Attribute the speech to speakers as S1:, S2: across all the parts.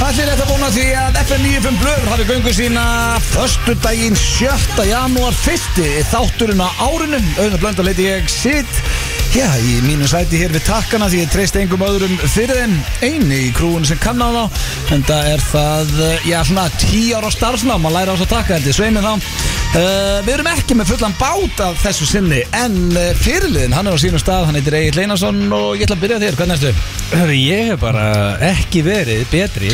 S1: fagna því að FM 95 Blöður hafi göngu sína Föstu daginn 7. janúar fyrsti þátturinn á árunum Auðvitað blönd að leiti ég sitt Já, í mínu sæti hér við takkana því ég treyst engum öðrum fyrir þeim einu í krúun sem kann á þá en það er það, eh, já, svona 10 ára starfsnám að læra á þess að taka þetta sveimið þá uh, Við erum ekki með fullan bát af þessu sinni en uh, fyrirliðin, hann er á sínum stað, hann heitir Egil Einarsson og ég ætla að byrja á þér, hvernig ertu?
S2: Hörru, ég hef bara ekki verið betri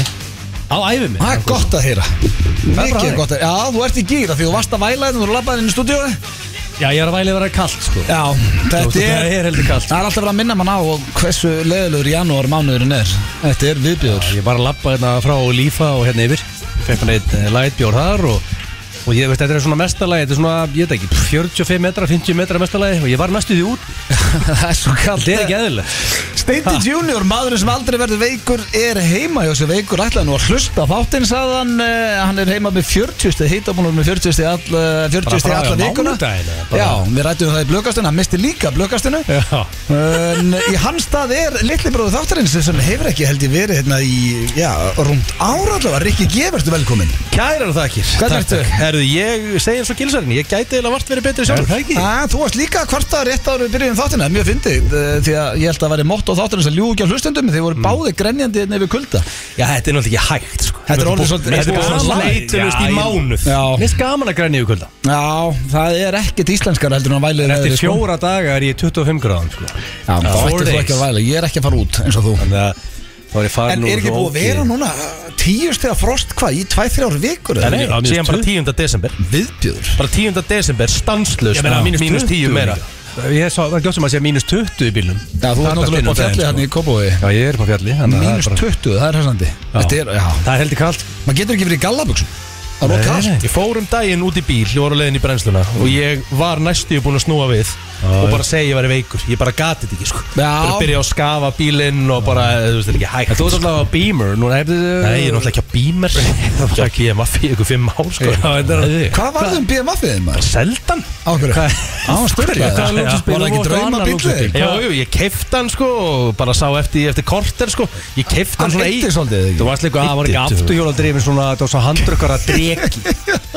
S2: á æfum
S1: Það er gott að heyra
S2: bara
S1: Mikið
S2: þannig.
S1: gott að Já, þú ert í gýra því þú varst að væla þeim Þú labbaði inn í stúdíu
S2: Já, ég er að væli að vera kallt, sko
S1: Já, þetta
S2: Það
S1: er
S2: er heldur kallt
S1: Það er alltaf verið að minna mann á og hversu leðilegur janúar mánuðurinn er Þetta er viðbjör
S2: Ég bara lappa hérna frá lífa og hérna yfir Fekk mér eitt lightbjór þar og, og ég veist, þetta er svona mestalagi Þetta er svona, ég veit ekki, 45 metra, 50 metra mestalagi Og ég var næstu því út
S1: Það er svo kallt
S2: Þetta er ekki eðlilegt
S1: Steindi
S2: Ha.
S1: Junior, maðurinn sem aldrei verður veikur er heima hjá þessu veikur ætlaði nú að hlusta á þáttinn sagðan uh, hann er heima með 40 stið hitabúnur með 40 stið all, eh, 40 stið
S2: Bara frá
S1: alla
S2: því á
S1: vikuna
S2: mánudaginn, eða bara-
S1: Já, við rættum það í blökastinu hann misti líka blökastinu
S2: Já
S1: En í hans stað er litli bróðu þáttarins sem hefur ekki held ég verið hérna í, já, rúmt ára allavega Rikki G, verður velkomin
S2: Kærar þakkir
S1: Hvernig ertu?
S2: Herðu, ég segi eins og gilsarinn Ég gæti eiginlega vart verið betri sjálfur Það ekki?
S1: Að, Þú varst líka hvarta rétt ára við byrjuðum þáttina, mjög fyndið eh, því að ég held að væri mótt á þáttarins að ljúga ekki á hlustendum þeir
S2: Mm.
S1: voru báði grenjandi hérna yfir kulda
S2: Já, þetta er náttúrulega ekki hægt, sko
S1: Þetta er orðið svolítið-
S2: Þetta er bara
S1: Já,
S2: svona leitulust í
S3: ég-
S2: mánuð
S1: Já.
S2: Mér finnst gaman að græni yfir kulda
S1: Já, það er ekkert íslenskar heldur en að væli
S2: Eftir fjóra daga er ég 25 gráðan sko.
S1: Já, þá
S2: Four
S1: ættir þú
S2: days.
S1: ekki að væla, ég er ekki að fara út eins og þú
S2: Þannig að þá er ég farin
S1: En er ekki búið að vera núna tíu steg frost hvað, í tvæ, þrjár vikur
S2: Nei,
S3: Nei, síðan bara 10. desember
S1: Viðbjörn
S3: Bara 10. desember, stanslust Mínus 10 meira
S2: Ég sá, það gljóðsum að sé mínus 20 í bílnum
S1: Já, þú er náttúrulega upp á fjalli hérna í Kópói
S2: sko. Já, ég er upp á fjalli þannig að það er
S1: Mínus
S2: bara-
S1: 20, það er hæsandi Þetta er, já
S2: Það er heldur kallt
S1: Maður getur ekki verið í gallaböksum Það er
S2: Nei,
S1: okkar
S2: nei.
S3: Ég fór um daginn út í bíl, ég var á leiðin í brennsluna Og ég var næstu búin að snúa við Og bara segja ég væri veikur Ég bara gati þetta ekki sko
S1: Já.
S3: Bara byrja að skafa bílinn og bara, þú veist, þetta er ekki hægt sko.
S2: En þú ert alltaf á Beamer núna, hefðu,
S3: Nei, ég er náttúrulega ekki á bímer Ég er ekki BMF í ykkur fimm ár sko
S2: Já, þetta er að því
S1: Hvað um varðum BMF-ið maður?
S3: Seldan?
S1: Á hverju? Á störlega
S2: Hvað er
S1: Var
S2: lúxusbíl?
S1: það ekki
S2: Þú átt
S1: drauma
S2: annað lúxusbíl.
S1: bílið?
S3: Jú, jú, ég keifti hann sko og bara sá eftir, eftir korter sko Ég keifti
S1: Hann
S3: hann svona
S1: eittir svolítið eða
S2: Þú
S1: ekki?
S2: varst líka að það var ekki
S3: Eitt,
S2: afturhjóla drifin svona Það var svo handrökkar að dreki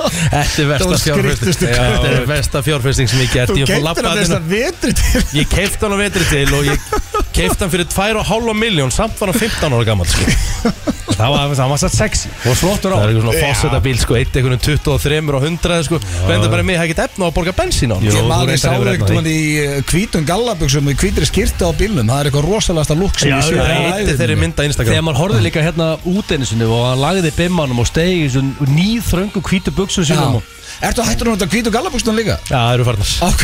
S3: Þetta er versta
S1: var
S3: fjárfesting
S1: skrýtnustu
S3: Já, Þetta er versta fjárfesting sem ég gert
S1: Þú
S3: Ég fór
S1: getur
S3: labbað
S1: að
S3: hérna.
S1: þess að vetri til
S3: Ég keift hann á vetri til og ég keift hann fyrir 2,5 miljón samt var hann 15 ára gammal sko.
S2: Það var það var satt sexy Og flottur á
S3: Það er eitthvað svona fósettabíl sko, eitt einhvern veginn 23 og 100 sko. Venda bara mig, það get efna á að borga bensín á hann
S2: Jú,
S1: Ég
S2: þú
S1: maður
S2: reyndar
S1: sá
S2: hefur
S1: ekkert
S2: efni á
S1: hún í eh, hvítum gallaböksum og í hvítri skýrta á bílnum Það er eitthvað rosalasta lúk sem
S2: Já,
S1: ég sé
S3: Það
S1: á
S3: er eitt
S1: ævinni.
S3: þeirri mynda
S2: Þegar
S3: Instagram
S2: maður horfði líka hérna út einu sinni og hann lagði bimmanum og stegi þessum nýþröngu hvítu buksum
S1: Já.
S2: sínum og
S1: Ertu hættur hún að hvítu gallaböksum líka?
S3: Já, það eru farnar
S1: Á-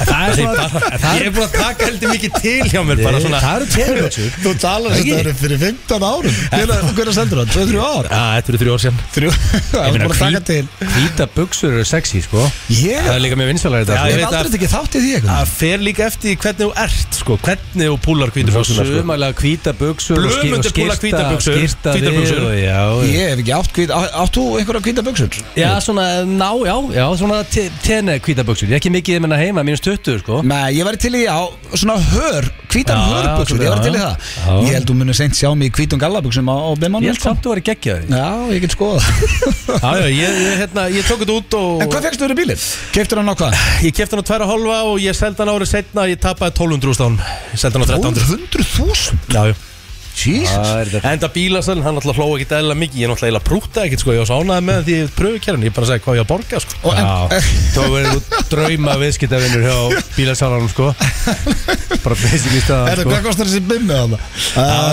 S2: Það er svona
S3: Ég er búin að taka heldur mikið til hjá mér bara svona
S2: Það eru tegubuksur
S1: Þú talar þess að þetta eru fyrir 15 árum Hvenær- Hvenær sendur það? 2-3 ár?
S3: Já, þetta eru þrjú ár síðan
S1: Þrjú Það er bara að taka til
S2: Hvíta buksur eru sexy sko
S1: Ég
S2: Það er líka mjög vinsalega
S3: Já,
S2: þetta sko.
S1: Ég
S3: ég
S1: hef
S3: veit að-
S1: aldrei tekið þátt í því eitthvað
S3: Það fer líka eftir því hvernig þú ert sko, hvernig þú púlar hvítur buksuna sko.
S2: Sumalega hvíta buksur og ský- og
S3: Blömundur búla
S2: skyrta-
S3: hvítar buxur,
S2: Skyrta
S3: hvítar
S2: við
S3: buxur.
S2: og- Já, já.
S1: Ég hef ekki átt hvít á- Átt þú einhverja hvíta buksur?
S2: Já, svona, ná, já, já, svona te- tene hvíta buksur Ég er ekki mikið minna heima, mínus 20 sko
S1: Nei, ég væri til í á svona hör Hvítan
S2: Já,
S1: hörbuksur,
S2: já,
S1: ég væri
S2: já.
S1: til í það
S2: Já.
S1: Ég held þú munir seint sjá mig í hvítum gallabuksum á, á bimmanum
S2: Ég held samt að vera geggjaði
S1: Já, ég get skoða það.
S3: Já, já, ég, ég, hérna, ég tók þetta út og
S1: En hvað fegstu fyrir bílinn? Keiftur hann á hvað?
S3: Ég kefti hann á tværa hálfa og ég seldi hann árið setna Ég tapaði 1200 úrstán Ég seldi hann á 1300
S1: 200.000?
S3: Já, já
S1: Jesus
S3: Enda bílasal, hann alltaf hlóa ekkert eðla mikið Ég er náttúrulega eiginlega prúta ekkert sko Ég var sánaði með hann því ég pröfu kjærn Ég bara sagði hvað ég á að borga sko
S1: Og en-
S2: Já, þá verður þú drauma viðskiptavinnur hjá bílasálanum sko Bara basically
S1: Er
S2: staðan
S1: það
S2: sko
S1: hvað kostar þessi bimmi á það?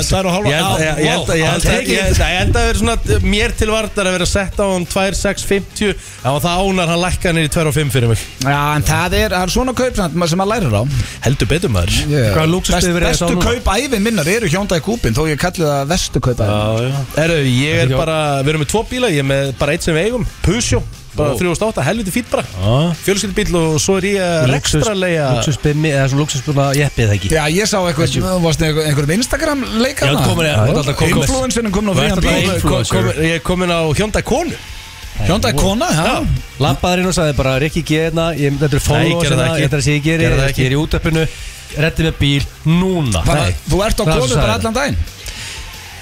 S1: Það er á
S3: Ég held- ég- ég held- ég held- ég- ég held-
S1: hálfa
S3: ég held að vera svona Mér til vartar að vera sett á hann 2650 En það ánar hann lækka hann í 25 fyrir mig
S1: Já, en það er, það er svona kaupnætt sem maður lærir á
S3: Heldur betur maður
S1: yeah.
S2: Hvaða lúxusbifur er
S1: Bestu
S2: þetta á núna?
S1: kaup ævin minnar eru hjóndaði kúpin Þó ég kalli það vestu kaup ævin
S2: Já, já
S3: Herru, ég er
S2: ekki á-
S3: bara, við erum með tvo bíla, ég er með bara eitt sem við eigum, Peugeot, bara 308, helviti fýtt bara,
S2: Já.
S3: fjölskyldubíl og svo er ég að rekstrarlega
S2: Luxusbimmi, eða svona luxusbimmi, jeppið það ekki
S1: Já, ég sá eitthvað, þú varst með einhver- einhverjum Instagram leikana
S2: Já, þú komin- þú ert alltaf komin-
S1: Influencerinn komin á
S2: Þú ert
S1: fríðan
S2: alltaf
S1: bíl
S2: influ-
S3: Kom- kom- Ég er komin á Hyundai Konu
S1: Hjóndaði kona, já
S2: Lappaðurinn og sagði bara, Rikki, gerna, ég, þetta eru
S3: Nei,
S2: followers
S3: gerðu það
S2: hérna,
S3: ekki.
S2: Þetta er það sem ég geri,
S3: Gerðu það
S2: ég
S3: ekki.
S2: er í útöppinu Reddi með bíl, núna
S1: Bara,
S2: Nei.
S1: Þú ert á
S2: Það er
S1: konu
S2: svo
S1: bara
S2: sagði.
S1: allan daginn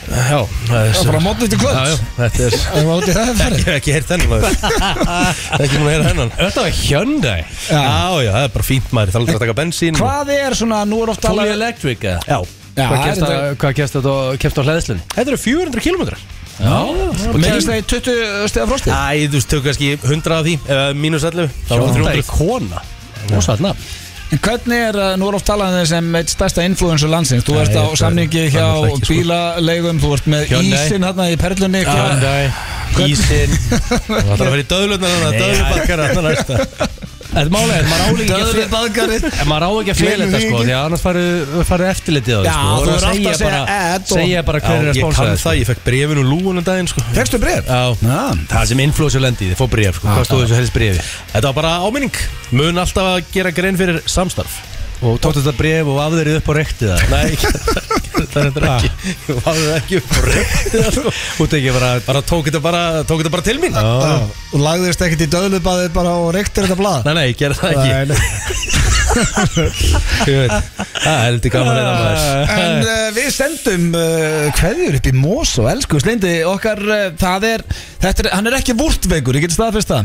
S3: Já, það er
S1: Það er bara mótið til
S3: Já, já,
S1: kvöld
S3: þetta er
S1: Það er út í það er
S3: Ég
S1: farið
S3: hef ekki heyrt þennan maður Ekki múin að heyra hennan Þetta var Hyundai
S1: Já.
S3: Já, já, það er bara fínt maður Það er aldrei að taka bensín og-
S1: Hvað er svona, nú er ofta
S2: Fully Electric eða?
S3: Já
S1: Já,
S2: Hvað
S1: það
S2: kemst
S1: er-
S2: að- Hvað kemst þetta kemst á hlæðslun?
S3: Þetta eru 400 kilometrar
S2: Já
S1: Og meðast það í 20 stega frosti
S3: Æ, þú veist, tök kannski 100 af því Eða mínus 11 Það var
S2: Hyundai
S3: 300
S2: kona Rósaðna
S1: En hvernig er, uh, nú er oft talað um þig sem eitt stærsta influencer landsins Þú ert
S2: Nei,
S1: á
S2: þetta er-
S1: samningi hjá
S2: það er ekki, sko.
S1: bílaleigum Þú ert með
S3: Hyundai.
S1: ísinn hérna í perlunni hvað-
S3: Ísinn Það þarf að vera í döðlunar Þannig að döðlubakkar Þannig að næsta
S2: Þetta er málega, maður á líka ekki að
S1: Döðlubaðgarið
S2: En maður á ekki að fela
S1: Gleymum
S2: þetta
S1: því
S2: sko
S1: ekki.
S2: Því að annars farið farið eftirlitið á því
S1: Já,
S2: sko
S1: þú
S2: og
S1: verður alltaf að segja
S2: bara-
S1: ad og-
S2: Segja bara hver er
S3: Já, ég
S2: að sponsa sko.
S3: kann
S2: þetta
S3: það Ég fekk brefin úr lúgun um daginn, sko
S1: Tekstu breyð?
S3: Já
S2: Það sem influencer lendi, þið fór bréf
S3: Ah,
S2: sko Hvað stóðu þessu helst bréfi?
S3: Þetta var bara áminning Mun alltaf að gera grein fyrir samstarf
S2: Og tóttu þetta bréf og afðurðið upp á rektið það
S3: Nei, ég gerði það- gerði það reyndar ekki Ég var það ekki upp á rektið það, sko. Ah.
S2: Þú tekið bara
S3: Bara tók þetta bara, tók þetta bara til mín
S1: Ah. Og lagðist ekkert í döðlubaðið bara og reyktir þetta blað
S3: Nei, nei, ég gerði það ekki
S1: Nei, nei.
S3: Ég veit, Það er heldur gaman eða maður
S1: En uh, við sendum uh, kveðjur upp í mós og elsku Sleindi okkar, uh, það er, þetta er, hann er ekki vúrtveikur, ég geti staðfest það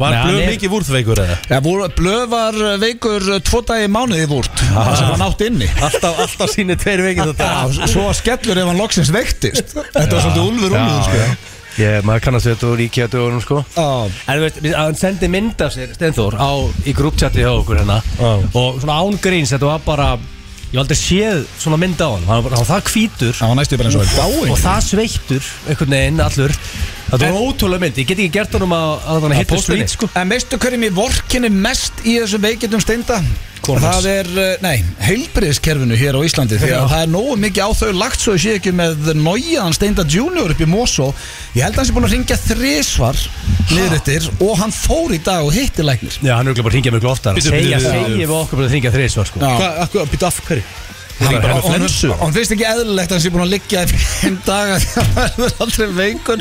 S3: Var
S2: Nei,
S3: blöð
S2: hann er-
S3: mikið vúrþveikur eða?
S1: ja, vúr, Blöð var uh, veikur uh, tvo dagi í mánuði í vúrt, það sem hann átti inni
S3: Alltaf, alltaf síni tveir veikir þetta
S1: Já, svo að skellur ef hann loksins veiktist Þetta var svolítið úlfur úlfur, sko
S2: Ég, maður kannast við þetta úr íkjæðdögunum sko
S1: Já,
S2: En þú veist, við- að hann sendi mynd af sér Stenþór á, í grúpchatti hjá okkur hérna
S3: Já.
S2: Og svona ángríns, þetta var bara Ég hef aldrei séð svona mynd á hann Hann var bara- hann var það hvítur
S1: hann var næstu bara eins og dáin
S2: og það sveittur einhvern veginn allur Þetta var ótrúlega mynd, ég get ekki gert honum að, að, að hitta
S3: póstinni?
S2: svít sko
S1: En veistu hverjum ég vorkinni mest í þessu veikindum steinda?
S3: Konan hans.
S1: Það er, uh, nei, heilbriðskerfinu hér á Íslandi því að
S2: Já.
S1: það er nógu mikið á þau lagt svo ég sé ekki með Nóiðan Steinda Junior upp í Mosó Ég held að hans er búin að ringja þrisvar niður eftir og hann fór í dag og hitti læknir
S2: Já, hann er ekki bara að ringja mjög oftar
S3: Bíddu,
S2: Segja,
S3: bíddu,
S2: segja
S3: bíddu.
S2: við okkur bara að ringja þreysvar sko
S1: Já.
S3: Hvað, akkur, býta af hverju?
S1: Hann
S3: er bara
S1: bara-
S3: með flensu.
S1: honum- honum finnst ekki eðlilegt að hann sé búin að liggja í fimm daga því að hann verður aldrei veikur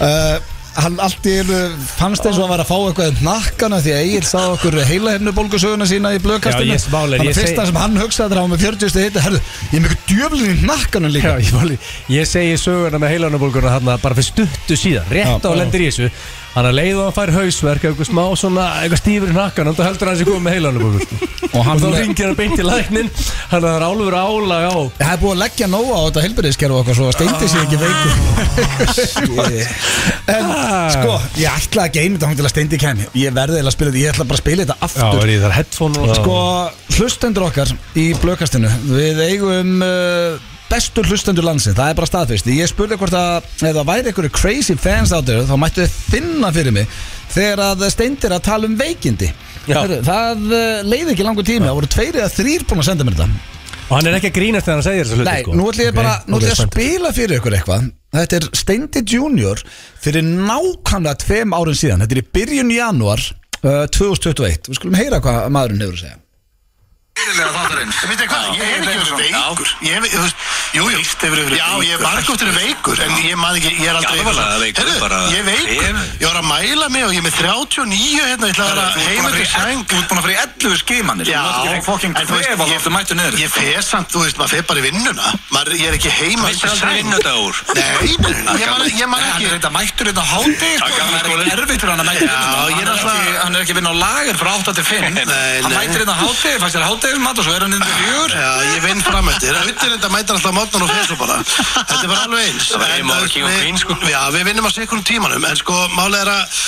S1: uh, Hann allt í einu fannst eins og hann var að fá eitthvað um nakkana því að Egil sá okkur heila hennu bólgusöguna sína í
S2: Já,
S1: blöðkastinu
S2: ég- máli er,
S1: Þannig
S2: ég
S1: að fyrsta
S2: segi-
S1: sem hann hugsaði þegar hann var með 40 stið hitta Herðu, ég er mikið djöflin í nakkanum líka
S2: Já, ég, máli, ég segi söguna með heilanabólguna þarna bara fyrir stuttu síðan, rétt
S1: Já,
S2: á
S1: já.
S2: lendir í þessu Þannig að leiðu hann fær hausverk, eitthvað smá svona, eitthvað stífur í nakkan Þannig að heldur hann sér komið með heilanabólgun
S1: Og
S2: Og
S1: hann-
S2: þá ringir hann beint í læknin, þannig að það er álfur álag á
S1: Það er búið að leggja nóga á þetta helbriðiskerf okkar svo að steindi sig ekki
S2: Ah,
S1: veikur En
S3: Ah.
S1: sko, ég ætla að geima þetta hann til að steindi kæmi Ég verði eiginlega að spila þetta, ég ætla bara að spila þetta aftur
S2: er ég þar headphone og
S1: Sko, hlustendur okkar í blökastinu Við eigum uh, bestu hlustendur landsins Það er bara staðfist Ég spurði hvort að Ef það væri einhverju crazy fans out there Þá mættu þið finna fyrir mig Þegar að steindir að tala um veikindi
S3: Já.
S1: Heru, Það uh, leiði ekki langur tími Það voru tveir eða þrýr búin að senda mér þetta
S2: Og hann er ekki að grínast þegar hann segir þessu hluti
S1: Nei,
S2: sko
S1: nú ætlum ég
S2: Ok,
S1: bara Nú
S2: ok,
S1: ætlum ég að
S2: spennt.
S1: spila fyrir ykkur eitthvað Þetta er Steindi Junior Fyrir nákvæmlega tveim árin síðan Þetta er í byrjun janúar uh, 2021 Við skulum heyra hvað maðurinn hefur að segja
S4: fyrirlega þáttarins
S5: Veistu hvað, ég hef ekki verið veikur Ég hef, þú veist, jú, jú
S4: Víst hefur verið
S5: Já,
S4: veikur.
S5: ég hef margótt verið veikur En ég maður ekki, ég er aldrei
S4: Já,
S5: eitthvað
S4: alvarlega
S5: svona,
S4: veikur,
S5: "Heyrðu,
S4: bara-
S5: Ég er veikur,
S4: Ég-
S5: ég var að mæla mig og ég er með 39 hérna Ég ætla að vera heima til sæng
S4: Þú ert búin að fara í 11 skimanir
S5: Já,
S4: Þú ert ekki fokking
S5: en þú veist,
S4: kvef og
S5: ég-
S4: þú ert mættu niður
S5: Ég fer samt, þú veist, maður fer bara í vinnuna maður, Ég er ekki heima
S4: Mættur aldrei vinna þetta úr
S5: Nei, nei, ég man- ég man
S4: Hann
S5: ekki
S4: er þetta mættur hérna þetta háti
S5: Já, gamli
S4: sko. Það
S5: skólinn.
S4: er erfitt fyrir hann að mæta
S5: Já, ég er
S4: vinna
S5: náttúrulega-
S4: Hann er ekki að vinna á lager frá 8 til 5
S5: Nei,
S4: Hann
S5: nei.
S4: mættur þetta háti, fæst þér hátiðismat og svo er hann inn til fjögur
S5: Já, ég vinn fram eftir Auðvitað þetta mætir alltaf mótnan og fyrir svo bara Þetta er bara alveg eins
S4: Það var
S5: En,
S4: heima og
S5: eh,
S4: King of
S5: við-
S4: Queens, sko.
S5: Já, við vinnum á sekundum tímanum En sko, málið er að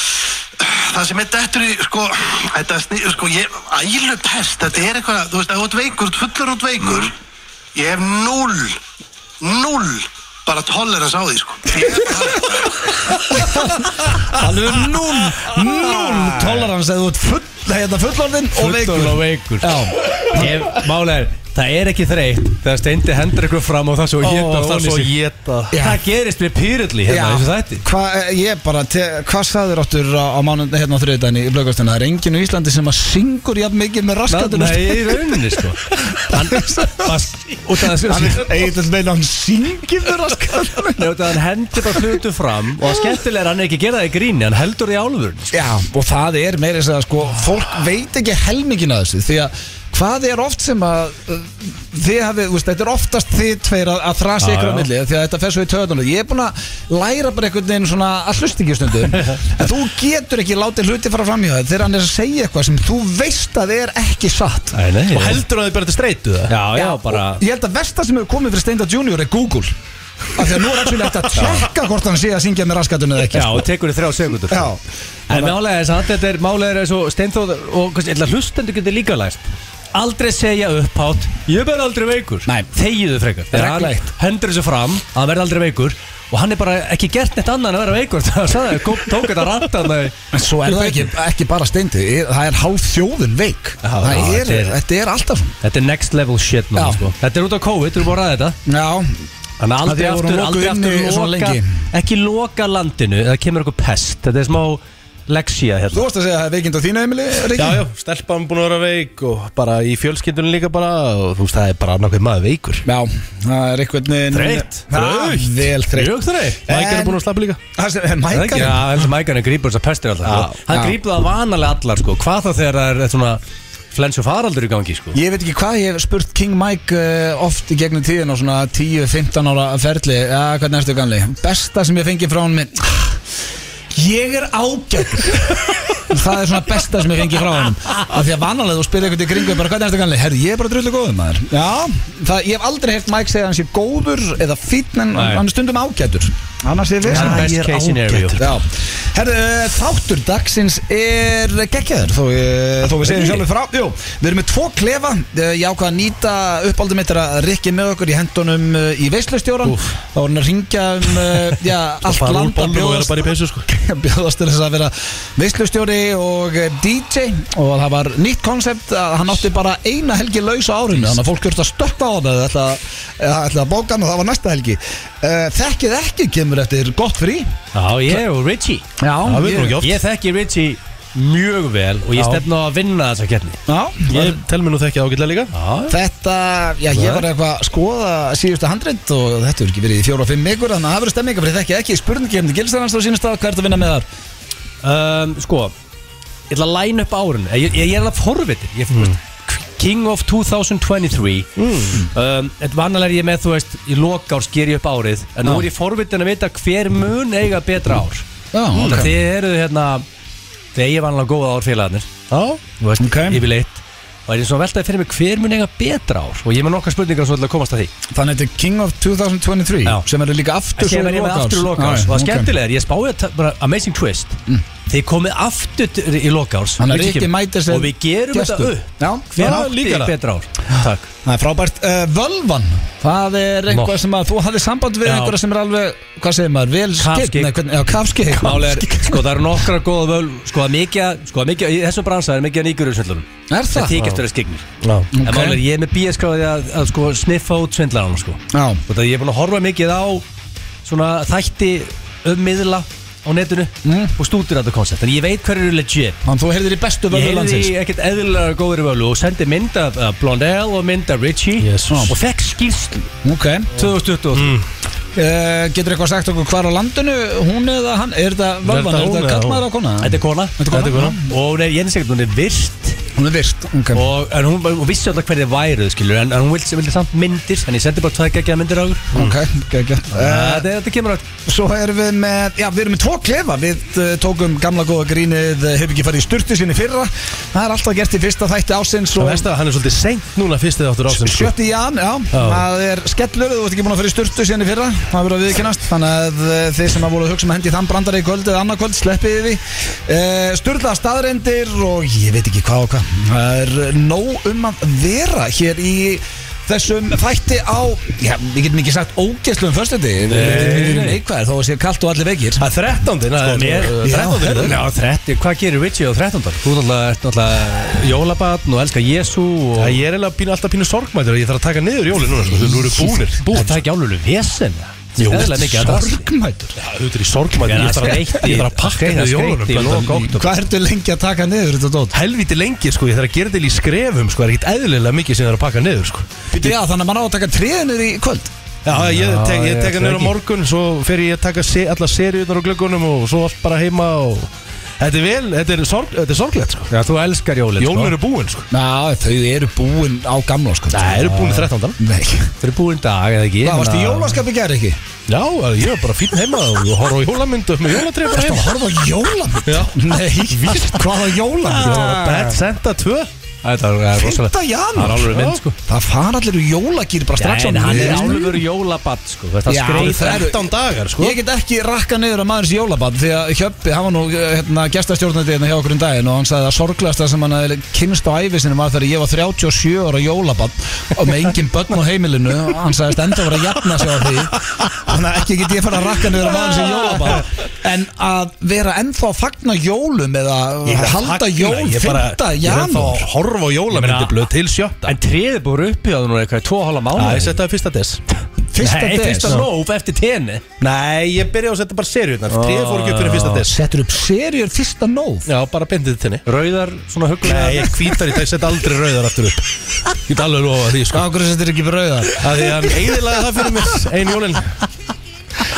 S5: Það sem er dettur í, sko, þetta sný, sko, ég, ælupest, þetta er eitthvað, þú veist, ef þú ert veikur, þú ert fullur út veikur,
S4: Mm.
S5: ég hef null, null, bara tolerance á því, sko.
S1: Alveg núl, núl tolerans eða þú ert full, hérna fullorðinn og veikur
S2: Fullorðinn og veikur.
S1: Já,
S2: Ég, málega er, það er ekki þreytt Þegar steindi hendur ykkur fram og það svo hétta og
S3: það
S2: það
S3: er
S2: svo
S3: svo
S2: hétta
S3: geta
S2: Það gerist við pyrulli hérna í þessu þætti
S1: Hvað, eh, ég bara, te- hvað sagður áttur á, á mánundi hérna á þriðdæni í blöggastinu Það er enginn í Íslandi sem að syngur jafn mikið með raskatunum
S2: Nei, í rauninni sko Hann, bara- út af þessu
S1: Hann er eitthvað meina hann syngir með raskatunum
S2: Nei, út af hann hendur bara hlutu fram Og það skemmtilega er að hann er ekki að gera það í gríni Hann heldur það í álfur
S1: Já, og það er meira þess að segja, sko, fólk veit ekki helmingin að þessu því að hvað er oft sem að uh, þið hafið, þú veist, þetta er oftast þið tveir að, að þrasi
S3: Já,
S1: ykkur á
S3: já.
S1: milli því að þetta fer svo í töðunum ég er búin að læra bara einhvern veginn svona að hlusta ekki stundum en þú getur ekki látið hluti fara fram í það þegar hann er að segja eitthvað sem þú veist að er ekki satt
S2: Æ, nei,
S3: Og heldur að þið bara til streytu það?
S2: Já, já, bara
S1: og ég held að versta sem hefur komið fyrir Steinda Junior er Google af því að nú er actually hægt að tjekka hvort hann sé að syngja með raskatunni eða ekki
S6: Já, og tekur þið þrjá segundur
S1: Já.
S2: En málega er samt, þetta er málega er svo steinþóð og kannski, ætla hlustendur getur líka læst Aldrei segja upphátt Ég verð aldrei veikur
S1: Nei.
S2: Þegiðu frekar
S1: er
S2: Hann
S1: reglulegt.
S2: Hendur þessu fram að hann verð aldrei veikur Og hann er bara ekki gert neitt annað en að vera veikur Það sagði, kom, tók þetta ranta
S1: En svo er það ekki, ekki bara steindi, er- það er hálf þjóðin veik
S2: Já,
S1: það
S2: já,
S1: er,
S2: þetta er-
S1: Þetta er alltaf svona
S2: Þetta er next level shit núna,
S1: Já.
S2: sko. Þetta er út á COVID, þú erum bara að ræða þetta
S1: Já,
S2: Þannig að
S1: Af því
S2: aldrei
S1: að voru
S2: aftur,
S1: lokuð inni
S2: aldrei aftur
S1: svona
S2: loka,
S1: lengi.
S2: Ekki loka landinu, það kemur eitthvað pest Þetta er smá leksía
S1: þú
S2: hérna
S1: varst að segja að það er veikind á þínu heimili, Riki
S3: Já, já, stelpan búin að vera veik og bara í fjölskyldunum líka bara og þú veist, það er bara annarkveð maður veikur
S1: Já, það er einhvern veginn
S3: Þreytt.
S1: Þreytt Vel þreytt
S3: Mjög þreytt Mækir
S1: En-
S3: er búin að slappa líka
S1: Það sem- er
S2: Það er
S1: mækar
S2: ekki, já, heldur mækarinn grípur þessar pestir alltaf sko. Hann
S1: já.
S2: grípur það vanalega allar, sko Hvað þá þegar það er þetta svona flens og faraldur í gangi, sko
S1: Ég veit ekki hvað, ég hef spurt King Mike uh, oft í gegnum tíðin á svona 10-15 ára ferli Já, hvernig ertu gamli? Besta sem ég fengi frá hann minn Ég er ágættur Það er svona besta sem ég fengi frá hann Af því að vanalega þú spyrir eitthvað í kringu bara hvernig ertu gamli? Herri, ég er bara drullu góður maður Já, það, ég hef aldrei heyrt Mike segja að hann sé góður eða fínn en
S2: Nei.
S1: hann er stundum ágættur Annars er við
S2: Það er best case scenario.
S1: Já, herru, eh, þáttur dagsins er geggjaður þó, eh, þó við segjum sjálfur frá Jú, við erum með tvo klefa eh, Ég ákvað að nýta uppáldum mitt er að Rikki með okkur í hendunum eh, í veislustjóran Þá var hann að ringja um eh, já, allt
S3: Fara úr
S1: land að
S3: bólnum og vera
S1: bjóðast
S3: bara í peysu sko
S1: að bjóðast til þess að vera veislustjóri og eh, DJ og það var nýtt konsept að hann átti bara eina helgi laus á árinu þannig að fólk þurfti að stökka á hann eða ætla, eða ætla að bóka hann og það var næsta helgi Eh, Þekkið ekki kemur eftir gott frí
S2: Já, ég og Richie
S1: Já,
S3: Það veit nú
S1: ég,
S3: ekki oft
S2: Ég þekki Richie mjög vel og ég
S1: Já.
S2: stefna á að vinna þessa keppni
S1: já,
S3: Ég tel mér nú þekkið ágætlega líka
S2: Já,
S1: Þetta, já ég var eitthvað að skoða síðustu handrit og þetta hefur ekki verið í fjóra og fimm vikur þannig að það hefur stemminga fyrir þekki ekki spurningkefni gilstarans á sínum stað, hvað ertu að vinna með þar?
S2: um, sko Ég ætla að læna upp árun Ég, ég, ég er það forvitið ég, mm. King of 2023
S1: Mm.
S2: um, Þetta vannalega er ég með, þú veist Í lokárs ger ég upp árið En nú
S1: Já.
S2: er ég forvitin að vita hver mun eiga betra ár
S1: Já,
S2: mm.
S1: ok
S2: Þið eruð hérna Þið eigið vannalega góða ár félagarnir
S1: Já,
S2: Þú veist,
S1: Ok.
S2: yfirleitt Og er ég svo veltaði fyrir mig hver mun eiga betra ár Og ég er með nokkar spurningar svo ætla að komast að því
S1: þannig þetta er King of 2023
S2: Já.
S1: sem eru líka aftur
S2: Síðan verð ég með aftur í lokárs
S1: Já,
S2: Og það
S1: ok.
S2: skemmtilega er, ég spáði að ta- bara amazing twist Þið komið aftur til- í lokárs
S1: Þannig að
S2: Richie
S1: Rikki
S2: kemur.
S1: mætir sem
S2: Og við gerum þetta
S1: gestur.
S2: upp
S1: Já,
S2: Hver
S1: já,
S2: átti
S1: líka það.
S2: betra ár? Takk
S1: Það er frábært uh, Völvan, það er eitthvað sem að þú hafði samband við
S2: Já.
S1: einhverja sem er alveg hvað segir maður, vel
S2: Kafskygg.
S1: skeitt, nei, hvernig- Já, kafskik
S2: Máli er, sko það eru nokkra góða völ Sko það er mikið, að- sko það er mikið, að- í þessum bransa er mikið að nýgur svindlunum
S1: Er
S2: Það
S1: það?
S2: þykist verið skiknir
S3: Já
S2: En
S1: Ok.
S2: máli er, ég er með bíaskráði að, að sko sniffa út svindlarana sko
S1: Já,
S2: Og það ég er búin að horfa mikið á svona þætti um miðla á netinu og stútur þetta koncept En ég veit hver eru legit
S1: þannig þú heyrðir í bestu
S2: Ég
S1: völvu
S2: hefði
S1: landsins
S2: ekkert eðlilega góður völu og sendi mynd af uh, Blondell og mynd af Richie
S1: Jesus.
S2: og fekk skýrslu
S1: Ok
S2: 2023
S1: Uh, getur eitthvað sagt okkur hvar á landinu hún eða hann, er þetta völvan,
S3: þetta
S1: er
S3: hún
S1: þetta
S3: eða
S1: kallmaður á kona?
S2: Þetta er kona
S1: Þetta er kona.
S2: Og hún er, ég finnst ekkert, hún er virt
S1: Hún er virkt, ok
S2: og, En hún, hún vissi alltaf hverði væruð, skilur En, en hún vildi, vildi samt myndir En ég sendi bara tvað geggjaða myndir á hún
S1: Ok, geggja uh,
S2: Þetta þetta kemur að
S1: Svo erum við með, já við erum með tvo klefa Við uh, tókum gamla góða grínið uh, Hefur ekki farið í sturtu sinni í fyrra Það er alltaf gert í fyrsta þætti ásins
S3: Það
S1: og
S3: veist að hann er svolítið seint núna fyrst eða áttur ásins sko.
S1: Sjötti jan, já,
S3: Já.
S1: það er skellur Þú ert ekki búin að fara í sturtu síðan í fyrra Það verður að viðkynast Þannig að eh, þið sem að voru að hugsa um að hendi þann brandari í kvöld eða annað kvöld Sleppið því uh, Sturla staðrendir og ég veit ekki hvað og hvað Það er nóg um að vera hér í þessum þætti á Já, við getum ekki sagt ógeðslu um föstundi Neikvæður, þó að sé kalt og allir veikir
S3: Það er þrettándin
S2: Sko, mér-
S1: herðu.
S3: Þrettándin
S2: Já, þretti, hvað gerir Richie á 13. Þú náttúrulega ert náttúrulega jólabatn og elskar Jésu og
S3: Það ég er eiginlega pínu, alltaf pínu sorgmættur að ég þarf að taka niður jólin núna sko. Þú eru búnir
S2: Bú, það er ekki álölu vesen
S3: Jú,
S2: eðlilega mikið að drasli.
S1: Sorgmætur
S3: Þú eru í sorgmættur
S2: Ég
S3: sko, Ég
S2: þarf að-
S3: þarf að pakka
S2: skreita-
S3: niður sko,
S2: skreita í lok
S3: jólin
S2: október.
S1: Hvað ertu lengi að taka niður þetta dót?
S3: Helviti lengi sko, ég þarf að gera til í skrefum sko, það er ekkert eðlilega mikið sem það er að pakka niður sko.
S1: Já, þannig að mann á að taka treðinir í kvöld
S3: Já, ég tek, ég
S2: ég
S3: tek
S2: ætla
S3: hann niður á
S2: ekki.
S3: morgun Svo fer ég að taka se, alla seriunar á glöggunum Og svo allt bara heima og Þetta er vel, þetta er, sorg, þetta er sorglegt sko.
S2: Já, þú elskar jólin
S3: Jólun eru búin sko.
S1: Ná, þau eru búin á gamla sko
S3: Það eru búin 13.
S1: Nei
S2: Þau eru búin dag, eða ekki
S1: Það varst í
S2: Þannig að-
S1: jólaskapi gerð ekki
S3: Hérna- Já, ég er bara fín heima og horfa á jólamyndu með jólatrið bara
S1: Það
S3: heima
S1: horfa á jólamynd
S3: Já.
S1: Nei, víst Hvaða jólamynd?
S3: Bad Santa 2
S2: Þetta er- það er rosalega
S1: 5.
S2: Það er
S1: janúar
S2: alveg mynd sko
S1: Það fara allir úr jólagýr bara strax
S2: Nei, en hann er
S1: miðnætti.
S2: álfur jólabatt sko Þú veist, Það
S1: Já,
S2: skreið
S1: það eru-
S3: 13 dagar sko
S1: Ég get ekki rakka niður að maðurins jólabann Því að Hjöppi, hann var nú eh, hérna, gestastjórnandi hérna hjá okkur um daginn Og hann sagði að sorglegasta sem hann hafði kynnst á æfi sinni var þegar ég var 37 ára jólabann Og með engin börn á heimilinu og Hann sagðist enda var að jafna sig á því Þannig að ekki get ég fara að rakka niður að maðurins jólabann En að vera ennþá að fagna jólum Eða halda jól 5.
S3: Ég er ennþá
S1: janúar
S3: að horfa á jólamyndu blöð til sjötta
S2: En treðið búið upp í það núna eitthvað í tvo og hálfa mánu
S3: Æ, ég setja það fyrsta des
S1: Fyrsta
S2: Nei, fyrsta
S1: des
S2: nóf eftir tenni
S3: Nei, ég byrja á að setja bara seriurnar Trið fór ekki upp fyrir fyrsta des
S1: Settur upp seriur fyrsta nóf
S3: Já, bara bindið til henni
S2: Rauðar, svona huglega
S3: Nei, ég hvítar í dag, setja aldrei rauðar aftur upp Ég get alveg lofa því sko
S1: Akkur settur ekki brauðar
S3: að Því að hann eiginlega það fyrir mér Einu jólin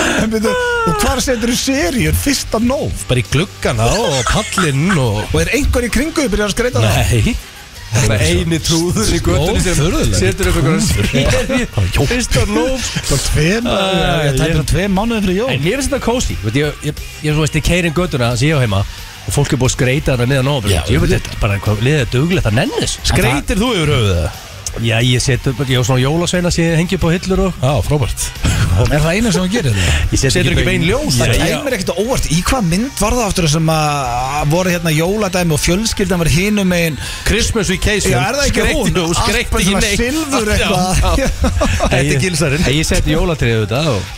S1: En byrju, Og hvar setur þú seriur fyrsta nóf?
S3: Bara í gluggana og pallinn og
S1: Og er einhver í kringu þau byrjar að skreita það?
S3: Nei
S2: Bara eini trúður í göttunni sem
S3: Stórfurðulegt.
S2: setur upp eitthvað Fyrsta nóf
S1: Bara tveim,
S2: Ah,
S1: ég tæpum
S2: ég-
S1: tveim mánuðum fyrir
S2: En
S1: jól
S2: mér finnst þetta kósi Ég, ég, ég, ég þú veist, ég keirin göttuna sem ég á heima og fólk er búið að skreita þarna meðan ofur
S3: Já,
S2: Ég veit þetta bara hvað liðið er duglegt að nenni þessu
S3: Skreitir þú yfir höfuð það?
S2: En það- Já, ég set upp, ég á svona jólasveina sem ég hengi upp á hillur og
S3: Já, frábært
S1: Er það eina sem hún gerir það?
S2: Ég set
S3: Setur ekki bein ljós?
S2: Nei,
S1: Það
S2: ég-
S1: tæmir ekkert á óvart, í hvað mynd var það aftur sem að voru hérna jóladæmi og fjölskyldan var hinum megin
S3: Christmas vacation
S1: Já, er það ekki hún?
S3: Skreyti og
S1: Allt bara
S3: skreyti
S1: svona
S3: ekki neitt
S1: silfur
S3: Já,
S1: eitthvað
S3: já. Þetta er
S2: ég-
S3: gilsarinn
S2: Ég set jólatriðið þetta og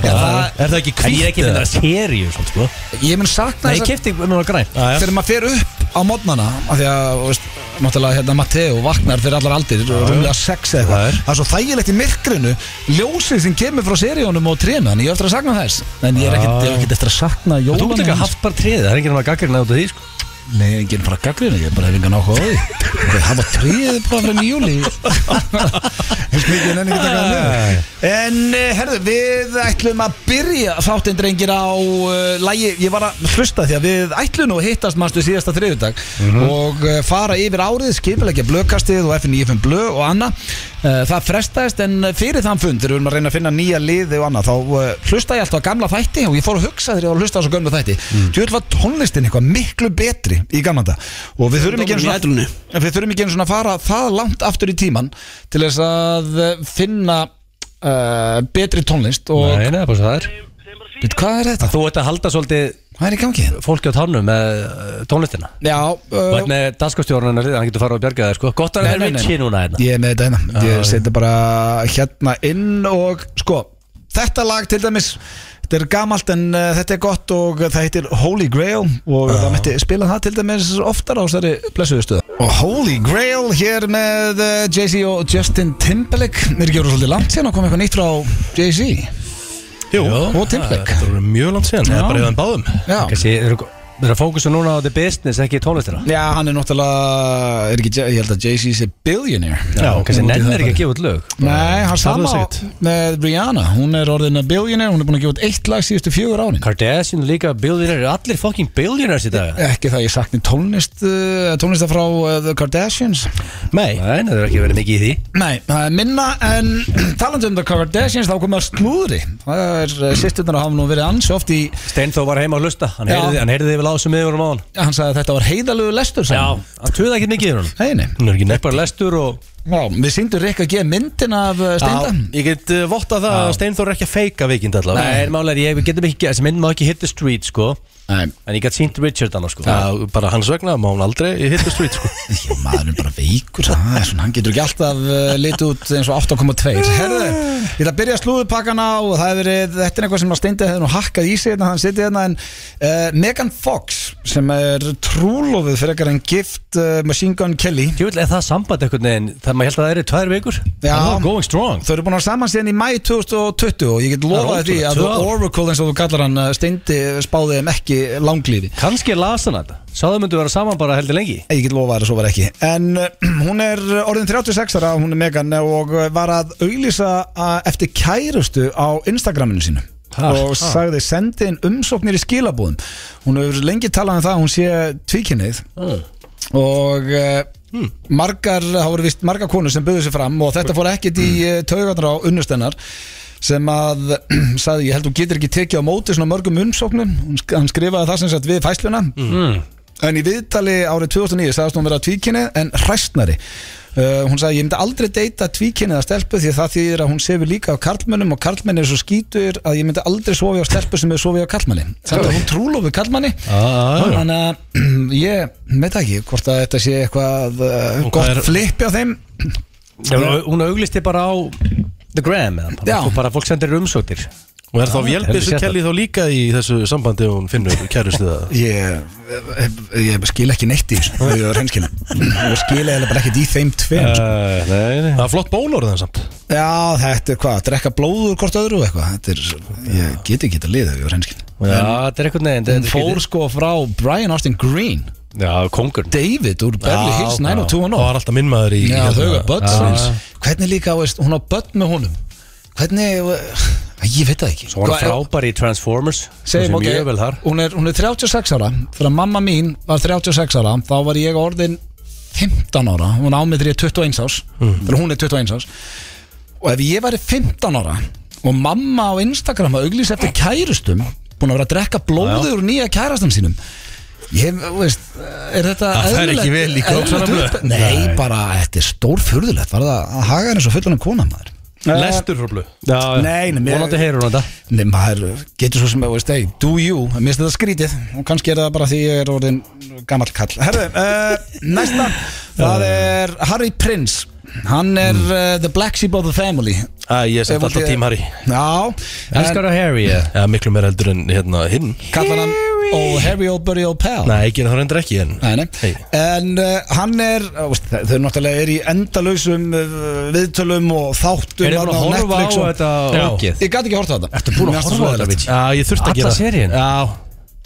S1: Já,
S3: Er
S1: það-
S3: það ekki
S2: En ég er ekki
S3: kvítt?
S2: að finna seríu svona, sko
S1: Ég mun sakna
S2: Nei, ég
S1: þess að
S2: kefti núna græn
S1: þegar maður fer upp á modnana af því að, þú veist, náttúrulega hérna Matteo vaknar fyrir allar aldir, rúmlega sex eða
S3: Það
S1: eitthvað
S3: er.
S1: það er svo þægilegt í myrkrinu ljósið sem kemur frá seríunum og trénu þannig ég er eftir að sakna þess en ég er ekkert- ég er ekkert eftir að sakna
S2: Þú
S1: jólana
S2: getur ekki
S1: hans.
S2: haft bara treðið, það er enginn að gaggrina út af því sko.
S1: Nei, enginn fara að gaggrina, ég bara hef engan áhuga á því Þeir hafa tríðið bara fyrir nýjúli Þess mikið en ennig að taka það En eh, herðu, við ætlum að byrja þáttinn drengir á uh, lægi Ég var að hlusta því að við ætlum nú að hittast mannstu síðasta þriðudag Og uh, fara yfir árið, skipilegja blökastið og FN95 blö og annað uh, Það frestaðist en fyrir þann fund þegar við erum að reyna að finna nýja liði og annað Þá uh, hlusta ég alltaf á gamla þætti og ég fór að hugsa þegar ég var að hlusta á þessu gamla þætti Tjóðil var tónlistin eitthvað miklu betri í gamla þetta Og við þurfum ekki einu
S6: Dómarinn
S1: svona-
S6: í
S1: En við þurfum ekki einu svona að fara það langt aftur í tíman Til þess að uh, finna uh, betri tónlist og
S2: Nei, nei, bara svo það er
S1: Veit, hvað er þetta?
S2: Þú ert að halda svolítið
S1: Hvað er í gangi? hérna?
S2: fólki á tánum með uh, tónlistina
S1: Já,
S2: Þú
S1: uh,
S2: ert með danskastjórnarnar liðan, hann getur farið að bjarga þér sko Gott að
S1: Nei,
S2: það er
S1: nei, nei.
S2: vitsi núna hérna
S1: ég er með þetta hérna Ég seti bara hérna inn og sko, þetta lag til dæmis Þetta er gamalt en uh, þetta er gott og það heitir Holy Grail og það mætti spila það til dæmis oftar á þessari blessuðustuða Og Holy Grail hér með uh, Jay-Z og Justin Timberlake Mér er ekki voru svolítið langt síðan að koma eitthvað nýtt frá Jay-Z
S3: Jú,
S1: og Timberlake.
S3: Það er mjög langt síðan, það
S1: Já.
S3: er bara í þann báðum
S1: Já.
S2: Kansi, Þú ert að fókusa núna á the business, ekki tónlistina
S1: Já, hann er náttúrulega, er ekki, Jay- ég held að Jay-Z sé billionaire
S2: Já, kannski
S1: Út í
S2: nennir
S1: það
S2: ekki
S1: bara.
S2: að gefa út lög
S1: Nei, hann
S3: Farðu
S1: sama
S3: það sitt.
S1: með Rihanna Hún er orðin að billionaire, hún er búin að gefa út eitt lag síðustu fjögur árin
S2: Kardashian líka, billionaire, allir fucking billionaires í dag
S1: Ekki það ég sakni tónlist uh, tónlista frá uh, The Kardashians
S2: Nei, nei, það er ekki verið mikið í því
S1: Nei, það er minna en talandi um The Kardashians þá komið að slúðri Það er uh, sýsturnar hafa nú verið ansi oft í
S2: Steinþó var heima að lusta, hann
S1: Já.
S2: heyrði- hann heyrði yfir lásum yfir um á hann
S1: hann sagði að þetta var heiðalögu lestur sem
S2: Já, hann töði ekki mikið yfir hann
S1: Nei, nei.
S2: Hún er ekki neitt bara lestur og
S1: Já, við síndum Rikka G myndin af uh, Steinda
S3: Ég get uh, vottað það að Steinþór er ekki að feika veikind allavega
S2: Nei, málega, ég getum ekki, þessi mynd má ekki hit the street sko
S1: Nei,
S2: En ég gæti sínt Richard annars sko
S3: Já, bara hans vegna má hún aldrei hit the street sko
S1: Já, maður er bara veikur það er svona, hann getur ekki alltaf uh, litið út eins og 8,2 Herðu, ég ætla að byrja slúðupakkana og það hefur verið, þetta er eitthvað sem að steindi hefði nú hakkað í sig, þannig að hann sitið hérna en uh, Megan Fox sem er trúlofið fyrir ekkar en gift uh, Machine Gun Kelly
S2: Tjóðvill, er það samband einhvern veginn Það maður held að það eru tvær vikur
S1: Já.
S2: Það er Going strong
S1: Þau eru búin að vera saman síðan í mæ 2020 og ég get lofað
S2: Það er
S1: því
S2: ótrúlegt,
S1: að The
S2: tvö ár.
S1: Oracle eins og þú kallar hann uh, steindi spáði þeim ekki langlífi
S2: Kanski er lasan þetta Sáðu myndu vera saman bara heldur lengi
S1: Ég get lofa þér að svo var ekki En uh, hún er orðin 36 ára, eh, hún er Megan og uh, var að auglýsa uh, eftir kærustu á Instagraminu sínu og sagði sendi inn umsóknir í skilabúðum hún hefur lengi talað um það að hún sé tvíkinnið og uh, margar, þá voru vist margar konur sem buðu sér fram og þetta fór ekkit í mm. taugarnar á unnustennar sem að, sagði ég held hún getur ekki tekið á móti svona mörgum umsóknum Hún sk- hann skrifaði það sem sagt við fæsluna En í viðtali árið 2009 sagðist hún vera tvíkynni en hræstnari uh, Hún sagði ég myndi aldrei deyta tvíkynni að stelpu því að það þýðir að hún sefur líka á karlmönnum og karlmenn er svo skítur að ég myndi aldrei sofi á stelpu sem er sofi á karlmanni Þannig að hún trúlófi karlmanni
S3: Ah.
S1: Þannig að ég veit það ekki hvort að þetta sé eitthvað uh,
S3: Og hvað
S1: gott
S3: er-
S1: flipi á þeim
S2: Hún- Hún auglisti bara á The Gram eða bara,
S1: Já.
S2: Fólk- bara fólk sendir umsóttir
S3: Og er þá
S2: heldur
S3: vélbissu
S2: sérstakt.
S3: kelli þá líka í þessu sambandi og hún finnur kærustu það?
S1: Ég, ég, ég skil ekki neitt í þessu þegar ég var hreinskina og skil eða bara ekkert í þeim tveim sko.
S2: Eh, Nei, nei
S3: Það er flott bólor þannig samt
S1: Já, þetta er hvað, drekka blóður hvort öðru og eitthvað, þetta er, ég get ekki þetta liðið við hreinskinn.
S2: Já, þetta er eitthvað neginn
S1: Hún fór sko frá Brian Austin Green,
S2: Já, kongur
S1: David úr Beverly Hills
S2: já.
S3: Það
S1: 90210.
S3: var alltaf minn maður í
S1: Já,
S3: hérna-
S1: þau er börn
S3: Já.
S1: hans. Hvernig líka, veist, hún á börn með honum. Hvernig, eh, ég veit það ekki.
S2: Svo var hann frábær í Transformers
S1: Segjum
S2: Hún sé
S1: ok,
S2: Mjög vel þar
S1: hún er, hún er 36 ára, þegar mamma mín var 36 ára, þá var ég orðin 15 ára, hún ámiður ég 21 árs,
S3: Mm.
S1: þegar hún er 21 árs og ef ég væri 15 ára og mamma á Instagram að auglýsa eftir kærustum búin að vera að drekka blóður úr nýja kærastan sínum ég, veist, er þetta
S3: Það fer
S1: eðlilegt-
S3: ekki vel í
S1: eðlilegt
S3: króksanum.
S1: upp- Nei, bara, þetta er stór furðulegt var það að haga henni svo fullan um kona maður
S3: Lestur hróplu
S2: Já,
S1: Nei, nei, mér-
S2: Vonandi heyrur hún þetta
S1: Nei, maður getur svo sem að, veist, hey, do you, mér finnst þetta skrítið og kannski er það bara því ég er orðin gammal kall. Herðu, uh, næsta, það er Harry Prince, hann er
S2: Mm.
S1: uh, the black sheep of the family.
S3: Æ, ég sett
S1: Ef
S3: alltaf
S1: ég-
S3: tím Harry
S1: Já, en
S2: Elskar að Harry eða?
S3: Já, miklu meira heldur en hérna hinn
S1: kallar hann oh, Harry old buddy old pal.
S3: Nei, ekki en það reyndir ekki en
S1: Nei, nei.
S3: Nei.
S1: En uh, hann er, uh, veist, þau þau náttúrulega er í endalausum uh, viðtölum og þáttum
S2: Er ég búin
S1: þarna
S2: að horfa á
S1: og-
S2: þetta
S3: Já.
S2: okkið?
S1: Ég gæti ekki horfa á þetta. Ertu
S2: búin að horfa á þetta, bitch?
S3: Já, ég þurfti að
S2: Alla
S3: gera
S2: seríun?
S3: Já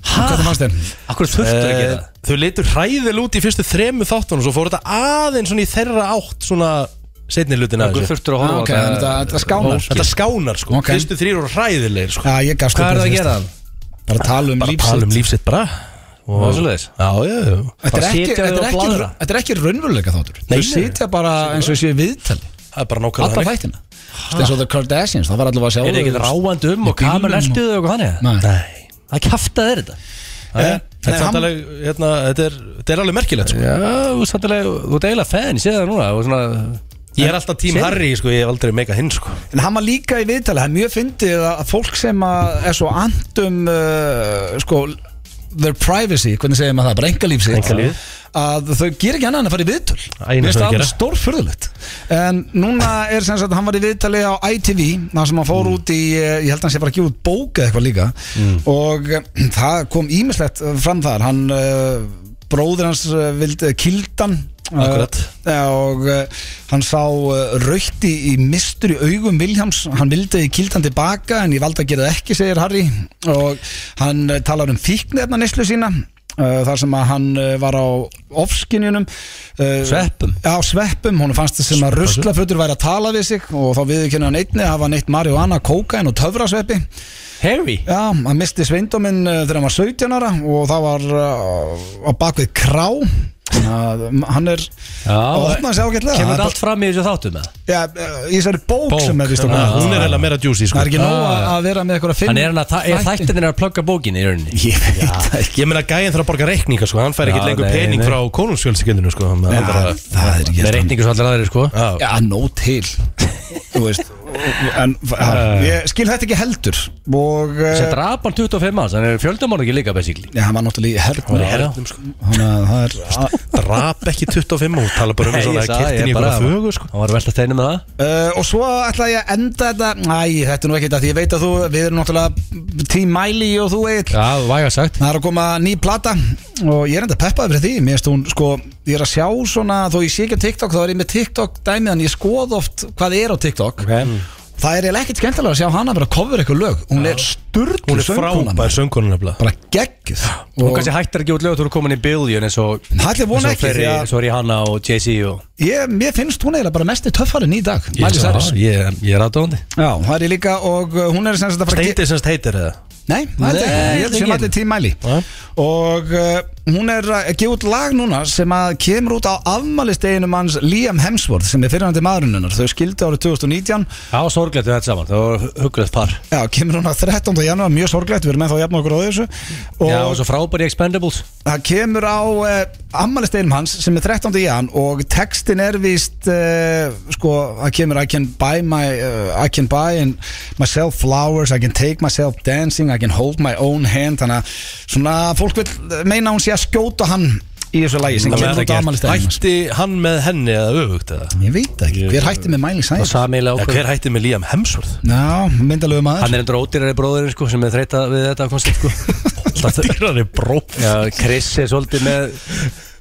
S1: Hvernig fannst þér?
S2: Akkur þurftu að
S3: Eh,
S2: gera það?
S3: Þau litur hræðil út í fyrstu þremu þáttunum Svo fór þetta aðeins svona í þeirra átt Svona setni hlutin að
S2: Akkur
S3: þessu
S2: þurftu að horfa á
S1: Ok, þannig að þetta skánar.
S3: Þetta skánar sko
S1: Ok.
S3: Fyrstu þrýr eru hræðilegir sko
S1: Já, ég gafst
S2: Hvað er það að gera?
S1: Það er að tala um
S3: Bara
S1: lífsitt.
S3: tala um lífsitt bara
S2: Það er svoleiðis
S3: Já, já, já
S1: Þetta er,
S2: Bara
S1: ekki,
S2: sitja
S1: þetta,
S2: þau
S1: er
S2: og
S1: ekki,
S2: blaðra?
S1: þetta er ekki raunveruleika þáttur
S3: Nei,
S1: Þau
S3: nei.
S1: sitja bara eins og séu viðtali
S3: Það er bara nákvæmlega
S1: Alla
S3: þannig.
S1: þættina Þetta er svo The Kardashians, það var allavega að sjá
S2: Er það ekki
S1: þau-
S2: ráandi um
S1: Í bílnum
S2: og kamer
S1: og-
S2: ertuðu og eitthvað þannig?
S1: Nei.
S3: Nei
S2: Það kæfta þeir þetta
S1: Eh,
S3: Þetta
S1: nei,
S3: er
S1: hann-
S3: alveg, hérna, þetta er, þetta er alveg merkilegt sko.
S2: Já, þú sattilega, þú ert eiginlega fan, ég sé það núna og svona,
S3: Ég er alltaf tím
S2: Sér-
S3: Harry, sko, ég hef aldrei meika hinn sko.
S1: En hann var líka í viðtali, það er mjög fyndið að fólk sem að er svo andum uh, sko, their privacy, hvernig segir maður það, bara engalíf sitt
S3: Einkalífið.
S1: að þau ger ekki annað en að fara í viðtöl
S3: Æ,
S1: Mér
S3: eina sem
S1: finnst
S3: þau
S1: það
S3: gera.
S1: stórfurðulegt en núna er sem sagt hann var í viðtali á ITV, það sem hann fór út í eh, ég held að hann sé bara að gefa út bóka eitthvað líka og eh, það kom ímislegt fram þar, hann uh, bróðir hans uh, vildi kildan eh,
S3: Akkurat.
S1: Já, og uh, hann sá uh, raukt í, í mistur í augum Viljáms hann vildi kildan tilbaka en ég valdi að gera það ekki, segir Harry og hann uh, talar um fíknefna neslu sína uh, þar sem að hann uh, var á ofskinjunum uh,
S2: Sveppum?
S1: Já, sveppum, hún fannst það sem að ruslafötur væri að tala við sig og þá viðkynna hann einni að hafa neitt marihuana, kókain og töfrasveppi
S2: Harry
S1: Já, hann misti sveindóminn uh, þegar hann var 17 ára og það var uh, á bakvið krá Þannig að, um, hann er
S2: Já,
S1: að opna sig ágætlega
S2: Kemur
S1: Það er
S2: þetta allt fram í þessu þáttum með?
S1: bara- Já, uh, í þessari bók, sem er vist
S3: Já,
S1: okkur
S3: Hún er heila meira juicy
S1: Það
S3: sko.
S1: er ekki nóg að-
S2: Ah.
S1: að vera með eitthvað að
S2: Þannig er
S1: finna
S2: hann að þa- er þættinir að plugga bókinni í rauninni
S1: Ég veit það ekki
S3: Ég meina gæðin þarf að borga reikninga sko. Hann fær
S2: Já,
S3: ekkert lengur
S2: nei,
S3: pening
S2: nei.
S3: frá konungsfjölskyldinu sko. Hann
S1: Já,
S3: bara-
S1: Það er
S2: Með
S1: ekki
S2: reyningu svo allir aðrir sko
S3: Já.
S1: Já, nóg til Þú veist En já, ég skil þetta ekki heldur Og uh,
S2: Sem draf hann 25 manns, hann er fjöldumorðingi líka basically
S1: Já, hann var náttúrulega í herrnum
S2: var í hernum,
S1: sko Þannig að það er
S3: Drap ekki 25 og tala bara um
S2: Nei,
S3: svona
S2: ég sagði,
S3: kirtin í
S2: ég bara-
S3: einhverja fögu sko.
S2: Hann var að velta steinu með það
S1: uh, Og svo ætla ég að enda þetta Æ, þetta er nú ekkert að því ég veit að þú Við erum náttúrulega tím mæli og þú eitt
S2: Já, væga sagt
S1: Það er að koma ný plata og ég er enda peppaði fyrir því Mér finnst hún, sko, ég er að sjá svona Þó ég sé ekki á TikTok, þá er ég með TikTok dæmið En ég skoð oft hvað er á TikTok
S2: Ok.
S1: Þá það er eiginlega ekkert skemmtilega að sjá hana vera að cover eitthvað lög hún er sturglu
S3: Hún er frábær söngkonan nefnilega
S1: bara geggjuð
S2: Hún kannski hættar að gefa út lög Þú eru komin í billion eins og
S1: Ætli von
S2: eins og
S1: ekki,
S2: Ferry-
S1: því að-
S2: eins og Rihanna og Jay-Z og
S1: ég, mér finnst hún eiginlega bara mest í töffarinn í dag
S3: Ég,
S1: Miley Cyrus
S3: já, ég, ég er aðdóðandi
S1: já, það er ég líka og uh, hún er sem sagt að fara að ge-
S3: Steindi semst heitir það
S1: Nei, það er
S3: Nei,
S1: ekki, ég held sem
S3: ekki.
S1: allir tím mæli
S3: Ja.
S1: Og uh, hún er að gefa út lag núna sem að kemur út á afmælisteginum hans Liam Hemsworth sem er fyrirhandi maðurinnunar Þau skildi árið 2019
S2: Já, sorglegt við þetta saman Það var hugulegt par
S1: Já, kemur hún að 13. janúar, mjög sorglegt, við erum ennþá að jafna okkur á þessu Og
S2: Já, og svo frábæri Expendables
S1: það kemur á uh, afmælisteginum hans sem er 13. jan Og textin er víst, uh, sko, það kemur I can buy, my, uh, I can buy and myself flowers, I can take myself dancing, I can hold my own hand Þannig að svona fólk vil eh, meina að hún sé að skjóta hann í þessu lagi sem
S3: Það
S1: kemur
S3: verður
S1: út á
S3: gert.
S1: afmælisteginum hans
S3: Hætti hann með henni eða öfugt eða?
S1: Ég veit það ekki, hver hætti með Miley
S2: Og
S1: Cyrus?
S2: samilega
S3: Eða
S2: okkur
S3: hver hætti með Liam Hemsworth?
S1: Já, myndalögu maður
S2: Hann er endur ódýrari bróðurinn sko sem er þreytað við þetta koncept sko Alltaf þau-
S3: Dýrari bróf
S2: Já, Chris er svolítið með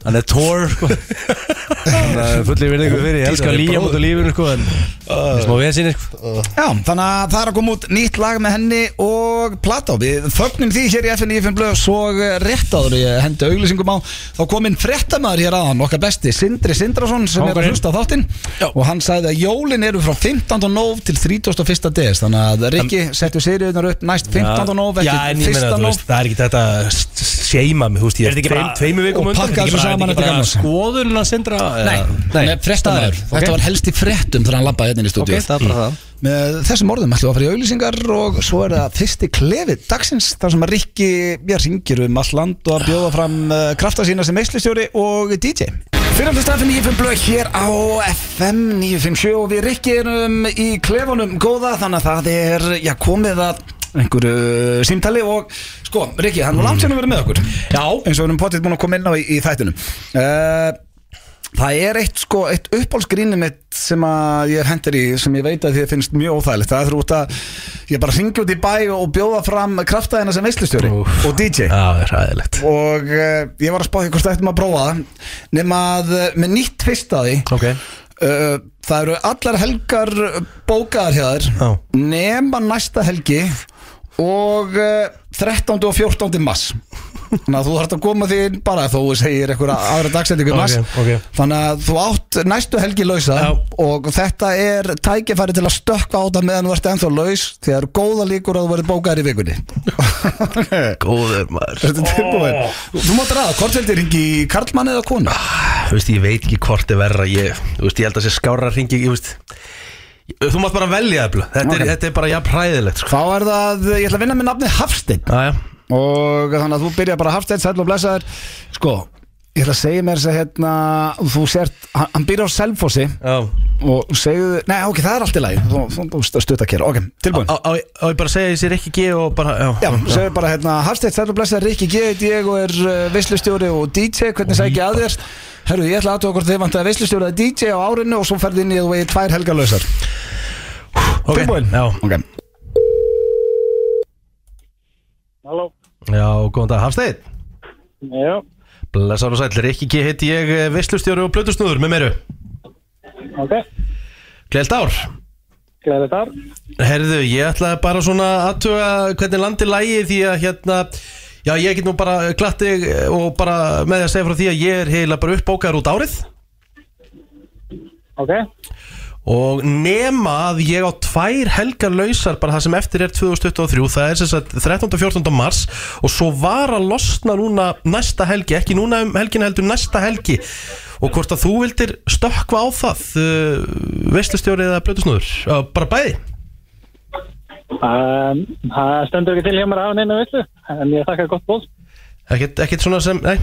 S2: Hann er tór sko Hann er fullið virðingu fyrir Ég elskar
S3: Dýrari
S2: Liam
S3: bróðir.
S2: út af lífinu sko En það er smá vesinni sko
S1: Já, þannig að það er að koma út nýtt lag með henni og plata Við fögnum því hér í FN í FN Blöð Svo eh, rétt áður ég hendi auglýsingum á Þá kom inn fréttamaður hér aðan, okkar besti Sindri Sindrason sem er að
S2: Kóngurinn.
S1: hlusta á þáttinn Og hann sagði að jólin eru frá 15. nóv til 31. des Þannig að Rikki settu seriðunar upp næst 15. nóv
S3: Já, en ég meina, þú veist, það er ekki þetta að seima mig, þú veist, ég
S2: Er þetta ekki
S3: tveim-
S2: bara-
S3: tveimur vikum
S1: og
S3: undan.
S1: pakka
S3: Er þetta ekki
S1: þessu
S3: bara-
S1: saman
S3: er
S1: eftir
S3: þetta ekki bara
S1: gamlárs?
S2: Skoðun að sendra
S1: Nei, nei, fréttamaður Þetta var helst í fréttum þegar hann labbaði hérna í
S2: Ok,
S1: stúdíu
S2: það er bara það
S1: Með þessum orðum ætlum við að fara í auglýsingar og svo er það fyrsti klefi dagsins þar sem að Rikki já, ringir um all land og að bjóða fram uh, krafta sína sem meistlistjóri og DJ Fyrir alltaf staðfinni í FM Blöð hér á FM 957 og við Rikki erum í klefunum góða þannig að það er já, komið að einhverju eh, símtali og sko, Rikki, hann var langt sérna verið með okkur Já eins og við erum potið búin að koma inn á í, í þættinum uh, Það er eitt, sko, eitt uppáhaldsgrínið mitt sem að ég hef hendur í sem ég veit að þið finnst mjög óþægilegt það er þú út að ég bara ringi út í bæ og bjóða fram kraftaðina sem veislustjóri
S3: Úff.
S1: og DJ
S3: Já, það er ræðilegt
S1: og uh, ég var að spá því hvort það ættum að prófa það nema að uh, með nýtt fyrst að því
S3: Ok
S1: uh, það eru allar helgar uh, bókaðar hjá
S3: Já.
S1: þér nema næsta helgi og uh, 13. og 14. mass þannig að þú þarf að koma því inn bara þó þú segir einhverja aðra dagsendingu í mass
S3: Ok, ok.
S1: þannig að þú átt næstu helgi lausa
S3: Já.
S1: og þetta er tækifæri til að stökkva á það meðan þú ert ennþá laus því það eru góða líkur að þú verður bókaðar í vikunni
S3: Góður maður
S1: Þetta er tilbúin Þú mátt ræða, hvort heldur ringi karlmann eða konu?
S3: Þú veist, ég veit ekki hvort er verra Ég, þú veist, ég held að sé skára hringi Ég veist Þú mátt bara velja það þetta,
S1: Ok.
S3: er, þetta er bara jafn hræðilegt sko.
S1: Þá er það, ég ætla að vinna með nafni Hafsteinn
S3: Aja.
S1: Og þannig að þú byrja bara Hafsteinn, sæll og blessaður Sko, ég ætla að segja mér þess að hérna Þú sért, hann, hann byrja á Selfossi
S3: Já
S1: Og segðu, nei ok, það er allt í lagi Þú, þú, þú stutt að kera, ok, tilbúin
S3: Á, á, á ég bara að segja að ég sér ekki geð og bara
S1: Já, segðu bara hérna Hafsteinn, sæll og blessaður, Rikki G, ég og er uh, veislustjóri og DJ Hvernig sækja að þér? Herru, ég ætla aðtöða hvort þið vantaði veislustjóri eða DJ á árinu og svo ferði inn í þú í tvær helgarlausar
S3: Ok.
S1: Tilbúin?
S3: Já,
S1: Ok,
S6: Halló,
S3: já góðan dag, Hafsteinn
S6: já,
S3: Blessar og sæll, ekki geð heiti ég Veslustjóri og blöðusnúður með meiru
S6: ok,
S3: Gleilt ár
S6: gleðið þar.
S3: Herðu, ég ætlaði bara svona aðtuga hvernig landi lægi því að hérna Já, ég get nú bara glatt þig eh, og bara með því að segja frá því að ég er heila bara uppbókaður út árið
S6: Ok,
S3: og nema að ég á tvær helgar lausar bara það sem eftir er 2023 það er sem sagt 13. og 14. mars og svo var að losna núna næsta helgi, ekki núna um helgina heldur næsta helgi og hvort að þú vildir stökkva á það uh, veistlustjóri eða blötusnúður uh, bara bæði
S6: um, það stendur ekki til hjá mér að hafa neina villu, en ég þakka gott bóð.
S3: ekkert, ekkert svona sem, nei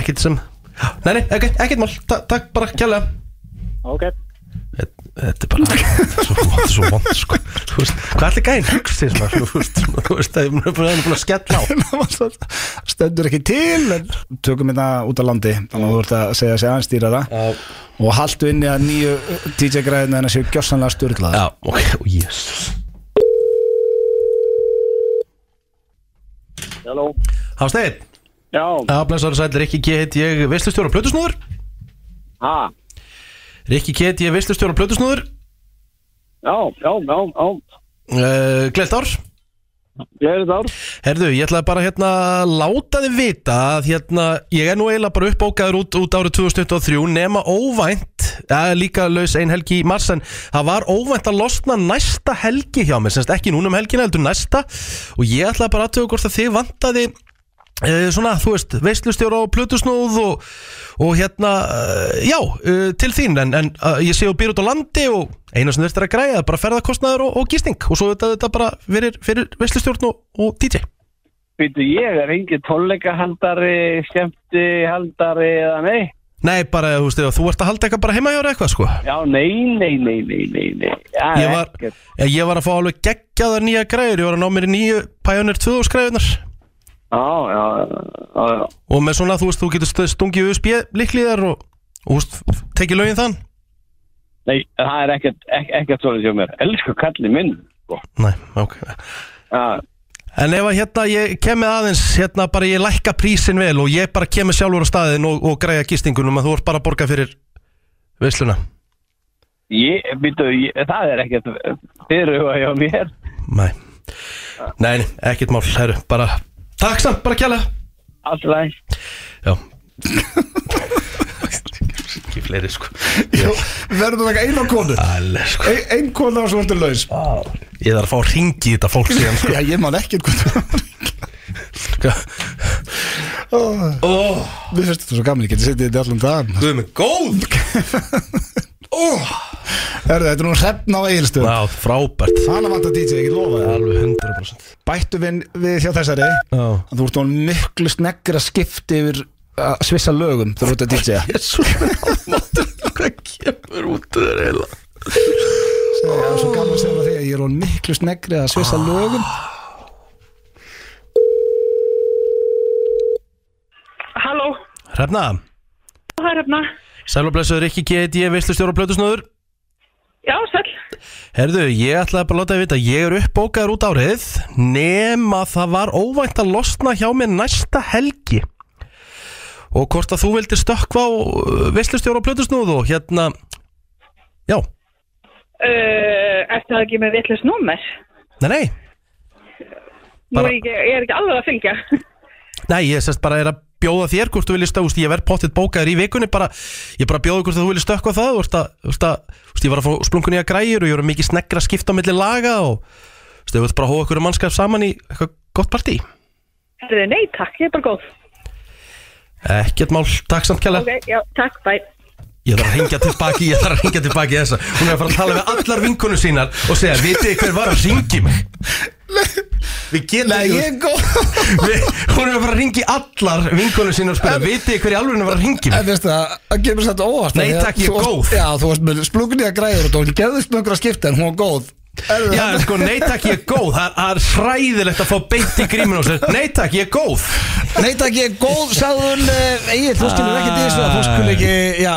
S3: ekkert sem, nei, nei, ekkert, ekkert mál Ta, takk bara, kjærlega
S6: Ok,
S3: Þetta þetta er bara svo, þetta er svo vond sko Þú veist, Hvað allir gæðin hugsið svona Þú veist, svona, þú veist, það er búin að búin að skella á
S1: stendur ekki til en tökum þetta út á landi þannig að þú ert að segja sig aðstýra það og haldu inn í að nýju DJ-græðina en að séu gjössanlega styrlaða
S3: Já, ok, og jésus
S6: halló.
S3: Hásteinn,
S6: Já,
S3: já, blessaður og sæll Rikki G heiti ég veistlustjóra og plötusnúður
S6: ha,
S3: Rikki G heiti ég veistlustjóra og plötusnúður
S6: Já, já, já, já,
S3: uh, Gleilt ár
S6: gleðið ár
S3: Herðu, ég ætlaði bara hérna láta þið vita að hérna, ég er nú eiginlega bara uppbókaður út, út árið 2023 nema óvænt, ja, líka laus ein helgi í mars en það var óvænt að losna næsta helgi hjá mér, semst ekki núna um helgina heldur næsta og ég ætlaði bara aðtöku hvort að þið vantaði Uh, svona, þú veist, veislustjóra og plötusnúð og, og hérna, uh, já, uh, til þín en, en uh, ég sé þú býr út á landi og eina sem þurftir að græja er bara ferðarkostnaður og, og gisting og svo þetta, þetta bara fyrir, fyrir veislustjórn og, og DJ
S6: Býtu, ég er engin tólleikahaldari, skemmtihaldari eða nei
S3: Nei, bara, þú veist, ef þú ert að halda eitthvað bara heima hjá þér eitthvað, sko
S6: Já, nei, nei, nei, nei, nei, nei Já,
S3: Ég var,
S6: ekkert.
S3: ég, ég var að fá alveg geggjaðar nýja græjur, ég var að ná mér í nýju Pioneer 2 skræjunar
S6: Já, já, já, já
S3: og með svona, þú veist, þú getur stu- stungið USB líkliðar og, og, þú veist, tekið lögin þann
S6: Nei, það er ekkert, ek, ekkert svolítið hjá mér Elsku kallið minn sko.
S3: Nei, ok,
S6: Já,
S3: En ef að hérna ég kemur aðeins, hérna bara ég lækka prísin vel og ég bara kemur sjálfur á staðin og, og græja gistingunum að þú ert bara að borga fyrir veisluna.
S6: Ég, býtu, ég, það er ekkert fyrirhuga hjá mér
S3: Nei, nei, nei, ekkert mál, herru, bara takk samt, bara kjalla.
S6: Alltaf læg
S3: Já. Ekki fleiri sko.
S1: Jú, verður það ekki eina konu
S3: Alveg sko.
S1: Ein, ein konu og svo ertu laus
S3: Ég þarf að fá að ringi þetta fólk síðan sko.
S1: Já, ég man ekkert hvað
S3: Ó,
S1: Við finnst þetta svo gaman, ég geti setið þetta allan dagann
S3: guð með góð.
S1: Herðu, þetta er nú hrefn á eigilstöð
S3: Já, frábært.
S1: Hana vantar DJ, ég get lofa það
S3: Alveg 100%.
S1: Bættu við, við hjá þessari
S3: Já.
S1: að Þú ert nú miklu sneggra skipt yfir að svissa lögum þegar þú ert að DJ-a
S3: Jésús, hvað kemur út af þér eiginlega?
S1: Það er svo gaman að segja því að ég er hún miklu snegri að svissa lögum
S7: Halló,
S3: Hrefna,
S7: það er hérna? hefna.
S3: sæl og blessuður ekki GD Veistlustjóra Plötusnóður
S7: Já, sæl.
S3: Herðu, Uh, ég ætlaði bara að láta þið vita Ég er uppbókaður út árið Nema það var óvænt að losna hjá mér næsta helgi Og hvort að þú vildir stökkva á Veistlustjóra Plötusnóð Og hérna Já,
S7: Uh, ertu það ekki með vittlust númer?
S3: nei, nei
S7: Nú
S3: Bara-
S7: er ég, ekki- ég er ekki alveg að fylgja.
S3: Nei, ég sest bara er að bjóða þér hvort þú viljið stökkva Ég verð pottitt bókaður í vikunni bara, Ég bara bjóða hvort að þú viljið stökkva á það Þú ert að, þú ert að, þú veist, ég var að fá splunkunni að græjur Og ég var mikið sneggra að skipta á milli laga Og þú veist, þú vilt bara hóa ykkur um mannskap saman í eitthvað gott partí
S7: Herðu, nei, takk, ég er bara góð.
S3: Ekkert mál, takk samt kjalla
S7: Ok, já, takk, bæ.
S3: Ég þarf að hringja tilbaki, ég þarf að hringja tilbaki í þessa Hún er að fara að tala við allar vinkonu sínar Og segja, vitið þið hver var að ringi mig Við getum
S1: Nei, ég er góð
S3: við, Hún er að fara að ringi allar vinkonu sínar og spyrja, vitið þið hver í alveg var að ringi
S1: En
S3: mig
S1: veist það, það kemur sætt óvart
S3: Nei,
S1: af því að
S3: takk, ég er
S1: þú varst-
S3: góð.
S1: Já, þú varst með splugni að græður og þú varst geðið splungur að skipta en hún var góð Erðu
S3: Já, en sko, nei takk, ég er góð Það er- það er hræðilegt að fá beint í gríminu og segja, nei takk, ég er góð
S1: Nei, takk, ég er góð, sagði hún Egil, þú skilur ekki því svo Þú skilur ekki, já,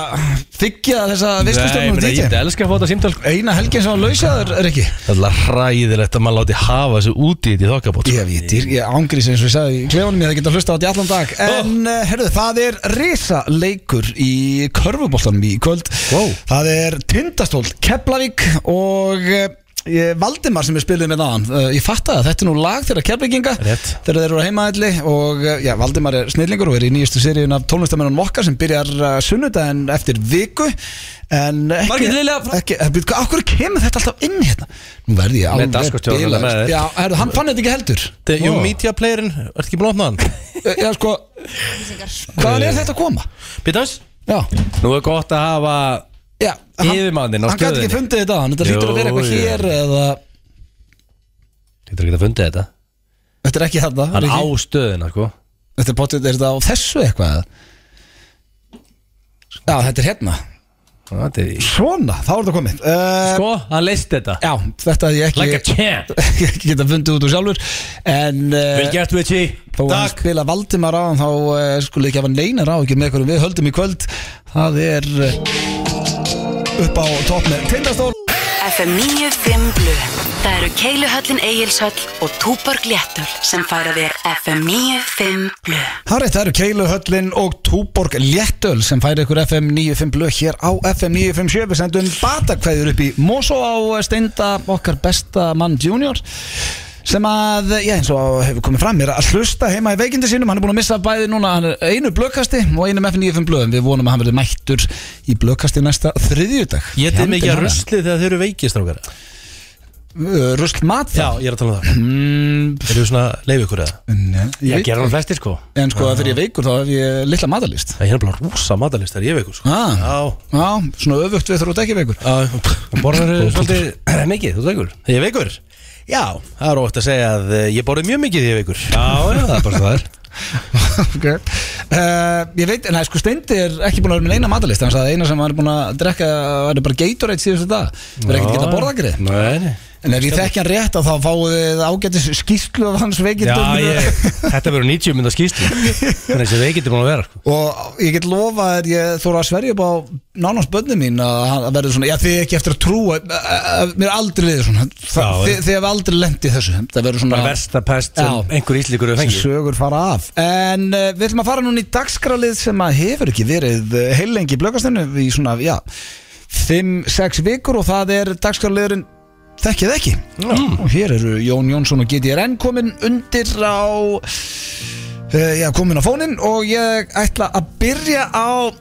S1: þykja þessa
S2: Nei,
S1: visslustofnum
S2: menn, ég
S1: DJ
S2: elskar að fá þetta símtöl
S1: Eina helgin sem hann lausaður, er ekki
S3: Það er hræðilegt að maður láti hafa þessu úti í því þokkabót sko.
S1: Ég veit, ég, ég ángrís eins og ég sagði í klefunum ég það geta hlusta á þetta í allan dag En oh. herðu, það er risaleikur í körfuboltanum í kvöld wow. Það er Tindastól, Keflavík og eh, ég- Valdimar sem við spilum með náðan Eh, Ég fattaði að þetta er nú lag þeirra Keflavíkinga
S3: Rétt.
S1: Þegar þeir eru á heimaðalli og eh, já, Valdimar er snillingur og er í nýjustu seríun af tónlistamennum okkar sem byrjar eh, sunnudaginn eftir viku En ekki,
S2: Margit Lilja frá-
S1: ekki, eh, ekki, akkur kemur þetta alltaf inn hérna? Nú verði ég
S2: Með
S1: alveg
S2: dagskrárstjóra með
S1: bilaður.
S2: þér.
S1: Já, herðu, hann fann þetta ekki heldur
S3: Jú, Eh, media playerin, ertu ekki búin að opna hann?
S1: Já, sko Hvaðan er þetta að koma?
S3: Býtans?
S1: Já,
S2: Nú er gott að hafa
S1: já hann-
S2: Yfirmanninn á
S1: Hann gæti ekki
S2: stöðinni.
S1: fundið þetta Hann þetta
S2: Jú,
S1: hlýtur að vera eitthvað
S2: jú.
S1: hér eða
S2: Þetta er ekki að fundið þetta
S1: Þetta er ekki þetta
S2: Hann
S1: er
S2: á
S1: ekki-
S2: stöðina, sko
S1: Þetta er potið, er þetta á þessu eitthvað eða? Já, þetta er hérna
S2: Það er-
S1: Svona, þá er þetta komið uh,
S2: Sko, hann leist þetta
S1: Já, þetta hef ég ekki
S2: Like a champ
S1: Ég geta fundið út úr sjálfur En
S2: Vel
S1: uh,
S2: gert við því
S1: þó að hann spila Valdimar á hann Þá uh, skulle ekki hafa neinar á ekki með hverjum við höldum í kvöld Það er eh, uh, upp á topp með Tindastól
S8: FM 95 Blu Það eru Keiluhöllin Egilshöll og Túborg Léttul sem færa þér FM 95 Blu.
S1: Það er rétt, það eru Keiluhöllin og Túborg Léttöl sem færi ykkur FM 95 blöð hér á FM 957 við sendum batakveður upp í Mosó á steinda okkar besta mann junior sem að, já eins og hefur komið fram er að hlusta heima í veikindi sínum hann er búin að missa bæði núna hann er einu blöðkasti og einum FM 95 blöðum við vonum að hann verði mættur í blöðkasti næsta þriðjudag
S3: Ég
S1: Í
S3: þið
S1: andinn
S3: mikið að
S1: hafa.
S3: rusli þegar þeir eru veikist rákar
S1: Uh, Rusl mat
S3: Já,
S1: þá
S3: ég er að tala um það
S1: mm,
S3: Erum við svona leif ykkur eða?
S1: Nei, ég
S2: Ég
S1: veit-
S2: gera hann flestir sko
S1: En sko þegar ég er veikur þá hef ég litla matalist
S3: Það er hérna bara rúsa matalist þegar ég er veikur sko.
S1: ah,
S3: Já,
S1: Já, svona öfugt við þurfum ekki veikur
S3: Já, borðar svolítið mikið, þú veikur? Ég er veikur? Já, það er óvægt að segja að eh, ég borði mjög mikið því ég er veikur Já, já, það er bara það er
S1: okay. uh, Ég veit, nei sko Steindi er ekki búin að vera með neina matalist Þannig að eina sem hann er búin að drekka Það er bara Gatorade síðustu dag Það er ekkert geta að borða grið
S3: Nei, nei
S1: En ef ég þekki hann rétt að þá fáið þið ágætis skýrslu af hans
S2: Já,
S1: veikindum
S2: ég, þetta verður 90 mynda skýslu Þannig sem veikindi búin að vera sko.
S1: Og ég get lofa þér, ég þóra að sverja upp á nánast bönni mín að hann- að verður svona, já þið er ekki eftir að trúa, að- að- að- mér er aldrei liðið svona, Þa,
S2: Já,
S1: þið, þið hefur aldrei lendið þessu, það verður svona
S2: Bara versta pest sem
S1: Já.
S2: einhver íslíkur hefur
S1: sem
S2: fengið
S1: sögur fara af en uh, við ætlum að fara núna í dagskrálið sem að hefur ekki verið uh, heilengi í blöggastennu í svona, já 5-6 vikur og það er dagskrálið þekkið ekki mm. og hér eru Jón Jónsson og GTRN komin undir á uh, já, komin á fónin og ég ætla að byrja á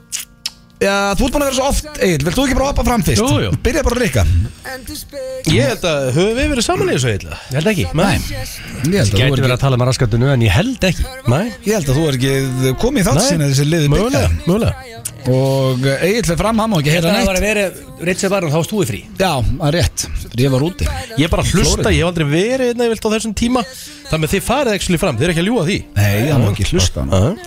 S1: já, þú ert búin að vera svo oft Egil, vilt þú ekki bara hoppa fram fyrst?
S2: Jú, jú.
S1: Byrja bara að rikka
S3: Ég held að, höfum við verið saman í þessu eitthvað?
S2: Ég held ekki
S3: Nei
S1: ég held, að þú
S2: Gæti
S1: er
S2: verið
S1: ekki,
S2: að tala með raskatinu en ég held ekki Nei,
S1: ég held að þú er ekki komið í þátt sinni þessi liði
S3: Mögulega,
S1: byrjaði
S3: mögulega
S1: og Egil fyrir fram, hann má ekki heyra
S2: það
S1: neitt
S2: var að vera Richard Barron, þá varst þú í frí
S1: Já, það er rétt, rifar úti
S3: Ég bara hlusta, ég hef aldrei verið einnig vilt á þessum tíma Þannig að þið farið ekki fram, þið er ekki að ljúga því
S1: Nei, hann má ekki hlusta hann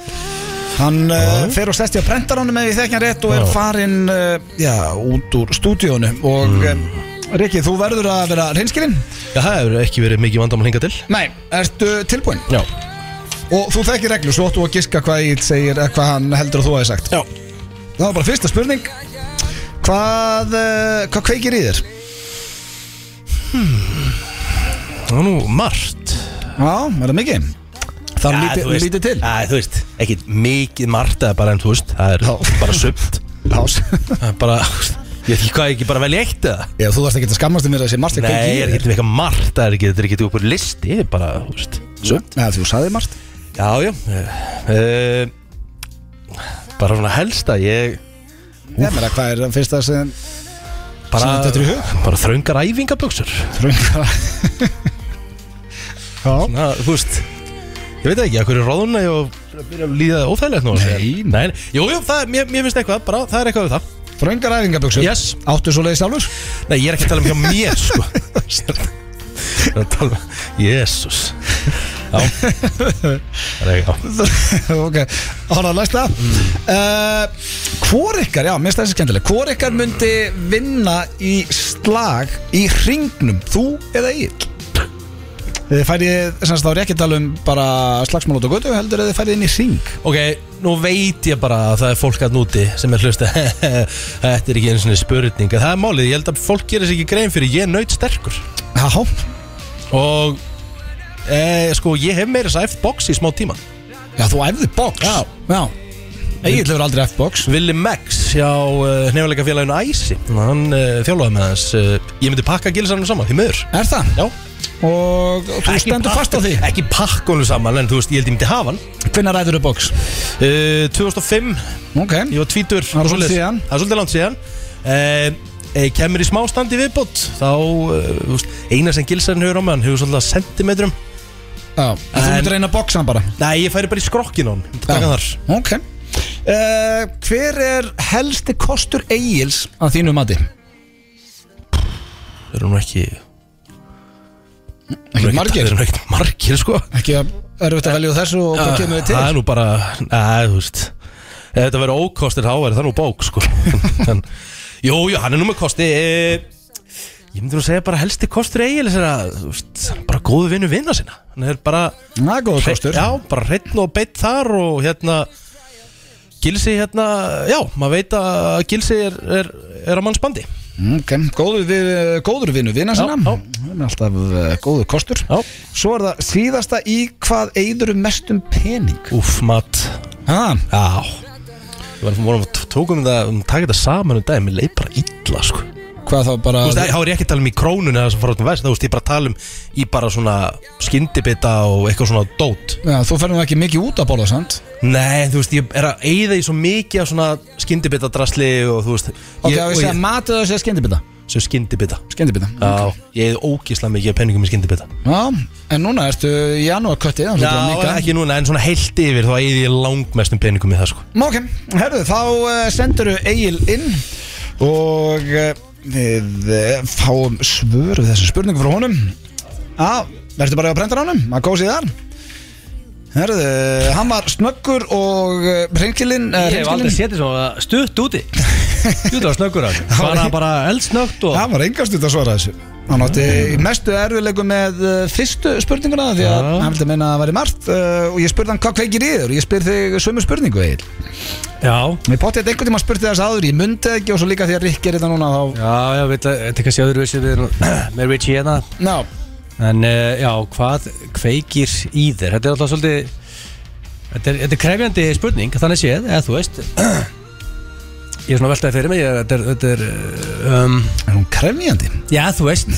S1: Hann uh, fer og sest í að prenta hann með því þekkja hann rétt og er farin uh, já, út úr stúdíónu og mm. Rikki, þú verður að vera reynskilinn
S3: Já, það hefur ekki verið mikið vandamál hinga til
S1: Nei, ertu tilbúinn
S3: Já,
S1: og þú þekkir reglu, svo ættu að giska hvað Egil segir eða hvað hann heldur að þú hafi sagt
S3: Já.
S1: Það var bara fyrsta spurning Hvað, uh, hvað kveikir í þér?
S3: það var nú margt
S1: Já, er það mikið? Það er
S3: Já,
S1: lítið,
S3: þú veist,
S1: lítið til
S3: Já, þú veist, ekki mikið margt eða bara en þú veist, það er bara sumt
S1: Lás
S3: Það er bara, ég veit ekki hvað, ekki bara velja eitt eða
S1: Já, þú varst ekki að skammast um mér að sé margt að
S3: Nei,
S1: kveikja í
S3: ég er
S1: þér.
S3: ekki eitthvað margt, það er ekki, þetta er ekki uppur listi, þetta er bara, þú veist Sumt,
S1: Nei, þú sagði margt
S3: já, já uh, Bara svona helsta, ég
S1: Nei, meira, hvað er það fyrsta sem
S3: bara,
S1: Sem þetta er í hug?
S3: bara þröngar æfingaböksur
S1: frungar Já,
S3: Na, þú veist Ég veit það ekki, að hverju róðuna ég og byrja að líða óþægilegt nú
S1: Nei.
S3: nei, nei. Jú, jú, það, er- mér, mér finnst eitthvað, bara, það er eitthvað við það
S1: frungar æfingaböksu
S3: Yes.
S1: Áttu svo leiðis álfur
S3: Nei, ég er ekki að tala um hjá mér, sko Ég er að tala um Jésús Já Það er ekki,
S1: Ok, ára að læsta
S3: Mm.
S1: uh, Hvor ykkar, já, mér finnst þessi skemmtileg Hvor ykkar myndi vinna í slag í hringnum Þú eða ég Þið færið, sem sagt, þá er ég ekki að tala um bara slagsmál út á götu heldur eða þið færið inn í hring
S3: já Ok, nú veit ég bara að það er fólk að núti sem er hlusta Þetta er ekki einu svona spurning En Það er málið, ég held að fólk gerir sér ekki grein fyrir Ég er naut sterkur
S1: Já,
S3: Og e, sko, ég hef meira sæft box í smá tíma
S1: já þú æfði box
S3: Já.
S1: já. Egil hefur aldrei æft box
S3: Willi Max hjá uh, nefnilega félaginu Æsi Hann uh, þjálfaði með hans uh, Ég myndi pakka gilsanum saman, því miður
S1: Er það?
S3: Já
S1: Og þú
S3: Ekki
S1: stendur
S3: pakka-
S1: fast á því
S3: Ekki pakkonu saman, en þú veist, ég held ég myndi hafa hann
S1: Hvernig ræður þú box?
S3: Uh, 2005,
S1: Ok,
S3: ég var tvítur
S1: Það er svolítið síðan.
S3: Það er svolítið langt síðan uh, eh, Kemur í smástandi viðbót Þá, uh, þú veist, eina sem gilsarinn hefur á mig Hann hefur svolítið að sentimetrum
S1: já, en þú
S3: En-
S1: myndir reyna að boxa hann bara
S3: Nei, ég færi bara í skrokkin á hann Myndi taka þar
S1: Ok uh, Hver er helsti kostur Egils að þínu mati?
S3: Það eru nú ekki
S1: Ekki
S3: Það
S1: margir
S3: eru nú ekkert margir, sko
S1: Ekki að erfitt að velja úr þessu og hvað kemur þið
S3: Það er
S1: til?
S3: nú bara, að, þú veist Ef þetta verður ókostir þá verður það nú bók sko en, Jú, jú, hann er nú með kosti e, Ég myndi nú segja bara helsti kostur eiginlega er að, þú veist, hann er bara góðu vinnu vinna sinna Hann er bara
S1: Það er góða kostur
S3: Já, bara hreinn og beitt þar og hérna Gilsi hérna, já, maður veit að Gilsi er, er, er á mannsbandi
S1: Ok, góður, við, góður vinnu vinna sinna
S2: Já, já.
S1: Það er alltaf uh, góður kostur
S2: Já.
S1: Svo er það síðasta í hvað eigður mest um pening
S3: Úff, mat
S1: ha,
S3: Já Við varum- vorum tókum það, um, taka þetta saman um dag Mér leið bara illa, sko
S1: Hvað þá bara
S3: Þú veist, þá er ég ekki að tala um í krónunni eða sem fór áttum vest Þú veist, ég er bara að tala um í bara svona skyndibita og eitthvað svona dót
S1: Já, Þú ferð nú ekki mikið út að borða, sant?
S3: Nei, þú veist, ég er að eyða í svo mikið af svona skyndibita drasli og þú veist
S1: Ok,
S3: ég,
S1: ég,
S3: og
S1: ég segja matið og segja skyndibita
S3: Svo skyndibita
S1: Skyndibita
S3: Já, ég hefði ógísla mikið af peningum í skyndibita
S1: Já, en núna ertu í janúarkötti
S3: Já, ekki núna, en svona heilt yfir þá eigði ég langmestum peningum í það sko
S1: Ok, herðu, þá uh, sendur þú Egil inn og uh, við uh, fáum svör við þessu spurningu frá honum Já, verður bara að brenda honum, að gósi þar Herðu, eh, hann var snöggur og hreinkilinn uh,
S2: Ég hef aldrei setið svona stutt úti Stutt á snöggur á þessu. Bara, bara eldsnögt og
S1: Hann var engast út að svara þessu Hann átti í mestu erfilegu með eh, fyrstu spurninguna því að
S2: Já.
S1: hann vildi meina að það væri margt eh, og ég spurði hann hvað kveikir í þér og ég spyr þig sömu spurningu Egil
S2: Já,
S1: Mér pottið einhvern tíma spurti þess aður, ég myndi það ekki og svo líka því að Rikki er þetta núna þá
S2: já, já, við ætla- þetta er kannski öðruvísi við erum með Richie hérna
S1: Ná,
S2: En uh, já, hvað kveikir í þér? Þetta er alltaf svolítið Þetta er, þetta er krefjandi spurning, þannig séð, eða þú veist Ég er svona veltaði fyrir mig, ég, þetta er, þetta er um,
S1: er hún krefjandi?
S2: Já, þú veist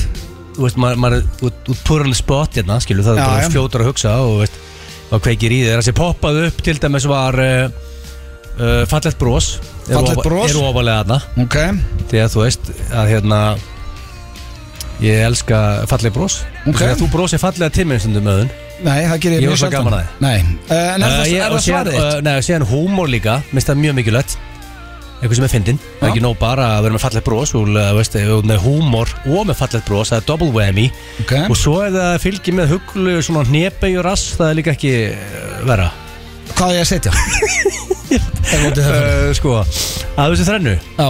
S2: Þú veist, maður, maður, þú ert- þú púrarni spott hérna, skilur, það
S1: Já,
S2: er
S1: já.
S2: bara fljótur að hugsa og veist, hvað kveikir í þér, þessi poppað upp til dæmis var uh, uh, fallegt brós Eru
S1: Fallegt
S2: ofa-
S1: bros?
S2: Eru ofalega þarna
S1: Ok,
S2: því að þú veist að hérna ég elska falleg brós
S1: Ok.
S2: okay. þú brósir fallega timmeinstundum með þun
S1: nei, það gerir
S2: Ég
S1: mjög
S2: var svo
S1: sjaldan.
S2: gaman að þér.
S1: Nei, uh, en er það, er það svarið þitt?
S2: Nei, Eh, og síðan húmór líka, minnst það mjög mikilvægt eitthvað sem er fyndin, það er
S1: Já.
S2: ekki nóg bara að vera með falleg brós og uh, veist, ef þú ert með húmór og með falleg brós, það er double whammy
S1: Ok,
S2: uh, og svo er það fylgið með huglu svona hnepegjur rass, það er líka ekki uh, vera
S1: hvað er ég að setja? Ef þú ert í það fyrir.
S2: uh, sko, að þessu þrennu
S1: Já.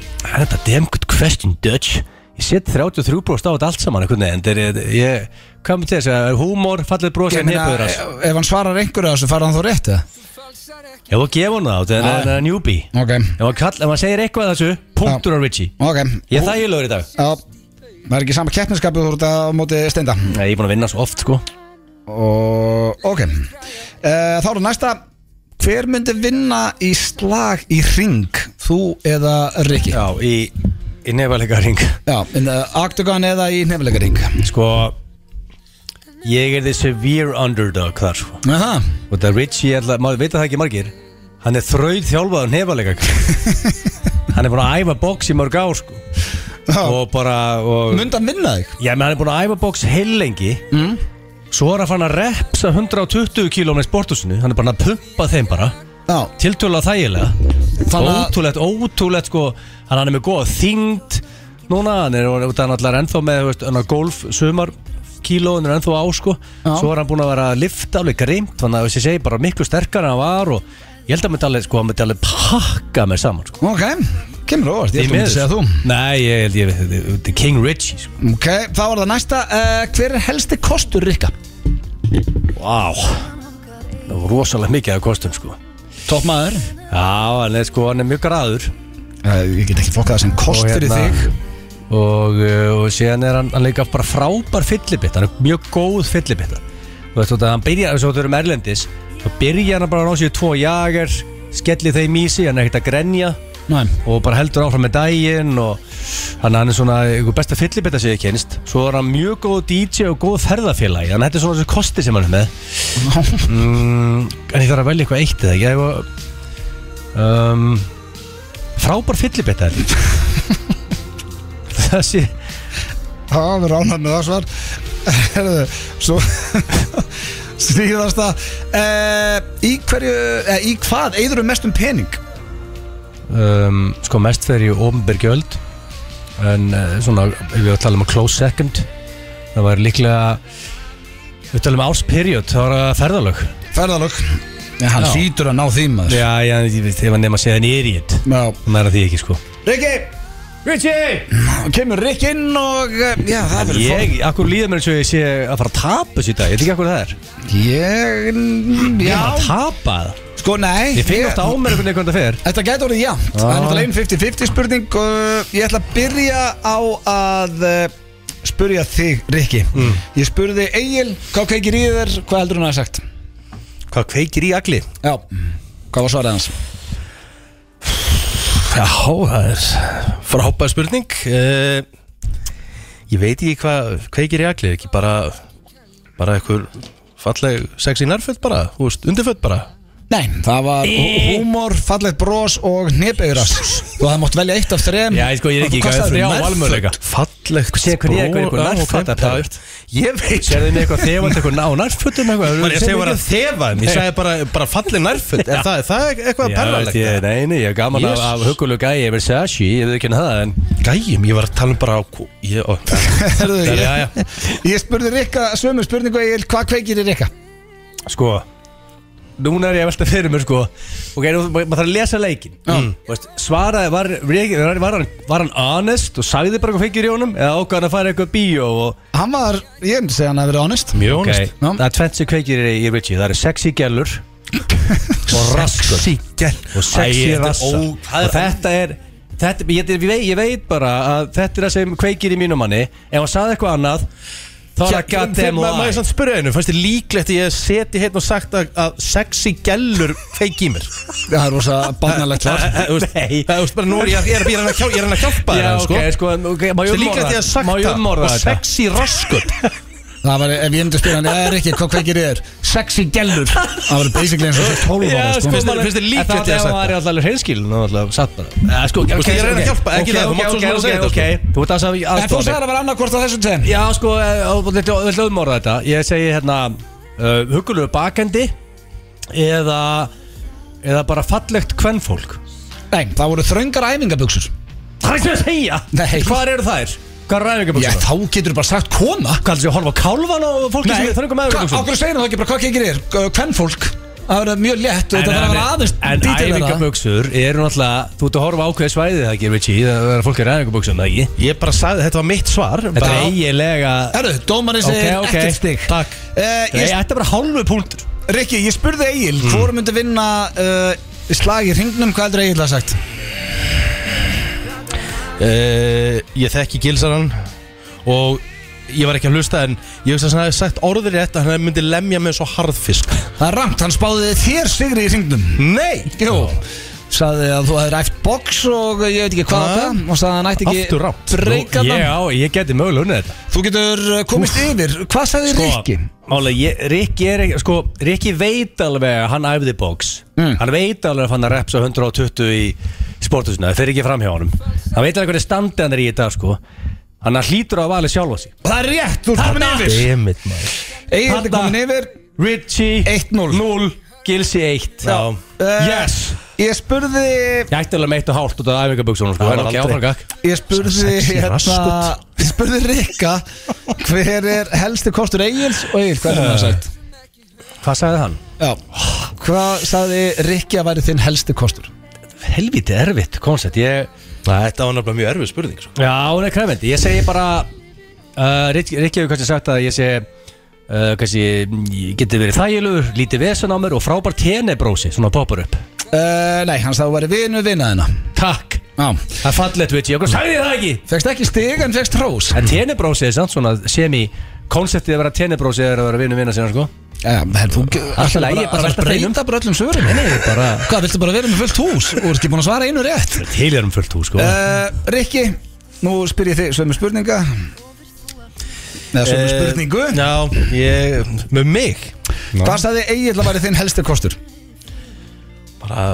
S2: Er þetta damn good question, Dutch? Ég set 33 bróst á þetta allt saman einhvern veginn, þetta er, ég, hvað með til þess að húmor, fallið bróst
S1: Ég
S2: en
S1: meina,
S2: nefnur þess?
S1: ef hann svarar einhverju af þessu, fara hann þá rétt eða?
S2: Ég var að gefa hann það, þetta er- þetta er newbie.
S1: Ok,
S2: Ef maður kall, ef maður segir eitthvað af þessu, punktur á Richie.
S1: ok
S2: Ég er þægilegur í dag.
S1: Já, það er ekki sama keppniskapu þú ert að á móti steinda
S2: Nei, ég er búin að vinna svo oft, sko.
S1: Og, ok uh, Þá er það næsta Hver myndi vinna í slag í ring? Þú eða Rikki?
S2: Já, í, í nefnvæleika ring.
S1: Já, in the octagon eða í nefnilega ring
S2: Sko, ég er the severe underdog þar, sko.
S1: Aha,
S2: Og það Richie, ég ætla, maður veit að það ekki margir Hann er þraut þjálfaður nefalega Hann er búin að æfa box í mörg ár sko.
S1: Já.
S2: Og bara og,
S1: myndi hann vinna þig?
S2: Já, menn hann er búin að æfa box heil lengi Svo er hann fann að repsa 120 kílómið sportusinu Hann er bara að pumpa þeim bara
S1: Já,
S2: Tiltölulega þægilega
S1: Þannig að-
S2: Ótrúlegt, ótrúlegt sko Hann hann er með góða þyngd Núna, hann er alltaf ennþá með þú veist, hann á golf sumar kíló hann er ennþá á sko
S1: Já.
S2: Svo er hann búin að vera að lifta alveg greimt Þannig að þessi segi bara miklu sterkar en hann var og ég held að hann myndi alveg, sko, hann myndi alveg pakka mér saman sko
S1: Ok, kemur á óvart, ég
S2: Því
S1: ætlum að
S2: miður.
S1: segja þú
S2: Nei, ég held ég, ég, ég, ég King Richie sko.
S1: Ok, þá var það næsta uh, Hver er helsti kostur Rikka?
S2: Vá Það var rosalega mikið að kostum sko
S1: Topp maður
S2: Já, hann er sko, hann er mjög graður
S1: uh, Ég get ekki fokkað það sem kost
S2: Og
S1: fyrir
S2: hérna-
S1: þig
S2: og, uh, og síðan er hann, hann líka bara frábær fyllibitt, hann er mjög góð fyllibitt þú veist þú þetta, hann byrjar eins og þú erum erlendis, þá byrjar hann bara að ná sér tvo jager, skellir þeim í sig hann er ekkert að grenja
S1: Næ,
S2: og bara heldur áfram með daginn og hann, hann er svona einhver besta fyllibitt að ég kynst, svo er hann mjög góð DJ og góð ferðafélagi, þannig að þetta er svona þessi kosti sem hann er með mm, en ég þarf að velja eitthvað eitt eða ekki Ég- um, frábær fyllibitt er það sé
S1: það var ránar með það svar Herðu, Svo Síðasta uh, Í hverju, uh, í hvað eigður mest um pening?
S2: um, sko mest fer ég ofnberg gjöld en uh, svona ef við talum um a close second það var líklega ef við talum um ársperiod þá var það ferðalög
S1: Ferðalög Já, hann
S2: Já.
S1: hlýtur að ná því maður
S2: já, já, ég veit, ef hann nefn að segja nýri í þetta
S1: Já.
S2: maður að því ekki sko
S1: Rikki Rikki Kemur Rikki inn og eh, Já, það verður fólk
S2: ég, akkur líður mér eins og ég sé að fara að tapa þessu í dag, ég veit ekki akkur það er
S1: Ég,
S2: ég er
S1: já
S2: að tapa það
S1: Sko, nei
S2: Ég finn ofta á mér einhvern veginn hvernig það fer
S1: Þetta gæti orðið jafnt
S3: Ah.
S1: Það er náttúrulega einn 50-50 spurning og ég ætla að byrja á að uh, spurja þig, Rikki
S3: Mm.
S1: Ég spurði Egil, hvað kveikir í þér, hvað heldur hún að hafa sagt?
S3: Hvað kveikir í agli?
S1: Já, hvað var svarið hans?
S3: Já, það er frábæð spurning uh, Ég veit ekki hvað kveikir í agli ekki bara, bara einhver falleg sexy nærföld bara, þú veist, undirföld bara
S1: Nei, það var hú- húmor, fallegt brós og hnebeigras Þú hafði mátt velja eitt af þrem
S2: Já, ég sko, ég er ekki
S1: Hvað
S2: hvað
S1: kostaði
S2: þrjá
S1: nærföt?
S2: valmöðleika
S3: Fallegt
S2: Sér hvernig ég er eitthvað- eitthvað nærföt að pervert.
S3: Ég veit
S2: Serðu þið eitthvað þefald eitthvað ná nærfötum eitthvað
S3: Ég segi bara að þefa þeim, ég segi bara, bara falleg nærföld Er það, er það eitthvað
S2: perralegt
S3: perralegt?
S2: Nei, nei, ég er gaman af, af hugulug gæi Ég vil segja sí, ég veit ekki það en
S3: Gæjum, ég var að tala um bara á ég, ó,
S1: Herðu,
S3: Já, já,
S1: ég, ég spurði Rikka sömu spurningu Egil, hvað kveikir í Rikka?
S2: Sko Núna er ég að velta fyrir mér sko Ok, nú, ma- maður þarf að lesa leikin mm. Veist, Svaraði, var, var, var, hann, var hann honest og sagði bara hvað fengir í honum Eða ákvæðan að fara í eitthvað bíó og
S1: Hann var, ég myndi segja hann að vera honest
S3: Mjög
S2: Ok,
S3: honest
S1: Já.
S2: Það er tvent sem kveikir í, í Richie Það eru sexy gellur Og raskur
S3: Síkjel
S2: Og sexy
S3: Æ, þetta er
S2: rassa
S3: ó- það
S2: Og þetta er þetta, ég, ég, veit, ég veit bara að þetta er það sem kveikir í mínum manni Ef hann sagði eitthvað annað Þá er
S3: Já,
S2: það goddamn
S3: Má ég
S2: lie
S3: samt spyrja einu, fannst þið líklegt að ég seti hérna og sagt að, að sexy gellur feik í mér?
S1: Það er rosa barnalegt svar
S2: Nei
S3: Það þú veist bara, nú er ég, ég, er, ég, er, að hjálpa, ég er að hjálpa
S2: Já,
S3: þér,
S2: ok, sko, ok, má
S3: Fannst
S2: ég
S3: þið líklegt
S2: umorða
S3: að ég hef sagt
S2: Má ég
S3: það?
S2: umorða
S3: Og
S2: þetta
S3: sexy raskut
S1: Það var, ef ég myndi að spila hann, það er ekki, hvað kveikir í þér? Sexy gellur Það var basically eins og þessi 12 ára, sko
S3: sko. maður- finnst þér líklegt
S2: að
S3: ég
S2: það
S3: hafi sagt
S2: var alltaf alveg hreinskil Nú alltaf satt bara Já, sko, ok,
S3: Þú veist, ég er að reyna að
S2: ok,
S3: hjálpa, ekki það,
S2: ok,
S3: þú
S2: ok,
S3: mátt svo
S2: ok,
S3: sem að segja
S2: ok,
S3: þetta, sko.
S2: ok. Þú ert aðeins að
S1: En þú sagði
S2: aðstoða mig.
S1: að vera annarkvort á þessum tveim
S2: Já, sko, við hljóðum orða þetta Ég segi hérna uh, Hugulegu bakandi Eða Eða bara fallegt kvennfólk
S1: Nei, það voru þröngar æfingabuxur
S2: Það er sem að segja
S1: Nei.
S2: Hvar eru þær? Hvað er
S1: Já,
S2: ræðingaböksum?
S1: þá getur bara sagt kona
S2: Hvað heldur þið að horfa á kálfan og fólki sem er þröngum
S1: Hva- á
S2: æfingaböksum?
S1: hverju segir það ekki bara hvað kveikir í þér? Hvern fólk? Það verður mjög létt og þetta verður að vera aðeins
S2: en
S1: dítið
S2: æfingaböksur eru náttúrulega Þú ert að horfa á ákveði svæði það ekki, Richie Það er fólk er æfingaböksum, það ekki?
S3: Ég bara sagði, þetta var mitt svar
S2: Þetta
S3: bara,
S2: er eiginlega
S1: Herru, dómarinn
S2: Ok,
S1: segir
S2: ok,
S1: ekkert stig
S2: takk.
S1: Eh,
S2: Nei,
S1: ég-
S2: Þetta er bara hálfu púntur
S1: Rikki, ég spurði Egil mm. Hvor myndi vinna uh, slag í ringnum Hvað heldur Egil að sagt?
S3: Eh, Ég þekki gilsarann Og ég var ekki að hlusta en Ég veist að hann hafði sagt orður rétt að hann myndi lemja með svo harðfisk
S1: Það er rangt, hann spáði þér sigri í ringnum
S3: Nei!
S1: Jú Saði að þú hefði ræft box og ég veit ekki hvað
S3: Ha?
S1: og það Og saði að hann ætti ekki
S3: Aftur rangt.
S1: Breika
S2: Ég,
S1: það
S2: á, ég geti mögulega unnið þetta
S1: Þú getur uh, komist yfir Hvað sagði
S3: Sko.
S1: Rikki?
S2: Málega, Rikki er ekki, sko, Rikki veit alveg að hann æfði box
S1: Mm.
S2: Hann veit alveg að hann að repsa 120 í sportusuna, það fer ekki fram hjá honum Hann veit alveg hvernig standi hann er í þetta, sko Hann hlýtur á að valið sjálfa sig
S1: Það er rétt, þú ert komin yfir
S3: Dammit maður
S1: Egil er
S2: Þarna.
S1: komin yfir
S2: Richie
S1: 1-0.
S2: 0 Gilsi 1
S3: Já.
S1: Eh,
S2: Yes
S1: Ég spurði
S2: Ég ætti alveg meitt og hálft út af æfingaböksunum, sko
S3: Það var
S2: en ok,
S3: aldrei.
S2: áfram gakk.
S1: Ég spurði
S3: Sexy
S1: hérna,
S3: rassgut.
S1: Ég spurði Rikka Hver er helsti kostur Egils Og Egil, hvað er hann að sagt?
S2: Hvað sagði hann?
S3: Eh.
S1: Já Hvað sagði Rikki að væri þinn helsti kostur?
S2: Helviti erfitt koncept, ég
S3: Nei, Þetta var náttúrulega mjög erfið spurning sko.
S2: Já, hún er krefendi. Ég segi bara uh, Rikki Rikki hefur kannski sagt að ég sé uh, kannski ég geti verið þægilegur, lítið vesen á mér og frábært tenebrósi, svona poppar upp
S1: Uh, nei, hann sagði að væri vinu vinaðina
S2: Takk,
S1: Já
S2: það er fallegt Rikki, okkur sagði ég það ekki
S1: Fekst ekki stig en fekst hrós
S2: En tenebrósi er samt svona semi konceptið að vera tenebrósi er að vera vinnu vinna sinna sko
S1: Já, menn þú
S2: Allt í lagi,
S1: ætlar
S2: ég bara
S1: bara
S2: velta
S1: að
S2: þeim um.
S1: breyta bara öllum svörum Nei, nei, bara Hvað, viltu bara vera með fullt hús? Þú ert ekki búin að svara einu rétt
S2: Til erum fullt hús sko
S1: uh, Rikki, nú spyr ég þig sömu spurninga Eða sömu spurningu
S3: Eh, Já, ég, með mig
S1: Hvað sagði Egil að væri þinn helsti kostur?
S3: bara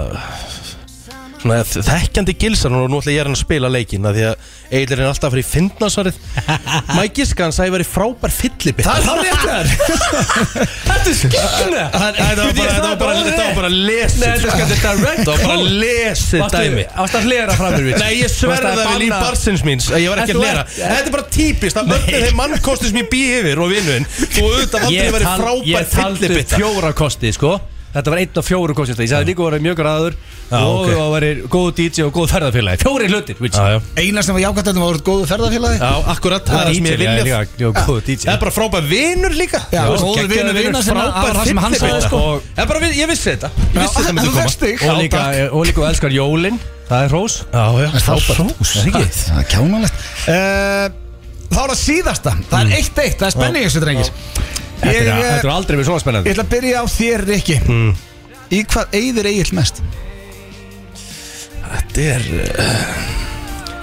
S3: svona þekkjandi gilsar og nú ætla ég að reyna að spila leikinn af því að Egil er hann alltaf að fara í fyndnarsvarið Mæk Giska hann sagði að ég væri frábær fyllibitt
S1: Það er hann rétt þér
S2: Þetta er skilna
S3: Þetta var bara, þetta var bara, þetta var bara lesið
S2: Nei, þetta er direct
S3: Þetta var bara lesið dæmi
S2: Ást að hlera framir við
S3: Nei, ég sverða það
S2: um
S3: við líf barsins míns að Ég var ekki að
S2: En þú
S3: lera
S2: ert-
S3: Þetta er bara típist að öllu þeim mannkostum sem ég bý yfir og vinnuinn Þú auðvitað aldrei
S2: Ég
S3: verið
S2: tal-
S3: frábær
S2: Ég taldi
S3: fyllibitt
S2: fjóra kosti sko Þetta var einn af fjóru kostnista Ég sagði líka að það var mjög græður
S3: Já,
S2: Og
S3: ok.
S2: það var góð DJ og góð ferðarfélagi Fjóri hlutir, which
S3: Já, já.
S1: Eina sem var jákvæmt að það voru góðu ferðarfélagi
S3: Já, akkurat, það er það sem
S2: DJ,
S3: ég
S2: já,
S3: vilja
S2: líka, já, góð
S3: Það
S2: DJ
S3: er bara frábær vinur líka
S1: Já,
S3: Þú veist,
S1: góður
S3: geggjaður
S1: vinur vina sinna, það var
S3: Frábær
S1: það sem hann sagði,
S3: fyllibita
S1: sko.
S3: Og- Það er bara, við- ég vissi þetta Ég vissi
S1: Já,
S3: þetta myndi
S1: þú
S3: koma
S1: vekkst þig.
S2: Og líka, eh, og líka og elskar Jólin Það er hrós
S3: Já, já,
S1: Það er
S3: frábær
S1: hrós
S2: er ekki?
S1: Það er kjánalegt uh, Það var það síðasta Það er eitt eitt, það er spenning í þessu drengir
S2: Mm. Þetta
S1: Ég,
S2: er- Mm.
S1: eh,
S2: þetta er aldrei verið svona
S1: ég
S2: spennandi
S1: ætla að byrja á þér, Rikki Í hvað eigðir eigið mest?
S3: Þetta er uh,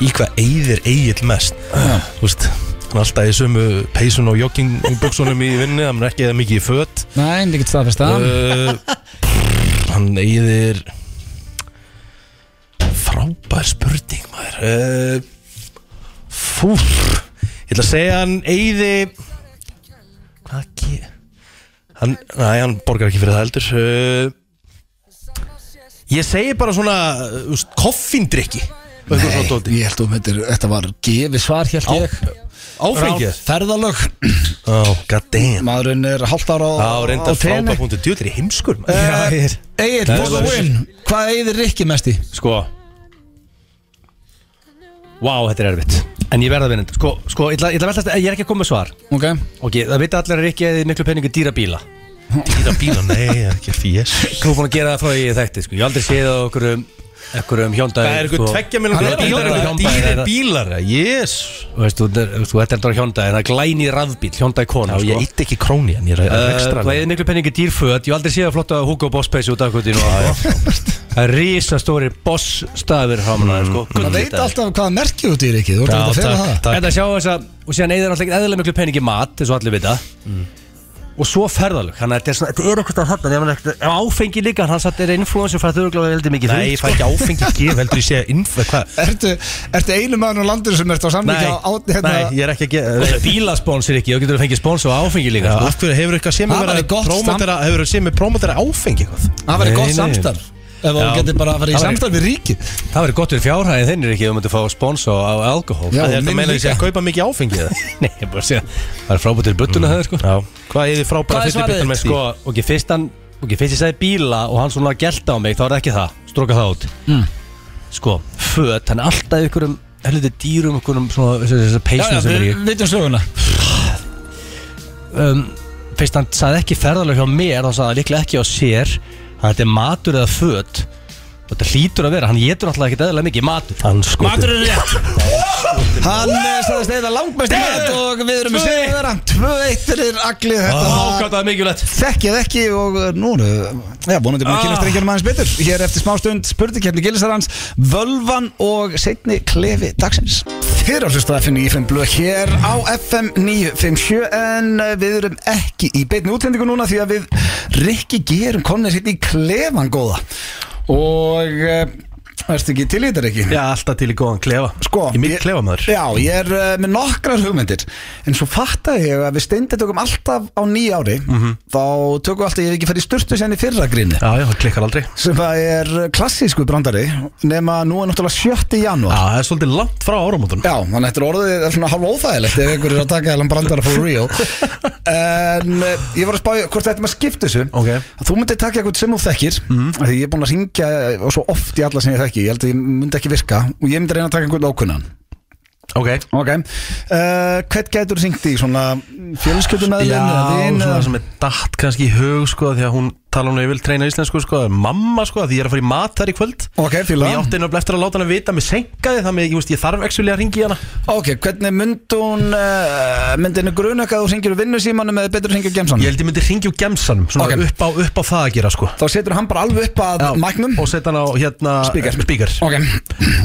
S3: Í hvað eigðir eigið mest Þú veist Hann er alltaf í sömu peysun og joggingbuksunum í vinnu Hann er ekki eða mikið í fött
S1: Nei, en ég get staðfesta
S3: uh, Hann eigðir Frábær spurning maður uh, Fúr Ég ætla að segja hann eigði Hvað ekki hann, Nei, hann borgar ekki fyrir það heldur uh, Ég segi bara svona uh, þú veist, Koffindrykki og eitthvað svona dóti.
S1: Ég held að myndir, þetta var gefi svar hér
S3: Á-
S1: ég
S3: Áfengið
S1: Ferðalög
S3: oh, God damn
S1: Maðurinn er halvt ára á,
S3: Það var reynda
S1: á teini.
S3: frábær punktu Djúður í heimskur maður.
S1: Eh, Egil,
S3: Nei,
S1: for the
S3: það er-
S1: win Hvað eigðir Rikki mest í?
S2: Sko Vá, þetta er erfitt En ég verða að vinna þetta. Sko, sko ég, ætla, ég, ætla að veltast, ég er ekki að koma með svar
S1: Ok
S2: Ok, það vita allir að Rikki eða miklu peningu dýra bíla
S3: Dýra bíla, nei, ekki fjés
S2: Þú er búin að gera það frá ég þekkti sko. Ég hef aldrei séð á okkur um Ekkur um hjóndaði
S3: Það sko. er eitthvað tveggja miljón
S2: Hann er
S3: króna
S2: á
S3: bílar,
S2: hjóndaði
S3: eitthvað Dýri bílar, yes
S2: Þú ert endur á hjóndaði Það er glæni rafbíl, hjóndaði kona
S3: Já,
S2: sko.
S3: ég itti ekki króni en ég er
S2: Eh,
S3: ekstra
S2: Þú hefði miklu peningi dýrföt Ég hef aldrei séð að flotta Hugo Boss peysu út af kvöldinu Það er risastóri Boss staðir Hámanar sko
S1: Það veit
S2: Gullitaðir.
S1: alltaf hvaða merkið út í Rikki Þú ert að fyrir það
S3: takk.
S2: En það sjá þess að Og síðan eigðir náttúrulega eðla miklu peningi í mat Þess að allir vita
S3: Mm.
S2: Og svo ferðalög Þannig að þetta er svona Þetta er eitthvað að þarna nema ekkert- ef Áfengi líka Hann satt er influencer Frá þurrgláði heldur mikið sko.
S3: Nei, ég fæ ekki áfengi gef heldur ég sé inf, hvað
S1: Ertu, ertu einu maður á landinu sem ert á samlingi á, á hérna,
S3: nei, ég er ekki að
S2: Og
S3: gera
S2: það er bílasponsor ekki, þá getur þú fengið sponsor á áfengi líka
S3: Já,
S2: sko.
S3: Af hverju hefur eitthvað sem
S1: Það
S3: að
S1: væri
S3: vera
S1: gott
S3: prómotera hefur þú sem er prómotera áfengi eitthvað
S1: Það væri
S2: Nei,
S1: gott
S2: nei.
S1: samstarf Ef þú
S3: Já.
S1: getur bara að fara í
S2: Það væri-
S1: samstarf við ríki
S2: Það verður gott fyrir fjárhæðin þinn er ekki þú myndir fá sponsor á alkohól
S1: Já,
S3: Það er
S1: minn
S3: þetta meina því
S1: líka.
S3: að kaupa mikið áfengi eða?
S2: Nei, ég er bara að segja Það er frábútt til buttuna það sko
S3: Mm. Já, hvað er þið frábæra
S2: Hvað er svarið þitt? Sko, ok, fyrst hann Ok, fyrst ég sagði bíla og hann svona gælt á mig Þá er það ekki það, stróka það út
S3: Mm.
S2: Sko, föt, hann er alltaf ykkur um Helviti dýrum, ykkur um svona Þessar þessa peysum sem er í
S1: vitum söguna
S2: um, Fyrst hann sagði ekki ferðalög hjá mér Þá sagði hann líklega ekki á sér Þannig að þetta er matur eða föt Og þetta hlýtur að vera, hann getur alltaf ekki eðlilega mikið matur
S3: Hann sko
S2: er rétt
S1: Hann eh, sagðist eða langmest í mat og við erum með
S2: Tvö eitt.
S1: segðara Tvö eittir er allir þetta var
S2: Ákvæmt að mikilvægt
S1: Þekkið ekki og eh, nú erum við- Já, vonandi búin að kynast
S2: Ah.
S1: reyngjörnum aðeins betur Hér eftir smá stund spurningkeppni Gilsarans Völvan og setni klefi dagsins Þið eru að hlusta á FM 95 blöð hér á FM 957 En eh, við erum ekki í beinni útlendingu núna Því að við Rikki gerum konir hérna í klefan góða Og eh, Ertu ekki til í þetta Rikki?
S3: Já, alltaf til í góðan klefa
S1: Sko,
S3: Í mitt klefa maður
S1: Já, ég er uh, með nokkrar hugmyndir En svo fattaði ég að við steindið tökum alltaf á nýja ári
S3: Mhm.
S1: Þá tökum við alltaf, ég hef ekki farið í sturtu sérni fyrra grínu
S3: Já, já, hann klikkar aldrei Já,
S1: Sem það er uh, klassísku brandari Nema nú er náttúrulega 7. janúar
S3: það er svolítið langt frá áramótunum
S1: Já, þannig að þetta er orðið er svona hálf óþægilegt Ef einhverjir er að taka eða brandara for real En uh, ég var að spája hvort þetta maður skipta þessu
S3: Ok. Mhm.
S1: Að Þú myndir taka eitthvað sem þú þekkir af Því ég er búin að ringja og svo oft í alla sem ég þekki Ég held að ég myndi ekki virka Og ég myndi reyna að taka einhvern ókunnan
S3: Ok
S1: Ok, uh, hvern gætur hringt í svona fjölskyldumeðlum
S3: Já,
S1: eða vin
S3: svona
S1: eða-
S3: sem er datt kannski í hug sko því að hún tala hún að ég vil treyna íslensku sko er mamma sko því ég er að fara í mat þar í kvöld
S1: Ok,
S3: og
S1: fíla
S3: ég átti nefnilega eftir að láta hann að vita mér senkaði þannig að ég, veist, ég þarf ekki að ringi hana
S1: Ok, hvernig myndi hún uh, myndi henni gruna hvað þú hringir úr vinnusímanum eða betur hringir gemsanum
S3: ég held ég myndi ringi úr gemsanum svona
S1: Ok.
S3: upp, á, upp á það að gera sko
S1: Þá setur hann bara alveg upp að mæknum
S3: og setja hann á hérna
S1: Speaker.
S3: speaker.
S1: Ok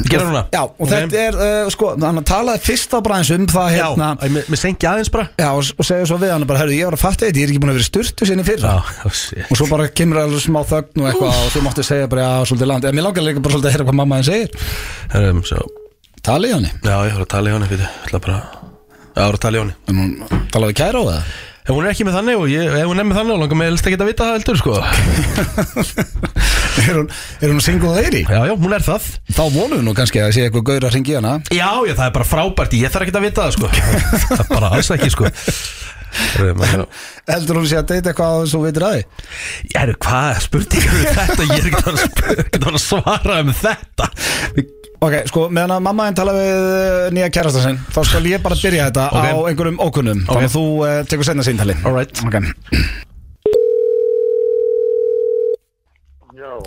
S3: Gerðu núna.
S1: Já, og
S3: Ok.
S1: þetta er, uh, sko, hann talaði fyrst þá bara eins um það
S3: Já,
S1: hérna
S3: að mér mér senki aðeins bara
S1: Já, og, og segja svo við hann bara, herru, ég var að fatta þetta, ég er ekki búin að vera styrtu sinni fyrra
S3: Já, oh, shit.
S1: Og svo bara kemur alveg smá þögn og eitthvað og þú máttu segja bara, já, svolítið land En mér langar líka bara svolítið að heyra hvað mamma henni segir
S3: Herrum, svo,
S1: Talið henni,
S3: já, ég voru að tala í hana fyrir, ég ætla bara Já, voru að tala í hana
S1: en hún talaði við kæra á það
S3: Ef hún er ekki með þannig og ég, ef hún er með þannig og langar mig helst ekki að vita það heldur sko
S1: er, hún, er hún single lady?
S3: Já, já, hún er það
S1: Þá vonum við nú kannski að sé eitthvað gaur að ringi hana
S3: Já, já, það er bara frábært, ég þarf ekki að vita það sko Það er bara alls ekki sko Rauðmann, já.
S1: Heldur hún sé að deyta eitthvað á þessu og veitir að því?
S3: Ég er, hvað spurningar eru þetta? Ég er ekki að, ekki að svara um þetta
S1: Ok, sko, meðan að mamma henn tala við eh, nýja kærasta sinn Þá skal ég bara byrja þetta
S3: Ok.
S1: á einhverjum ókunnum Þannig að þú uh, tekur senna síntali
S3: Alright.
S1: Ok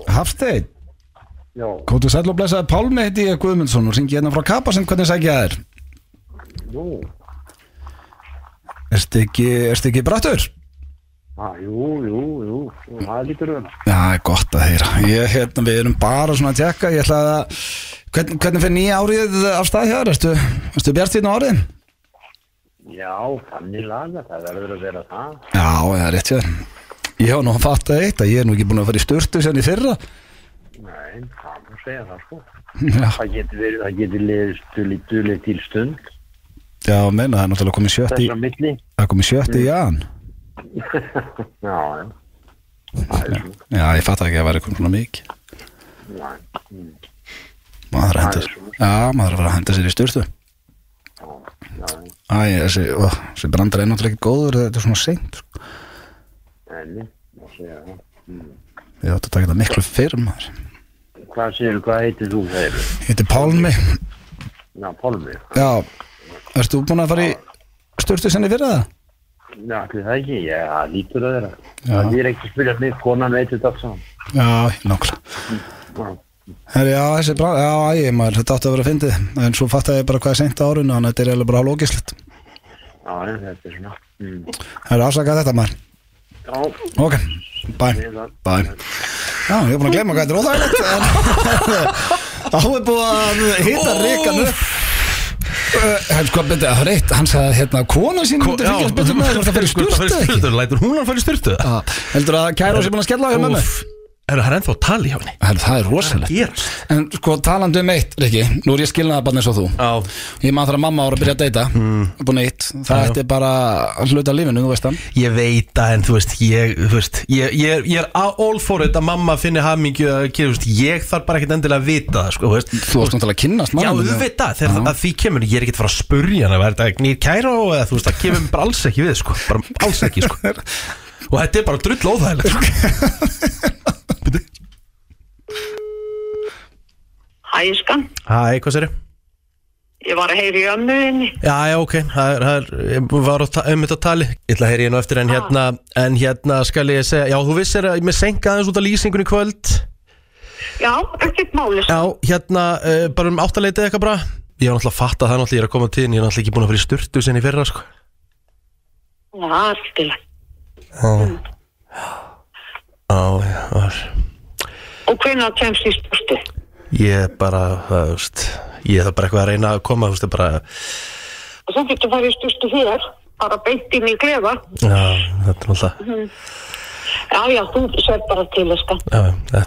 S1: Hafsteinn
S9: Já,
S1: Kótu sæll og blessaði Pálmi heiti ég Guðmundsson og ringi hérna frá Kapasinn hvernig sækja þér
S9: jú,
S1: Erstu ekki, erstu ekki brattur?
S9: að, jú, jú, jú, það er lítur um.
S1: Já, það er gott að heyra ég, hérna, Við erum bara svona að tjekka Ég ætla að Hvern, Hvernig fyrir nýja árið af stað hjá þér? Erstu, erstu bjart þínu árið?
S9: Já, þannig laga, það verður að vera það.
S1: Já, það er rétt hjá þér Ég hef nú að fatta eitt að ég er nú ekki búin að fara í sturtu sem í fyrra
S9: Nei, það má segja það, sko.
S1: Já,
S9: Það getur verið, það getur leðist duðlega til stund,
S1: já meina það er náttúrulega komið sjötti
S9: þessar milli. Mm.
S1: Það er komið sjötti í jan
S9: Já, já, það er svo,
S1: Já, ég fatta ekki að það væri komið svona mikið
S9: næ,
S1: Maður er að henda Já, maður er að fara að henda sér í sturtu
S9: já,
S1: Æ, þessi, ó, þessi brandar er náttúrulega ekki góður Þetta er svona seint sko.
S9: enni, má segja það. Hmm.
S1: Ég átti að taka þetta miklu fyrr maður
S9: Hvað séu, hvað heitir þú þegar?
S1: Þetta er Pálmi
S9: Já, Pálmi.
S1: Já, ertu búin að fara í sturtu sinni fyrir það?
S9: Já, allir það ekki, já, það lítur að vera.
S1: Já.
S9: Það er ekki að spyrja mig, konan veitir þetta allt saman.
S1: Já, nokkla Herri, já, þessi brand, já, ég maður, þetta átti að vera fyndið En svo fattaði ég bara hvað er seint á árinu Þannig að þetta er eiginlega bara hálfókislegt
S9: Já, já, þetta er svona. Mm.
S1: Herri, afsaka þetta maður
S9: Já,
S1: Ok, bæ, bæ Já, ég er búin að glemma hvað þetta er óþægilegt en- Þá er búið að hitta reikan upp Uh, hann sko, beti, reitt, hann sagði að hérna kona sín myndi fylgjast betur með þér hvort um það fyrir
S3: um
S1: sturtu eða ekki
S3: Lætur hún hann fyrir sturtu
S1: Já, heldur að kæra sé búin að skella á hjá mömmu
S3: Úff. Eru það ennþá að tala í hjá henni?
S1: Herri, það er rosalegt
S3: Gerast
S1: En sko talandi um eitt, Riki Nú er ég skilnaða barn eins og þú
S3: Já.
S1: Ég maður þar að mamma ára að byrja að deyta mm. Búin eitt, það ætti bara að hluta af lífinu, þú veist það
S3: Ég veit að en þú veist Ég, þú veist, ég, ég, er- ég er all for it að mamma finni hamingju að gera þú veist, Ég þarf bara ekkert endilega að vita það sko, þú veist.
S1: Þú varst náttúrulega að kynnast
S3: Já,
S1: manninum.
S3: þú veit það, þegar það- að því kemur Ég er ekkert að fara að spurja hana Er þetta nýr kæra og eða, þú veist, það kemur mér bara alls ekki við sko, Bara alls ekki sko. Og þetta er bara drull óþægilegt sko.
S7: Hæ, skan,
S3: Hæ, hvað sér ég?
S7: ég var að heyra í ömmuðinni.
S3: Já, já, ok, það er, það er, ég var á ta- um þetta tali Ég ætla að heyri ég nú eftir
S7: Ah.
S3: en hérna En hérna skal ég segja, já, þú vissir að ég með senka aðeins út af lýsingunni í kvöld
S7: Já, ekkert máli.
S3: Já, hérna, uh, bara um áttaleitið eitthvað bara Ég var náttúrulega að fatta það náttúrulega, ég er að koma til En ég er náttúrulega ekki búin að fara í sturtu sinni í fyrra, sko
S7: Já, allt í lagi. Mm.
S3: Já, já, það var-
S7: Og hvenær kemst í stúrstu?
S3: ég er bara, það, þú veist Ég er bara eitthvað að reyna að koma, þú veist, ég bara
S7: Og þú getur farið í stúrstu hér, bara beint inn í klefa.
S3: Já, þetta er náttúrulega
S7: Já, já, þú sér bara til, skan.
S3: Já, já, það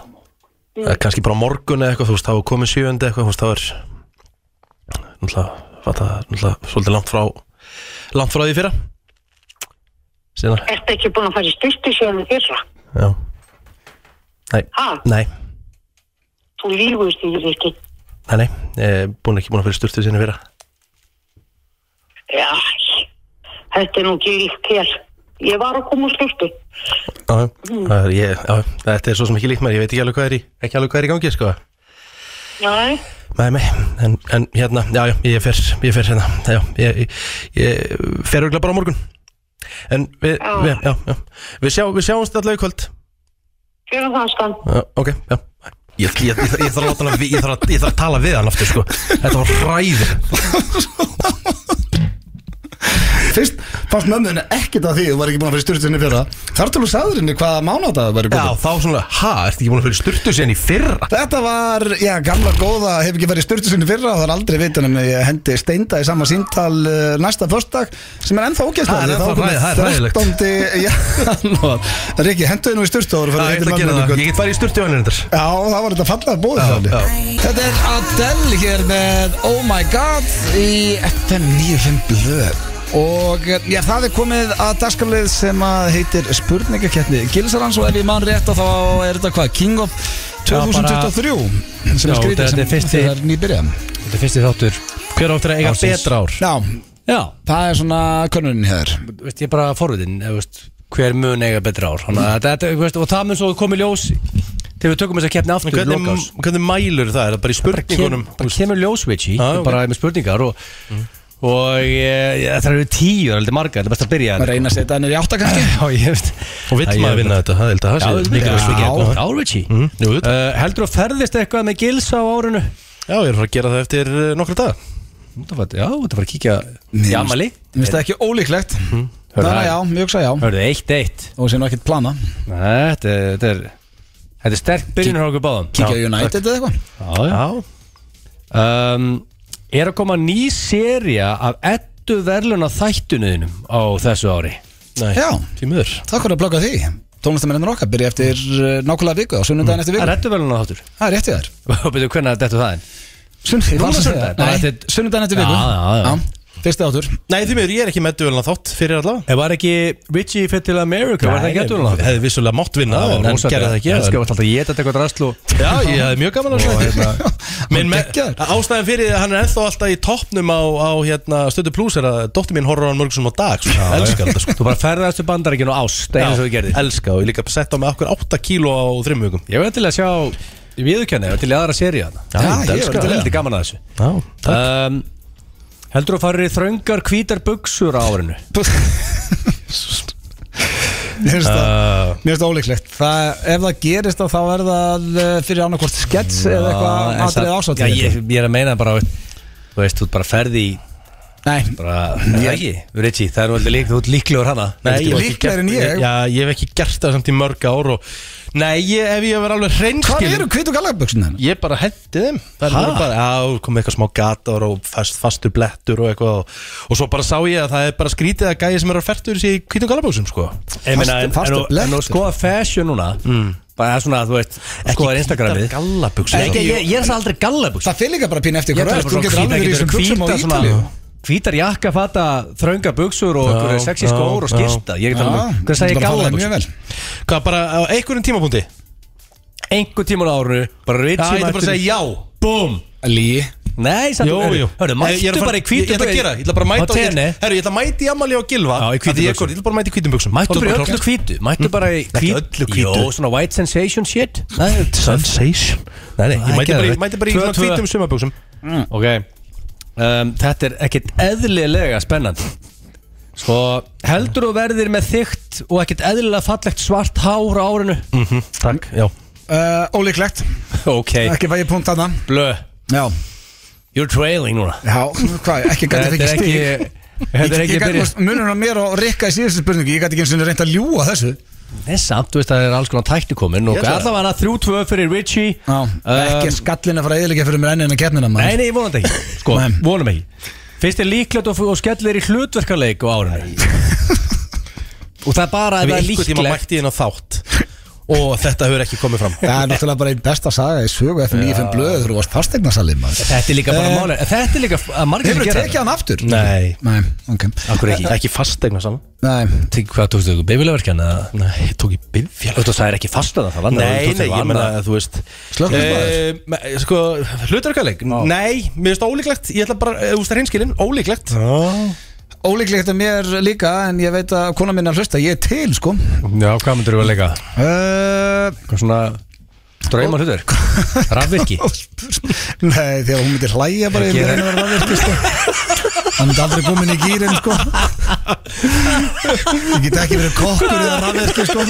S3: það er kannski bara á morgun eða eitthvað, þú veist, þá er komið sjöundi eitthvað, þú veist, þá er Náttúrulega, fatta, það er náttúrulega, svolítið langt frá Langt frá því í fyrra Sina,
S7: Ertu ekki búin að fara í stúrstu síðan í fyrra?
S3: já Nei,
S7: Ha,
S3: nei,
S7: þú lífust í ríki.
S3: nei, nei, ég er búin ekki búin að fara í sturtu sinni í fyrra
S7: Já, þetta er nú ekki líkt hér. Ég var að koma úr stúrstu.
S3: Já,
S7: Mm.
S3: já, ég, já, þetta er svo sem ekki líkt mér, ég veit ekki alveg hvað er í, ekki alveg hvað er í gangi, sko.
S7: Nei,
S3: Nei, nei, en, en hérna, já, já, ég fer, ég fer hérna, já, ég, ég, ég fer auðvitað bara á morgun. En við,
S7: Já.
S3: við, já, já, við, sjá, við sjáumst allavega í kvöld.
S7: fyrir það, sko. skan.
S3: Já, ok, já. Ég, ég, ég, ég þarf að láta hana, við- ég þarf að, ég þarf að tala við hann aftur, sko. Þetta var hræðir.
S1: Fyrst fannst mömmuðinu ekkit af því Þú var ekki búin að fara í sturtu sinni fyrir það Þar til þú sagðir henni hvaða mánáta það væri
S3: Já,
S1: komið
S3: þá svona, ha, ertu ekki búin að fyrir sturtu síðan í fyrra?
S1: Þetta var, já, gamla góða, hef ekki verið sturtu sinni fyrra og það er aldrei vitan um að ég hendi steinda í sama síntal uh, næsta förstak sem er ennþá ógæst
S3: Það er ennþá hræ- það er hræðilegt.
S1: 13. janúar Riki, henduði nú í sturtu og þú
S3: Já,
S1: fyrir að hitta mömmu þína í kvöld.
S3: ég ætla að gera það, ég get farið í sturtu hann reyndar.
S1: Já, það var þetta fallað bóðið
S3: Já,
S1: þannig
S3: já.
S1: Þetta er Adele hér með Oh My God í FM 95 blöð Og eh, já, það er komið að dagskalið sem að heitir spurningakeppni Gilsarans og ef ég mann rétt að þá er þetta hvað, King of
S2: Já, bara-
S1: 2023 sem
S2: Já,
S1: er skrítið
S2: þetta
S1: sem
S2: er fyrsti-
S1: þegar nýbyrja
S2: Þetta er fyrsti þáttur
S3: Hver áttur að eiga
S2: Ársins.
S3: betra ár?
S1: Já,
S2: Já,
S1: Það er svona könnunin hér
S2: þú veist, ég er bara forvitin eh, þú veist, hver mun eiga betra ár Þannig, að, þetta, þú veist, og það mun svo komið ljós til við tökum þess að keppni aftur í
S3: Hvernig,
S2: lokás
S3: hvernig mælur það? Er það bara í
S2: sko. bara, kem,
S3: spurningunum?
S2: bara kemur ljós Vici
S3: Já, ok.
S2: bara með spurningar og, og e, það eru tíu, það er heldur margar það er best að byrja
S1: Maður reyna að setja hennir í átta kannski
S2: Já, ég veist
S3: Og vill
S2: Það
S3: maður
S2: ég-
S3: vinna þetta? Það held að
S2: Já,
S3: það sé mikilvægast við
S2: já,
S3: gegn
S2: já, Vici
S3: Jú,
S2: uh, Heldur þú að ferðist eitthvað með gils á árinu?
S3: Já, ég er að fara að gera það eftir eh, nokkra daga
S2: Þú veit, Já, þetta var að kíkja í amali
S1: Mér finnst það ekki ólíklegt Það er
S2: Mhm. Hörðu,
S1: já, ég hugsa já
S2: Hörðu, eitt, eitt
S1: Og sé nú ekkert plana
S2: Nei, Þetta er, þetta er, þetta er sterk byrjun hjá okkur báðum
S1: Kíkja á United eða eitthvað
S2: Já, já um, Er að koma ný seria af ettu verðluna þættunuðinum á þessu ári
S3: Nei,
S1: Já.
S3: því miður
S1: Takk fyrir að blokka því Tónlistamennin okkar byrja eftir uh, nákvæmlega viku á sunnudaginn eftir
S2: Það
S1: viku
S2: Mm. er ettu verðluna þáttur
S1: Það er rétt í þær
S2: Og betur hvernig þetta það er
S1: Sunnudaginn
S2: Núna sunnudaginn, bara eftir-
S1: Sunnudaginn eftir
S2: Já,
S1: viku
S2: já, já.
S1: Fyrsti áttur
S3: Nei, því miður, ég er ekki með duvelna þátt fyrir allavega
S2: Ef var ekki Richie fyrir til America Var það ekki ettu verðluna þáttur?
S3: Hefði vissulega mátt vinna það, en gerði það ekki
S2: Ég
S3: en-
S2: skal alltaf geta eitthvað drastl og
S3: Já, ég hefði mjög gaman að
S2: hérna-
S3: segja Minn með,
S1: geggjaður.
S3: ástæðan fyrir því að hann er ennþá alltaf í toppnum á, á hérna, stötu pluss er að dóttir mín horfður á hann mörgum á dag svo,
S2: Já,
S3: Elskar
S2: já.
S3: þetta sko
S2: Þú bara ferðast til bandaríkinu á ást Það er eins og þú gerðir
S3: elska og ég líka sett á mig okkur 8 kíló á þrim vikum
S2: Ég var til að sjá viðurkenni, ég var til í aðra seri Já,
S1: ég var
S2: elskar
S1: til í það.
S2: það Heldur gaman að þessu
S3: Já,
S2: um, Heldur þú að fara í þröngar hvítar buksur á árinu?
S1: Mér finnst
S2: Uh.
S1: það- mér finnst það ólíklegt það, Ef það gerist þá þá er það uh, fyrir annarkvort skets eða eitthvað
S2: Ah, en
S1: atrið
S2: það-
S1: ásatt
S2: Já, ég, ég er að meina bara Þú veist, þú bara ferði í
S1: Nei,
S2: bara, er það ekki, Ritchie, það er nú aldrei lík Þú ert líklegur hana
S3: Nei, ég hef ekki
S1: líklegri en
S3: gert-
S1: ég.
S3: Já, ég hef ekki gert það samt í mörg ár og Nei, ég, ef ég hef verið alveg
S1: hvað
S3: hreinskil
S1: eru kvít og galaböksin hennar?
S3: Ég bara hendi þeim Það
S2: Ha?
S3: er bara, já, komið eitthvað smá gatar og fast, fastur blettur og eitthvað og, og svo bara sá ég að það er bara skrítið að gæja sem eru að færtur sér í kvítum galabóksum, sko
S2: Ég meina, en,
S1: Fastu- fastu
S2: en, en, en, og
S1: blettur.
S2: skoða fashion núna Bara það er svona, þú veist, skoða Instagramið
S3: gallabuxur
S2: Ekki, ég, ég er það aldrei gallabuxur
S1: Það fyrir líka bara pín eftir
S2: Ég
S1: hvað
S2: tala
S1: er Þú
S2: bara
S1: getur
S2: svona
S1: alveg verið
S2: hvítar,
S1: í þessum
S2: getur
S1: buksum á
S2: hvítar svona-
S1: Ítalíu
S2: Hvítar jakka, fata, þrönga buksur og
S3: Já,
S2: einhverju sexy
S3: já,
S2: skór og skyrta Ég get um
S1: Já,
S2: alveg, hvað
S1: þú getur
S2: sagði ég
S1: bara farið
S2: galla
S1: mjög vel.
S3: Hvað, bara á einhverjum tímapunkti?
S2: Einhver tíman árunu, bara
S3: Já,
S2: Ritchie
S3: ég ætla bara að segja já
S2: Búm
S1: Lí
S2: Nei, samt
S3: Jú, jú Ég
S2: Hörru,
S3: er
S2: mættu
S3: að fara-
S2: bara í hvítu
S3: Ég ætla að gera, ég ætla bara að
S2: Á
S3: mæta
S2: tenni
S3: Herru, ég ætla að mæta í Amali og Gilva
S2: Já, í hvítum
S3: af því ég er góður,
S2: buxum.
S3: Ég ætla bara að mæta í hvítum buksum
S2: Mættu bara í öllu hvítu Mættu bara í
S3: Ekki öllu hvítu.
S2: Jó, svona white sensation shit Nei,
S3: Sensation Nei, nei,
S2: Það er
S3: ég mæti bara í-
S2: geðveikt.
S3: mæti bara í
S2: Tvö,
S3: svona
S2: tvö.
S3: hvítum sumabuksum
S2: Ok um, Þetta er ekkit eðlilega spennandi Sko, heldur þú verðir með þygt og ekkit eðlilega fallegt svart hár á árinu
S3: Takk, já
S1: Uh, Ólíklegt,
S2: Ok,
S1: ekki fæ ég punkt að það
S2: blö
S1: Já,
S2: You're trailing núna
S1: já, hvað, ekki gæti
S2: Þetta
S1: fekk
S2: er
S1: stík
S2: ekki Þetta er ekki að byrja
S1: Munur á mér og Rikka í síðustu spurningu Ég gæti ekki eins og reynda að ljúa þessu
S2: Nei, samt, þú veist það er alls konar tækni komin og
S3: Ég ætla-
S2: allavega hana 3-2 fyrir Richie
S1: Já, ekki
S2: Um,
S1: skallin að fara eðilega fyrir mér enn en að keppnina
S2: Nei,
S1: maður
S2: nei, ég vonandi ekki Sko,
S1: Nei.
S2: vonum ekki Fyrst er líklegt og, og skellir í hlutverkaleik á árinu Og það er bara
S3: Ef
S2: að það
S3: ég
S2: er
S3: einhvern tíma
S2: líklegt
S3: mætti inn á þátt Og þetta hefur ekki komið fram
S1: Það er náttúrulega bara einn besta saga í sögu F95 blöðu þegar þú varst fastegnasalið maður
S2: Þetta er líka bara
S1: Eh,
S2: málega Þetta er líka f- að margir
S1: Hefur
S2: sem
S1: þú
S2: gera
S1: tekið hann aftur?
S3: Nei
S1: Nei, ok
S2: Akkur ekki
S3: Ekki fasteigna saman
S1: Nei,
S2: Tekið hvað tókstu ykkur bifilegverkjan eða
S3: Nei, ég tók í bifjál
S2: Þú veist það er ekki fast að það
S3: Nei, nei, ég meina að þú veist
S1: Slökkviliðsmaður?
S3: Eh, Sko, hlutarkaleg Nei, mér finnst það ólíklegt Ég ætla bara, eh, þú veist það reynskilinn, ólíklegt
S1: ólíklegt er mér líka En ég veit að kona minna hlusta, ég er til sko
S2: Já, hvað myndir þú að leika?
S1: uh,
S2: Hvað svona Drauma hlutverk Rafvirki
S1: Nei, þegar hún myndi hlæja bara
S2: Ekki
S1: yfir einu verða virki, sko Hann myndi aldrei komin í gýrin, sko Ég get ekki verið kokkur eða rafverki, sko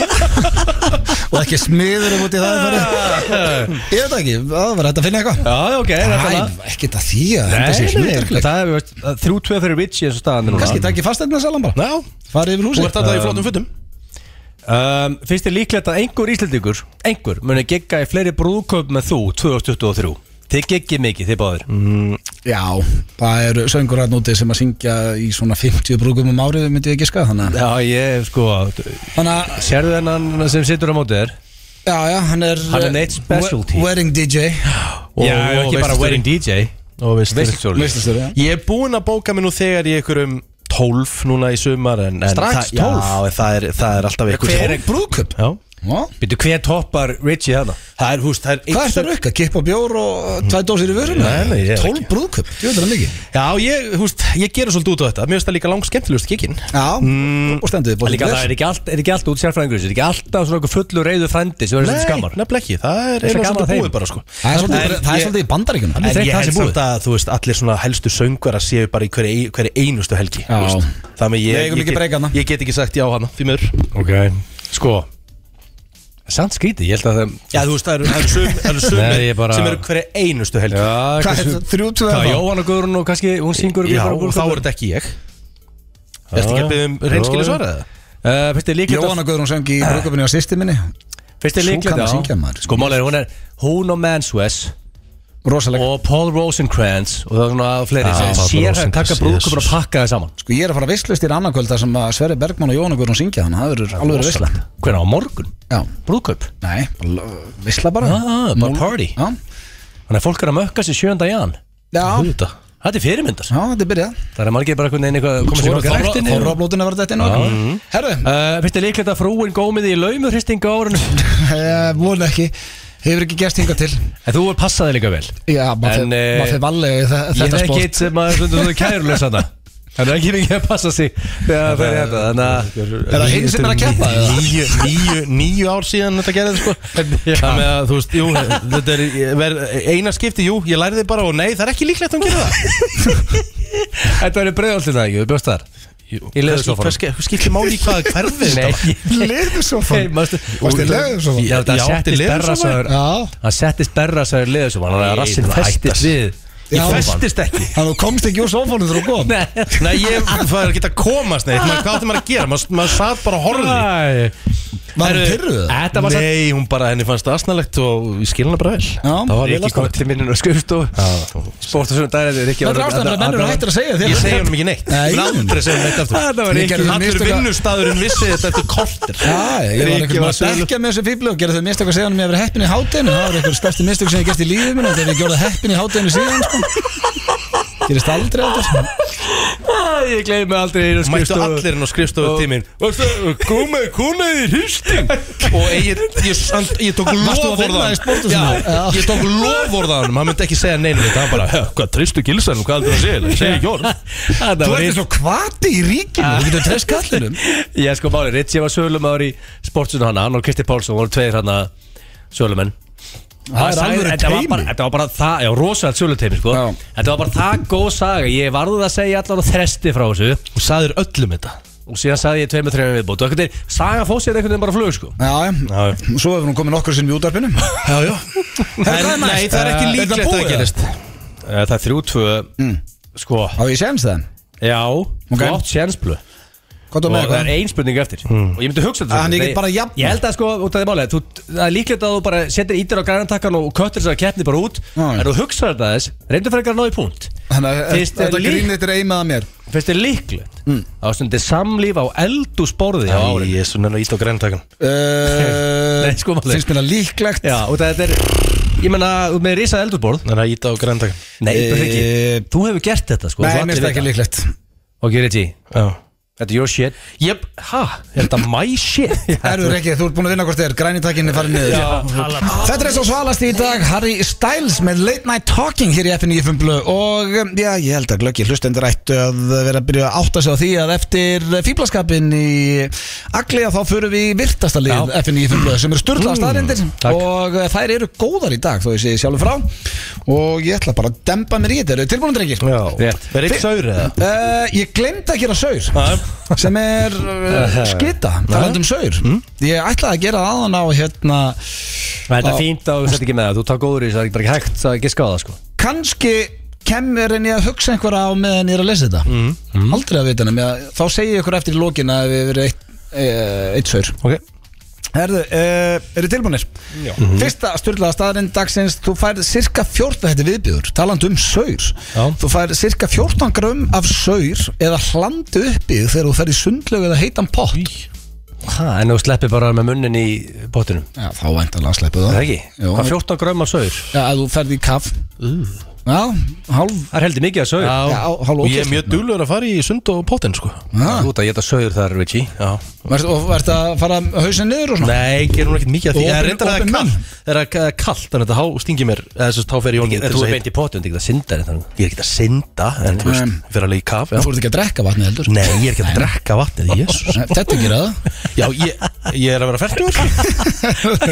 S1: Og ekki smiður ef út í það er farið Ég veit það ekki, það var hægt að finna eitthvað
S2: Já, já, ok, þetta er það
S1: Æ, ekki þetta því að henda sér sko.
S2: Nei, nei,
S1: sluttarkleik
S2: það er, veist, þrjú tvö fyrir Richie eins og staðan er núna
S1: Kanski takk ég fasteigna salan bara
S3: Já,
S1: Farið yfir
S3: þú
S1: húsi
S3: ert alltaf í flottum fötum
S2: um, Finnst þér líklegt að einhver Íslendingur einhver muni gegga í fleiri brúðköp með þú 2023 Þið geggið mikið, þið báðir
S1: Já, það eru söngur hann úti sem að syngja í svona 50 brúkum um árið myndi ég giska Þannig að-
S2: Já, ég, sko
S1: þannig að,
S2: Sérðu hennan sem situr á mótið þér
S1: já, já, hann er eh,
S2: Hann er neitt specialty.
S1: we- Wedding DJ
S3: Og- og veislustjóri.
S2: DJ
S3: Og veist
S1: Veistlustjóri, já
S3: Ég er búinn að bóka mig nú þegar í einhverjum 12 núna í sumar en, en
S1: Strax
S3: það-
S1: 12?
S3: Já, en það er, það er alltaf einhver
S2: Hver er-
S1: Brúðkaup?
S3: Já
S1: Ó.
S2: Býtu, hver toppar Richie hana?
S3: Það er, húst, það er
S1: Hvað er
S3: einn-
S1: þetta rukka? Kippa bjór og uh, tvær dósir í vöruna?
S3: Nei, nei, ég er
S1: 12 brúðköp, þú veit það mikið
S3: Já, ég, húst, ég gera svolítið út á þetta Mér finnst það líka langt skemmtilegust kikkin
S1: Já, og stendur þið
S2: Líka það er ekki allt, er ekki allt út sérfræðingur þessu, er ekki alltaf svona okkur fullu reyðu frændi sem verður svolítið skammar
S3: nefnilega ekki, það er
S2: er
S3: eiginlega
S2: gaman að
S3: svolítið
S2: þeim.
S3: búið bara sko
S1: Það er svolítið,
S3: En
S1: það er
S3: ég-
S1: svolítið í bandaríkunum
S2: Allir
S3: En
S2: þreytt
S3: ég
S2: það sé
S3: held
S2: búið.
S3: samt að, þú veist, allir svona helstu söngvara séu bara í hverju hverju einustu helgi
S1: Já.
S3: þú veist. Þannig ég,
S1: Við eigum
S3: ég,
S1: ekki breyka hana.
S3: get, ég get ekki sagt já hana, því miður
S2: Ok Sko Samt skrítið, ég held að það
S3: Já, þú veist, það eru- það eru sum- það eru
S2: Nei,
S3: sumir
S2: ég bara-
S3: sem eru hverju einustu helgi
S2: Já,
S1: Hvað er
S2: hversu-
S1: þetta? Þrjú, tvö
S2: Hvað,
S1: eða þá?
S2: Jóhanna Guðrún og kannski, hún syngur
S3: Já, og þá er þetta ekki ég Ertu ekki að byggja um reynskilu svarað?
S2: Eh, Fyrst er líklegt að-
S1: Jóhanna Guðrún söng í brúðköpunni á sýsti minni
S2: Fyrst er
S1: Sú
S2: líklegt
S1: kann að
S2: á-
S1: syngja, maður.
S2: Sko, málið er, hún er Hún og Manswes
S1: Rosalega
S2: Og Paul Rosencrantz Og það er svona fleiri
S3: Já,
S2: sem
S3: Paul
S2: Sérhæð
S3: Rosencrantz,
S2: taka brúðköpun og
S3: Jesus.
S2: pakka það saman
S1: Sko ég er að fara visslust í annarkvöld þar sem að Sverri Bergmann og Jóhanna Guðrún syngja þannig að það verður alveg vissla
S2: Hvernig á morgun?
S1: Já,
S2: Brúðköp
S1: nei, bara lo- vissla bara
S2: Ah, bara
S1: Múl-
S2: party.
S1: Já,
S2: Þannig að fólk er að mökka sér 7. jan
S1: já,
S3: Þetta
S2: Þetta er fyrirmyndar
S1: já þetta er byrjað
S2: Það er margir bara hvernig einhvað Komið sér okkur rektinni
S1: Þorrablótinu var þetta inn og Herru,
S2: Uh, Fyrst er líklegt að frúin gómiði í laumuhristingu á árunum
S1: eh, vonu ekki Hefur ekki gerst hingað til
S2: En þú er passaði líka vel
S1: Já, maður
S2: En, eh,
S1: fer- maður fyrir vallega í þe-
S2: Ég er
S1: þetta
S2: ekki
S1: sport
S2: eitt sem að stundu þú kærulös hana Hann er ekki mikið að passa sig Þegar það fer hérna Þannig að
S1: Er það hinn sem er að keppa? eða?
S3: Níu, níu, níu ár síðan þetta gerði sko Þannig að þú veist, jú, þetta er ég verð- eina skipti, jú, ég lærði bara og nei, það er ekki líklegt að hún gerir það
S2: Þetta verður breiðoltið það ekki, þú bjóst þar Í leðursofanum.
S3: Hvað skiptir máli í hvaða hverfið þetta var?
S1: Leðursofann
S2: Nei, maður
S1: Varstu í leðursofann?
S2: Já, það
S3: Já, átti
S2: settist
S3: leðursofann?
S2: berrasaður
S1: Já.
S2: Hann settist berrasaður í leðursofann Þannig að rassin festist við
S1: Já.
S2: í sófann.
S3: Festist ekki
S1: Þannig að þú komst ekki úr sófónu þegar þú kom
S2: Nei.
S3: Nei, ég, það er ekki að komast neitt maður, Hvað átti maður að gera? Maður, maður satt bara og horfði
S2: Æ.
S1: Var hún
S3: Herru,
S1: pyrruð það?
S2: Þetta var satt
S3: Nei, hún bara, henni fannst það asnalegt og við skilum hana bara vel
S1: Já,
S2: Það var ekki komið til minninu skrift og sport og svona dagir
S1: þetta er ástæðan að mennur hættir að segja þér
S3: Ég segi honum ekki neitt
S1: Nei,
S3: Ég vil
S1: ég-
S3: aldrei segja honum neitt aftur
S2: Þetta var
S1: Ég
S2: ekki
S1: gerði
S3: Allur
S1: mistök að-
S3: vinnustæðurinn vissi þetta eftir kortir
S1: Já, ég var
S3: Ríki
S1: einhvern veginn
S3: var
S1: að dekka með þessu fíblu og gera þau mistök að segja hann að ég verið heppin í hátinu það var einhver stærsti mistök sem ég gerst í lífið minn þegar ég gjörði heppin í hátinu síðan sko. gerist aldrei aldrei
S2: Ég gleymi aldrei einu
S3: Mættu
S2: skrift
S3: allir inn á skrifstofu tímin Gómið kúnaði hristing Og ég, ég, hann, ég tók
S1: Varstu að vinna í
S3: loforðan
S1: sporthúsinu? Já.
S3: Já, ég tók loforðan Hann myndi ekki segja neinu þetta Hann bara, "Hö, hvað tristu gilsanum, hvað heldur það að segja Ég segi ekki orð
S2: Þú
S1: svo kvati í ríkinu þú getur treyst kallinum
S2: Ég sko máli, Ritchie var sölumadur í sportsunum hana Hann og Kristi Pálsson voru tveir hana sölumenn
S1: Það er
S2: sagði-
S1: alvöru
S2: þetta var
S1: teimi.
S2: bara- Þetta var bara það, já, rosalega söluteimi sko
S1: Já.
S2: Þetta var bara það góð saga Ég varðið að segja allan og þresti frá þessu
S3: Og sagður öllum þetta
S2: Og síðan sagði ég tveimur, þreimur viðbót Og einhvern veginn, saga fósið er einhvern veginn bara á flug sko
S1: Já, já. svo hefur hún komið nokkur sinn í útarpinu
S3: Já, já
S1: hvað er næst?
S3: Nei, það er ekki
S1: Eh, er
S3: líklegt
S1: þetta
S3: að það
S1: búið?
S3: gerist
S2: Eh, Það er þrjú, tvö Sko,
S1: Á ég séns það
S2: já,
S1: Mm. Ok.
S2: flott sénsblöð
S1: Hvað þú
S2: og
S1: með
S2: það er
S1: hvað?
S2: ein spurning eftir og ég myndi hugsa þetta
S1: Hann, ég
S2: svolítið.
S1: get bara jafnað.
S2: ég held að sko út af því máli þú, það er líklegt að þú bara setir ítir á grænantakkan og köttir þessar keppni bara út
S1: Já, já.
S2: en þú hugsa þetta aðeins reyndu fyrir að ná í punkt
S1: Þannig að
S2: Fyrst er
S1: þetta
S2: lík-
S1: grínleitt er eimaða mér
S2: finnst þér líklegt
S1: Mm.
S2: það var stundið samlíf á eldúsborði á árinu
S3: Ég er svona ít á græntakan
S1: Uh,
S2: Nei, sko, maður.
S1: Finnst mér það líklegt
S2: já, og það er ég menna út með risa eldúsborð
S3: Þannig að ít á græntakan
S2: nei,
S1: Eh,
S2: þú ekki þú hefur gert þetta sko
S1: Nei,
S2: þú
S1: mér finnst
S2: allir
S1: það ekki
S2: vita.
S1: líklegt
S2: ok, Rigi
S3: Já
S2: þetta er your shit
S3: Jep, ha, er þetta my shit?
S1: Erður ekki, þú ert búin að vinna hvort þér, grænitakinn er farin niður Þetta er eins og svalast í dag Harry Styles með Late Night Talking hér í FNF Blu og um, já, ég held að glöggi hlustendur ættu að vera að byrja að átta sig á því að eftir fýblaskapin í Agli að þá förum við í virtasta lið FNF Blu sem eru styrlaða staðrindir
S2: takk.
S1: og uh, þær eru góðar í dag þó ég sé sjálfur frá og ég ætla bara að dempa mér í þetta, eru tilbúinum drengir?
S3: Já
S2: Rétt.
S3: Er ekki saur eða? Ah,
S1: Uh, ég glemd að gera saur sem er uh, skita talandum saur ég ætlaði að gera það aðan á hérna
S2: þetta
S1: Já.
S2: er fínt að þú sett ekki með það þú takk góður í þessu það er bara ekki hægt að giska á það sko
S1: kannski kemur en ég að hugsa einhverja á meðan ég er að lesa þetta aldrei að vita hann þá segi ég ykkur eftir í lokin að við verið eitt, e, eitt saur
S2: ok
S1: Herðu, uh, eru tilbúinir? Já. Fyrsta styrlaða staðarinn dagsins, þú færð cirka 14, þetta er viðbjöður, talandu um saur.
S2: Já.
S1: Þú færð cirka 14 grömm af saur eða hlandu uppið þegar þú færð í sundlög eða heitan pott.
S2: Ha, en þú sleppir bara með munnin í pottinum
S1: Já, þá væntanlega sleppu það.
S2: Er það ekki?
S1: Jó,
S2: Hvað 14 grömm af saur?
S1: Já, að þú ferð í kaff Já, hálf
S2: Það er heldur mikið að sögur
S1: Já, hálf
S3: Og ég er
S1: ógeðslegt.
S3: mjög duglur að fara í sund og potinn sko
S1: Já.
S3: Þú ert að geta sögur þar, Richie Já.
S1: Verst- Og verður það að fara hausin niður og svona?
S3: Nei, gerum hún ekkert mikið að því
S1: Og
S3: Ég er
S1: opin-
S3: reyndar að það
S1: opin
S3: er
S1: menn.
S3: kallt Það er að- það er kallt, þannig að þetta há stingi mér eða þess að þá fer ég honum til
S2: Þú
S3: þess
S2: er
S3: að
S2: beint í pottum, þetta er ekki það syndar þannig.
S3: Ég er ekkert að synda, en þú veist,
S1: Nei.
S3: ég fer alveg í kaf já.
S1: Þú fórst ekki að drekka vatnið heldur
S3: Nei, ég er ekkert að drekka vatnið, jésus
S1: Nei, Þetta gera það
S3: Já, ég, ég er að vera færtur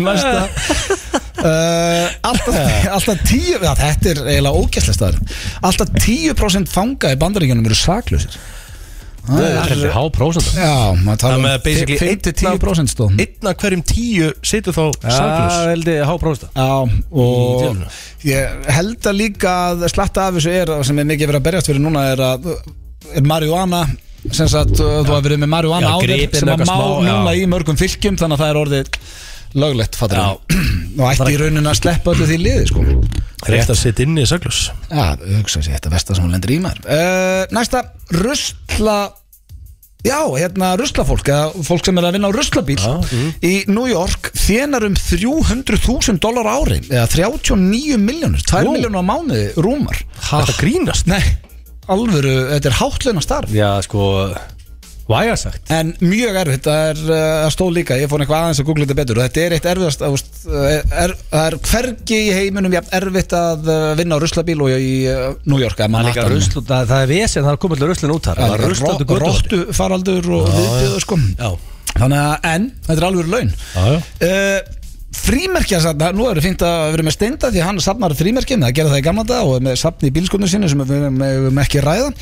S1: Næsta uh, alltaf, alltaf tíu ja, Þetta er eiginlega ógæslega staður Alltaf 10% fanga í bandaríkjunum eru saklausir
S2: Það er heldur há prósent
S1: Já, maður tala
S3: Það
S1: um
S3: með basically
S1: 5-10% stóðum
S3: Einna hverjum tíu situr þá
S2: Það
S3: saklaus
S2: er heldur há prósent
S1: Já,
S3: Í
S1: og
S3: djöflinu.
S1: ég held að líka að slatta af þessu er sem er mikið verið að berjast fyrir núna er að er marihuana sem sagt uh, þú hafi verið með marihuana
S2: Já,
S1: áður
S2: gripin
S1: sem að
S2: eitthvað
S1: má
S2: smá, já.
S1: núna í mörgum fylgjum þannig að það er orðið löglegt fattur og ætti í rauninu að sleppa öllu því liði sko
S3: Rétt að sitt inni saklaus
S1: Já, hugsa sér, þetta versta sem hún lendir í maður uh, Næsta, rusla Já, hérna ruslafólk eða fólk sem er að vinna á ruslabíl
S2: mhm.
S1: í New York þjenar um 300.000 dólar ári eða 39 miljónur, 2
S3: Wow.
S1: miljónur á mánuði rúmar
S3: Þetta
S2: Ah.
S3: grínast
S1: Nei, alvöru, þetta er hátluna starf
S2: Já, sko Væga sagt
S1: En mjög erfitt, þetta er uh, að stóð líka Ég fór eitthvað aðeins að googla þetta betur og Þetta er eitt erfiðast að, veist, uh, er, Það er hvergi í heiminum jafn erfitt að uh, vinna á ruslabíl og í uh, New York eða
S2: Það er líka
S1: Manhattan.
S2: rusl Það það er vesen, það er komið allir ruslun út þar Það er ruslandi guttótt
S1: Róttu faraldur og viðbjöðu sko
S2: Já,
S1: Þannig að en þetta er alveg laun
S2: já, já
S1: uh, Frímerkja satna, nú er fínt að vera með steinda því að hann safnar frímerkjum, það gerði það í gamla dag og er með safni í bílskotnum sinni sem við mögum ekki ræða uh,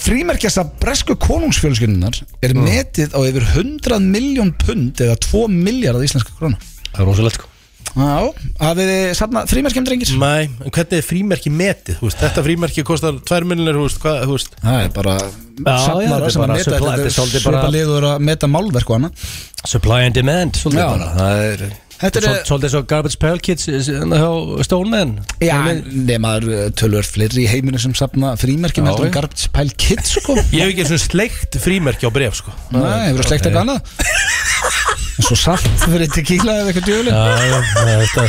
S1: Frímerkja safn bresku konungsfjölskyndunar er metið á yfir 100 miljón pund eða 2 miljard íslenska króna
S2: Það er rosalegt sko
S1: Já, hafið þið safna frímerkjum drengir?
S3: Nei, en hvernig er frímerki metið? Þú veist, þetta frímerki kostar tvær millinir, þú veist, hvað, þú veist
S1: Það er bara
S2: já, þetta
S1: safnara
S2: er
S1: sem að
S2: bara
S1: meta
S2: supply,
S1: þetta,
S2: þetta er
S1: þetta
S2: svolítið
S1: er bara
S2: bara-
S1: liður að meta málverk og annað
S2: Supply and demand, svolítið
S1: Já.
S2: bara Það er
S1: Þetta er-
S2: svol- Svolítið svo Garbage Pail Kids eh, Þannig á Stone Man
S1: Já, nema tölur fleiri í heiminu sem safna frímerkjum heldur en
S2: já.
S1: Garbage Pile Kids sko
S3: Ég hef ekki eins og sleikt frímerki á bref, sko
S1: Nei, hefur það slegt eitthvað annað En svo salt fyrir tequila eða eitthvað djöfli
S2: Já, já, já, þetta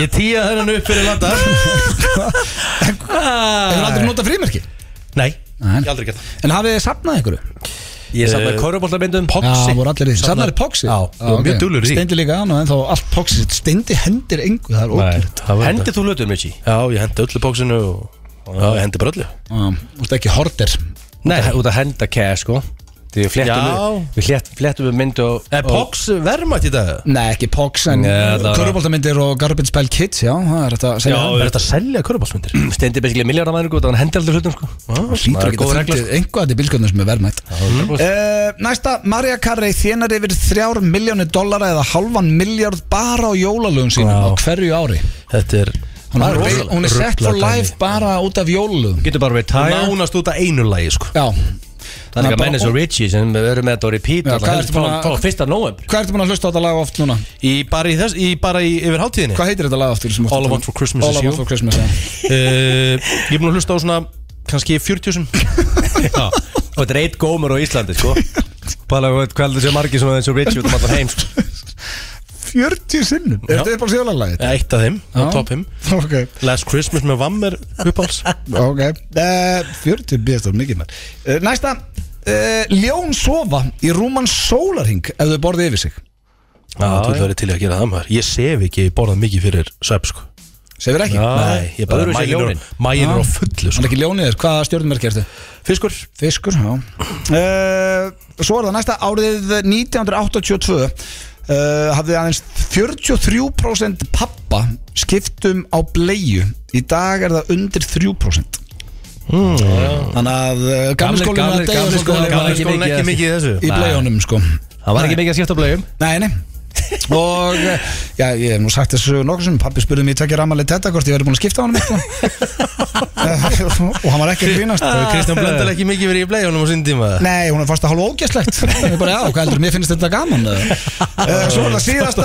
S2: Ég tíja þennan upp fyrir landa
S1: Hefur aldrei notað frímerki
S3: Nei,
S1: Nei.
S3: ég aldrei geta
S1: En hafið þið safnað einhverju?
S2: Ég safnaði korfbóltamindum
S1: Já, voru allir í því Safnaði poxi?
S2: Já,
S3: ég var mjög duglegur í því.
S1: Steindi líka annað en þá allt poxi Steindi hendir engu, það er ótrúlegt
S3: Hendi
S2: Hendið þú lötum, Michi?
S3: Já, ég hendi öllu bóksinu og Já, ég hendi bara öllu
S1: Já, Þú ert ekki horter
S2: Nei, út að henda cash, sko Því við flettum
S3: Já.
S2: við, við flett, flettum við mynd og
S3: Er bóks verðmætt í dag?
S1: Nei, ekki pox En
S2: Nei, það var-
S1: körubóltamindir og Garbage Pile Kids Já, það er þetta að segja
S3: er þetta að selja Ah, körubálsmyndir?
S2: og stendi basically miljardamæður og hann hendi aldrei hlutum, sko
S1: Lítur
S2: það er
S1: ekki
S2: góð
S1: að
S2: regla,
S1: fundið einhvað til bílskjöndum sem er verðmætt
S3: Mm.
S1: uh, Næsta, Marja Karrey þjenar yfir þrjár miljónu dollara eða halvan miljard bara á jólalögum sínum á hverju ári
S2: sko.
S3: Þetta er
S1: Hún er, hún er sett for
S3: Ruglað
S1: life bara út af jólalögum
S2: Getur bara retire
S3: Nánast út að einu lagi, sko
S1: Já
S2: Það er ekki að menna svo Richie sem við erum með þetta á repeat
S1: Já,
S2: alltaf
S1: hvað
S2: helst
S1: ertu búin
S2: frá-
S1: að-
S2: frá fyrsta november
S1: Hvað ertu búin að hlusta á þetta lag oft núna?
S3: Í bara í þess, í bara í yfir hátíðinni
S1: Hvað heitir þetta lag aftur? sem þú ert að
S3: All I
S1: tala
S3: Want
S1: um?
S3: for Christmas
S1: All
S3: is
S1: I Want
S3: You.
S1: for Christmas já.
S3: Uh, Ég er búin að hlusta á svona, kannski 40 sem
S2: Já, og þetta er eitt gómur á Íslandi sko Bara veit hvað heldur sé margir sem er eins og Richie út um allan heim sko
S1: 40 sinnum Er
S3: Já.
S1: þetta upp á síðalaglæðið?
S3: Eh, Eitt af þeim, á
S1: Já.
S3: topp 5
S1: Ok,
S3: Last Christmas með Vammer uppáls
S1: ok uh, 40 býðast á mikið mér uh, Næsta uh, Ljón sofa í rúman sólarhing ef þau borði yfir sig
S3: Já, þú ert verið til í að gera það maður Ég sef ekki borðað mikið fyrir svepp sko
S1: Sefur ekki?
S3: Nei, ég bara
S2: öðruvísi
S3: mægin
S2: ljónin.
S3: er- mægin er á
S1: Já.
S3: fullu
S1: Hann er
S3: sko
S1: ekki ljónið þér, hvaða stjórnmerki ertu?
S3: Fiskur
S1: Fiskur, já uh, Svo er það næsta árið 1982 uh, hafði aðeins 43% pappa skiptum um á bleju Í dag er það undir 3% mm, Þannig að uh, gamli
S2: Gamlir-
S1: skólinn
S2: gamlir-
S1: að deyja
S2: gamlir
S1: svolítið
S2: skólinn var
S1: gamli
S2: ekki
S1: skólinn
S2: mikið
S1: ekki
S2: að-
S1: mikið
S3: Mikið í þessu
S1: í bleiunum sko
S2: Það var ekki mikið að skipta á blæjum
S1: Nei, nei og eh, já, ég hef nú sagt þessu nokkuð sem pappi spurði mér í takkja ramalið þetta hvort ég verið búin að skipta á hann og hann var ekki að grínast
S3: Hefur Kristján Blöndal ekki mikið verið í bleiðunum á sinni tíma?
S1: Nei, hún er fast að hálfa ógæslegt Ég er bara, já, hvað heldur, mér finnst þetta gaman uh, Svo er það síðasta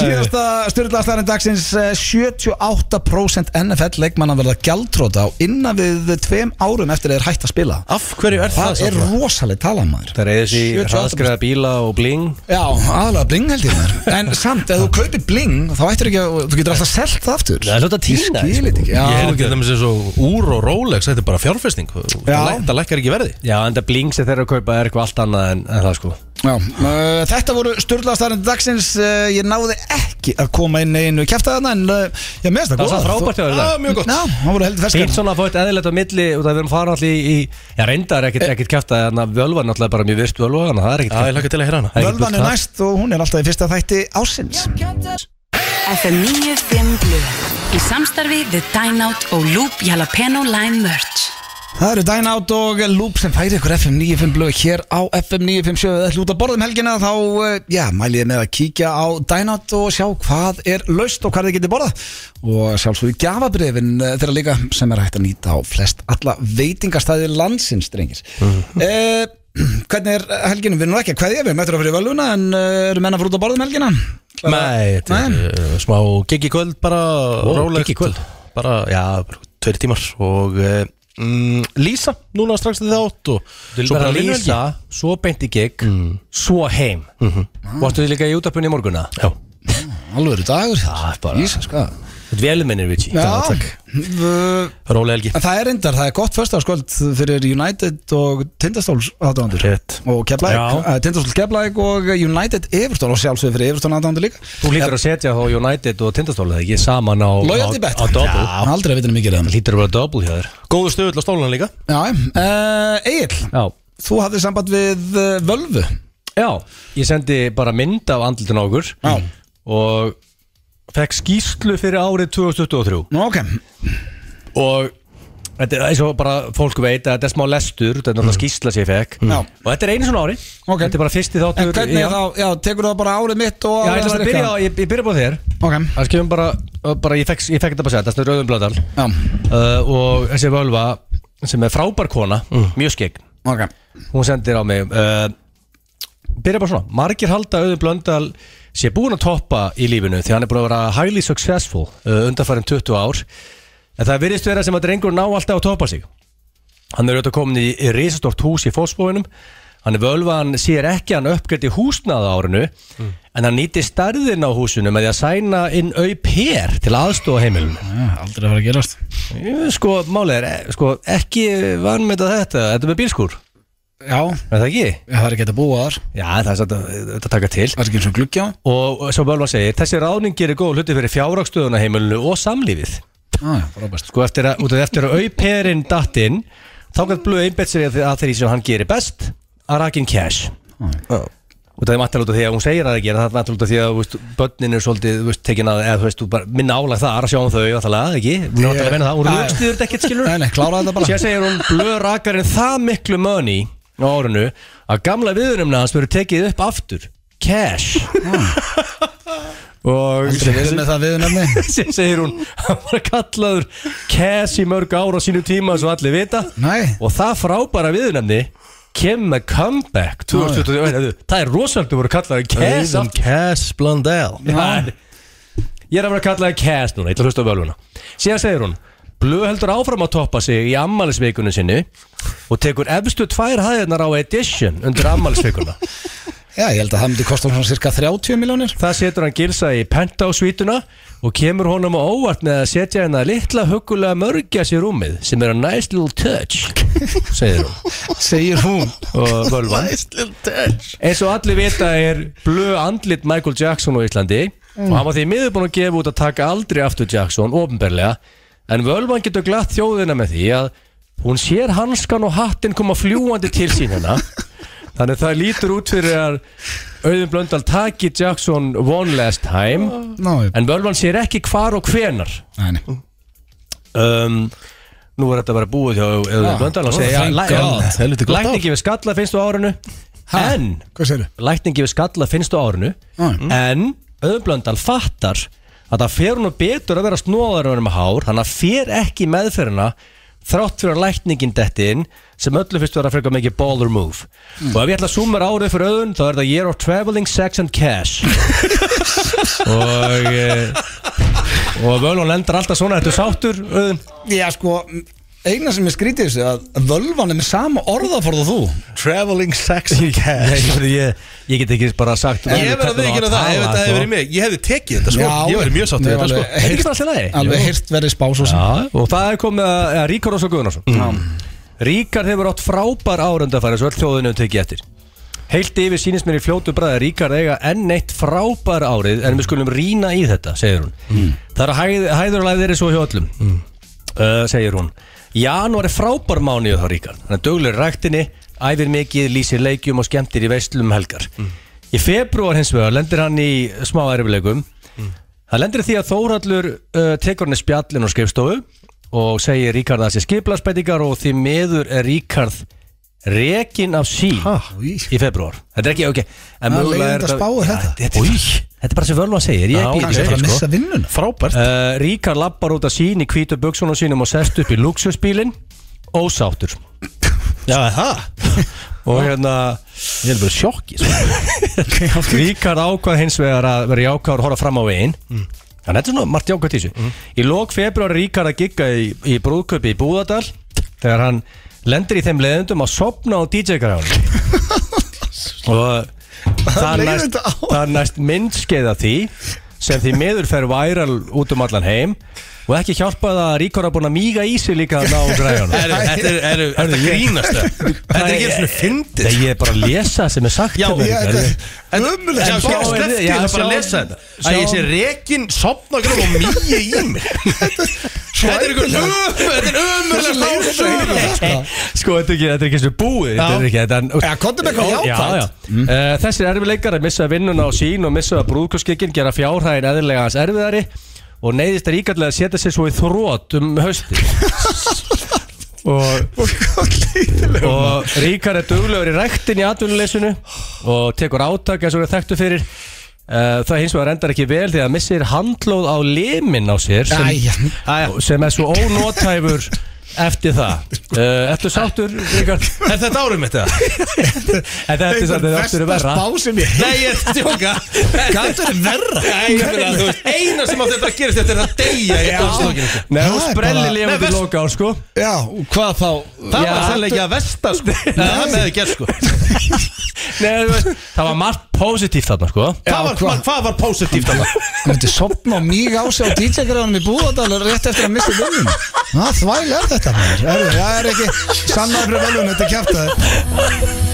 S1: Síðasta styrlaðastærin dagsins eh, 78% NFL leikmanna verða gjaldtróta á innan við tveim árum eftir að þeir hætt að spila
S3: Af hverju er það?
S1: Það er rosaleg tala maður
S2: Það reyðis í
S1: 78%.
S2: hraðskræða bíla og bling
S3: bling
S1: Já, aðalega bling held ég þar En samt, ef þú kaupir bling þá ættir ekki að, þú getur alltaf selt það aftur
S3: Það er hljóta að
S1: Ég skil
S3: týna því, sko.
S1: þetta ekki, já
S2: Ég er ekki þetta með sér svo úr og Rolex, þetta er bara fjárfesting
S1: Já.
S2: Það lækkar ekki verði
S3: Já, en það bling sem þeir eru að kaupa er eitthvað allt annað en, en það sko
S1: Já, uh, þetta voru styrlaðastæðan dagsins, uh, ég náði ekki að koma inn einu kæfta þarna en uh, já, mér finnst það
S3: Það var
S1: góðar.
S3: svo frábært hjá þér í dag.
S1: Já, mjög gott Já, það voru heldur
S3: Fyrst
S1: ferskar
S3: svona að fá eitthvað eðlilegt á milli og það við erum farað allir í, í Já, reyndar ekkert ekkert kæft að þannig að völvan náttúrulega bara mjög virst völva þannig að það er ekkert
S2: Já, ég lakka til að heyra hana
S3: Það er ekki
S1: Völvan er
S3: bull
S1: næst og hún er alltaf í fyrsta þætti ásins
S4: FM 95 Blu Í samstarfi við Dine Out og Loop Jalapeno Lime Merch
S1: Það eru Dine Out og Loop sem færi ykkur FM 95 blöð hér á FM 957 Það er út að borða um helgina þá, eh, já, mæli ég með að kíkja á Dine Out og sjá hvað er laust og hvað þið getið borða og sjálfsögur gjafabrifin eh, þeirra líka sem er hægt að nýta á flest alla veitingastæði landsins, drengir eh, Hvernig er helginu? Við erum nú ekki að kveðja, við erum eftir að fyrir völuna en eh, eru menna fyrir út að borða um helgina?
S2: Nei, þetta er
S1: Nei.
S2: uh, smá gig í kvöld bara
S3: Ó,
S2: rólegt.
S3: gig í kvöld.
S2: Bara, já, bara tveir tímar og uh, mm, Lísa, núna strax til það átt og
S3: Þú vil bara lýsa, svo beint í gig,
S2: Mm.
S3: svo heim
S2: Mhm.
S3: Vartu þið líka í útarpunni í morgunna? Já
S1: Alveg eru dagur,
S3: Það er bara,
S1: Jesus, hvað?
S3: þetta velumennir við
S1: Já,
S3: Já,
S1: v-
S2: Róla Helgi
S1: En það er reyndar, það er gott förstaskvöld fyrir United og Tindastóls aðdóðandur
S2: Rétt.
S1: og Keflæk,
S3: Já.
S1: Tindastóls Keflæk og United Evertón og sjálfsögur fyrir Evertón aðdóðandur líka
S3: Þú lítur að setja þá United og Tindastóla ekki saman á
S1: Loyalty
S3: á-
S1: bet.
S3: Á double
S1: Já, aldrei að vita mikið reyðan
S3: Lítur að vera double hjá þér
S2: Góðu stöðull á stólan líka
S1: Já, uh, Egil,
S3: Já
S1: þú hafði samband við uh, Völvu
S3: Já, ég sendi bara mynd af andlutin á okkur
S1: Já.
S3: Og fekk skýslu fyrir árið 2023
S1: Nú, ok,
S3: og þetta er eins og bara fólk veit að þetta er smá lestur, þetta er náttúrulega skýrsla sem ég fekk
S1: Já.
S3: og þetta er einu svona ári
S1: Ok.
S3: þetta er bara fyrsti þáttur
S1: en hvernig
S3: já,
S1: þá, já, tekur það bara árið mitt og
S3: Já, ég, ætla bara að
S1: Rikka?
S3: byrja, á- ég, ég byrja bara á þér
S1: Ok,
S3: það skefum bara, bara ég, fekk, ég fekk þetta bara sett, þetta er Rauðum Blöðal
S1: já,
S3: uh, og þessi völva sem er frábær kona, mjög skegg
S1: ok
S3: hún sendir á mig uh, byrja bara svona margir halda auðvitað blöndal sé búin að toppa í lífinu því hann er búin að vera highly successful uh, undanfærin 20 ár en það virðist vera sem að drengur ná alltaf að toppa sig hann er auðvitað komin í, í risastort hús í fósbóinum hann er völva, hann sér ekki að hann uppgretti húsnaða árinu en hann nýti starðin á húsinu með því að sæna inn au pér til aðstofa heimilinu
S1: Aldrei að fara að gerast
S3: Jú, sko, málið er, eh, sko, ekki vanmeta þetta, þetta er með bílskúr
S1: Já,
S3: er það ekki?
S1: það er ekki hægt að búa þar
S3: Já, það er satt að þetta taka til
S1: Það er ekki eins og gluggja á
S3: Og svo Bölva segir, þessi ráðning gerir góð hluti fyrir fjárrakstöðuna heimilinu og samlífið
S1: ah, já, frábært.
S3: Sko eftir að, út af eftir að auperinn datt inn Þá gætt blöð einbett sér að þeirri sem hann gerir best Að rakin cash Og það er mattalega út af því að hún segir það ekki en Það er mattalega út af því að þú veist, börnin er svolítið þú veist, tekin að, eða þú veist, þú bara minna álag þar að sjá um þau Náttúrulega ekki, hún er náttúrulega að vinna það Hún
S1: Já, já.
S3: rökstuður þetta ekkert skilur
S1: Nei, nei, kláraðu þetta bara.
S3: Sér segir hún blöð rakarinn það miklu money á árinu Að gamla viðurumna hans verður tekið upp aftur Cash Og
S1: Aldrei verið með það viðurnefni.
S3: sem segir hún hann var kallaður Cass í mörg ára á sínu tíma svo allir vita
S1: Nei.
S3: og það frábæra viðnefni Kim a Comeback 2021 Heyrðu, það er rosalega að voru kallaður Cass
S2: Raven
S3: aftur.
S2: Cass Blondell
S3: Já, en- ég er að vera kallaður Cass núna ég ætla að hlusta á völvuna síðan segir hún Blöð heldur áfram að toppa sig í ammælisvikunum sinni og tekur efstu tvær hæðirnar á Edition undir ammælisvikuna
S1: Já, ég held að það myndi kosta svona cirka 30 miljónir
S3: Það setur hann gilsa í pentásvítuna og kemur honum á óvart með að setja hennar litla hugulega mörgja sér rúmið sem er a nice little touch segir hún
S1: Segir hún
S3: og völvan eins og allir vita er blöð andlit Michael Jackson á Íslandi og hann var því miður búin að gefa út að taka aldrei aftur Jackson ofnberlega en völvan getur glatt þjóðina með því að hún sér hanskan og hattinn koma fljúandi til sín hennar Þannig að það lítur út fyrir að Auðun Blöndal taki Jackson one last time
S1: Ná, ég-
S3: En völvan sér ekki hvar og hvenar
S1: Nei, nei.
S3: um, Nú er þetta bara búið hjá Auðvitað Blöndal og segja
S1: thank God.
S2: Helviti gott ár.
S3: Lækningi við skalla finnst á árinu En
S1: Hvað segir þau?
S3: Lækningi við skalla finnst á árinu
S1: Já.
S3: En Auðvitað Blöndal fattar Að það fer hún betur að vera snóðarunum með hár Þannig að fer ekki í meðferðina Þrátt fyrir að lækningin detti inn Sem öllu fyrst vera frekar mikið baller move Og ef ég ætla að zooma árið fyrir auðun Þá er það year of traveling, sex and cash Og eh, Og völvan lendur alltaf svona Þetta er sáttur auðun
S1: Já, sko, eina sem er skrítið í þessu er að völvan er með sama orðaforð og þú
S3: Traveling sex and cash
S2: ég, ég, ég get ekki bara sagt
S3: Ég verð að viðkynna það, ef þetta hefði verið mig Ég hefði tekið þetta sko, ég verði mjög sátt við
S1: mér
S3: þetta
S1: alveg
S3: sko
S2: Er ekki svona allt í lagi?
S1: heyrt- Alveg
S2: Jú.
S1: hirt verið spá svo sem
S2: Já, og það er komið að ja, Ríkar Ósar Guðnarsson mm. Ríkar hefur átt frábær árendafæri svo öll þjóðinu hefur tekið eftir Heilt yfir sýnist mér í fljótu bræði Ríkar eiga enn eitt frábær árið en við skulum rína í þetta, segir hún Það er að hæð, hæður og læðir er svo hjá öllum uh, segir hún Janúar er frábær mánuð þá Ríkar hann er duglegur í ræktinni, æfir mikið lýsir leikjum og skemmtir í veislum um helgar Í februar hins vegar lendir hann í smá erfileikum Það lendir í því að Þórallur uh, tekur hann í spjallin og skrifstofu og segir Ríkard að það sé skiplarsbætingar og því meður er Ríkard rekin af sín
S1: í.
S2: í februar. Þetta er ekki, ok. En
S1: Það er
S2: mögulega
S1: leiðinda spáir
S2: Ja,
S1: þetta.
S2: Þetta, er- þetta er bara sem völva segir, ég get
S1: Kannski
S2: ekki
S1: bara að
S2: segir sko.
S1: missa vinnuna
S3: Frábært
S2: Uh, Ríkar lappar út af sín í hvítu buksunum sínum og sest upp í luxusbílinn ósáttur.
S3: Já, það,
S2: Og hérna...
S3: ég er bara sjokki sko.
S2: Ríkar ákvað hins vegar að vera jákvæður og horfa fram á veginn
S3: Mm.
S2: Þannig að þetta er svona margt jákvæð tísu Í lok februar Ríkar að gigga í, í brúðköpi í Búðardal Þegar hann lendir í þeim leðendum að sopna á DJ-græðan Og það er
S1: leið
S2: næst,
S1: þetta á.
S2: það er næst myndskeið af því sem því miður fer væral út um allan heim og ekki hjálpað að Ríkar að búin að míga í sig líka að ná græðan
S3: Herru, Þetta er- herru, þetta er grínast það. Þetta er ekki einu svona fyndið
S2: Nei, ég er bara að lesa það sem er sagt
S3: Já,
S2: um
S3: ég-
S2: Ríkar.
S3: Ömulegt
S2: Já,
S3: Já,
S2: sjáum
S3: bara
S2: við-
S3: sleppti
S2: já,
S3: þetta bara
S2: sjáum-
S3: að lesa þetta Að
S2: sjáum-
S3: ég sé rekin, sopna grum og mýi í mig Þetta er ykkur ömulegt Þetta er ömulegt
S2: Sko, þetta er ekki, þetta er ekki svo búið Þetta er ekki, þetta
S1: Já,
S2: er
S1: komdu með eitthvað jákvætt. Mm.
S2: já, já. Eh, Þessir erfileikar að missa vinnuna á sín og missa brúðkurskikkin gera fjárhæðin eðlilega hans erfiðari og neyðist er íkallega að setja sér svo í þrótt um hausti og, og Ríkar er duglegur í ræktin í atvinnuleysinu og tekur átak eins og er þekktu fyrir Eh, Það hins vegar endar ekki vel því að missir handlóð á limin á sér sem,
S1: Æja.
S2: Æja. sem er svo ónótæfur eftir það uh, Ertu sáttur, Ríkard?
S3: Er þetta árum mitt eða?
S2: En Þetta er þetta áttur að verra
S1: spá sem ég
S3: Nei, ég er að tjóka Gætu er verra Nei, ég meina, þú veist, eina sem átti þetta að gerist Þetta er að deyja í dómslokinu
S2: Nei, hún
S1: Það er
S2: sprelli
S1: bara-
S3: Nei,
S2: lifandi
S3: verst-
S2: loka á sko
S1: Já, hvað þá
S3: Það
S2: Já.
S3: var sannlega ekki að vesta, sko Nei, Það með þið gerst, sko
S2: Nei, þú veist, það var margt positíft þarna sko
S3: Hvað var-
S1: hvað?
S3: hvað- Hvað var positíft að það?
S1: Hann myndi sopna og míg á sig á DJ-græðanum í Búðardalur rétt eftir að missa vinnun Það þvæl er þetta maður Herðu, Það er ekki sannar fyrir velun Þetta er kjátt að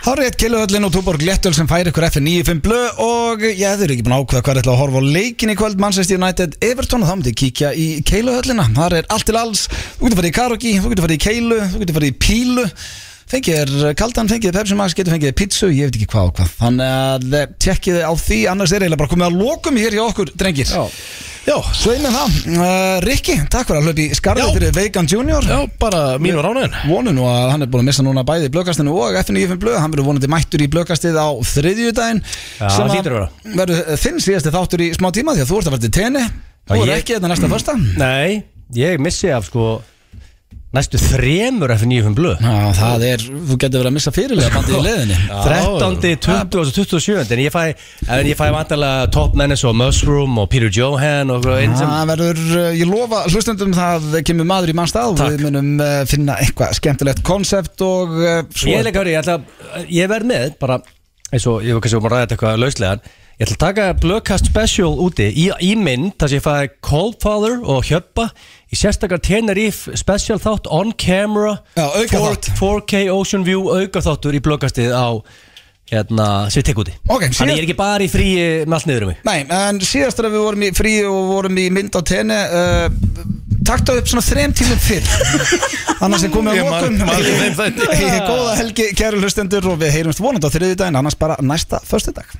S1: Hárið Killöðlinn og Túborg Léttöl sem færi ykkur F95 blö og ég þeir eru ekki búin að ákveða hvað er ætla að horfa á leikin í kvöld Manchester United Everton og þá myndi ég kíkja í Keiluhöllina þar er allt til alls, þú getur farið í karaoke þú getur farið í Keilu, þú getur farið í Pílu fengið er kaldan, fengið er Pepsi Max getur fengið er pizzu, ég veit ekki hvað og hvað þannig að eh, tjekkið á því, annars er eiginlega bara komið að lokum hér hjá okkur, drengir Já, Já sveið með það uh, Rikki, takk fyrir að hluti skarðið fyrir Vegan Junior
S3: bara mín var ánæðin
S1: vonu nú að hann er búin að missa núna bæði í blökastinu og FNF blöð, hann verður vonandi mættur í blökastið á þriðjudaginn
S2: Já,
S1: sem
S2: hlýtur að vera.
S1: verður eh, þinn síðasti þáttur í smá tíma því að þú ert að verða til tenni þú er
S2: ég-
S1: ekki þetta næsta första
S2: Nei, ég missi af sko Næstu þremur F9 blöð
S1: Já, það er, þú getur verið að missa fyrirlega bandið í leiðinni
S2: 13, 20 og 27 En ég fæ, en ég fæ vantarlega Top Menace og Mushroom og Peter Johan og
S3: Ah.
S2: einn sem
S1: Það verður, uh, ég lofa hlustendum það kemur maður í mann stað og við munum uh, finna eitthvað skemmtilegt konsept og uh,
S2: Ég er líka verið, ég ætla Ég verð með, bara eins og ég var kannski um að ræða þetta eitthvað lauslegan Ég ætla að taka Blökkast Special úti í, í mynd þar sem ég fæði Coldfather og Hjöppa í sérstakar Tenerife Special þátt on camera
S1: Já, aukaþátt.
S2: 4K Ocean View aukaþáttur í Blökkastið á hérna, sem ég tek úti
S1: Ok, síðast-
S2: Þannig ég er ekki bara í fríi með allt niður um mig
S1: Nei, en síðast þegar við vorum í frí og vorum í mynd á tenni uh, takta upp svona þrem tímum fyrr annars er komið
S3: Ég
S1: að
S3: man- man eftir þeim
S1: lokum
S3: þætti.
S1: Góða helgi, kæru hlustendur og við heyrumst vonandi á þriðjudaginn annars bara næsta föstudag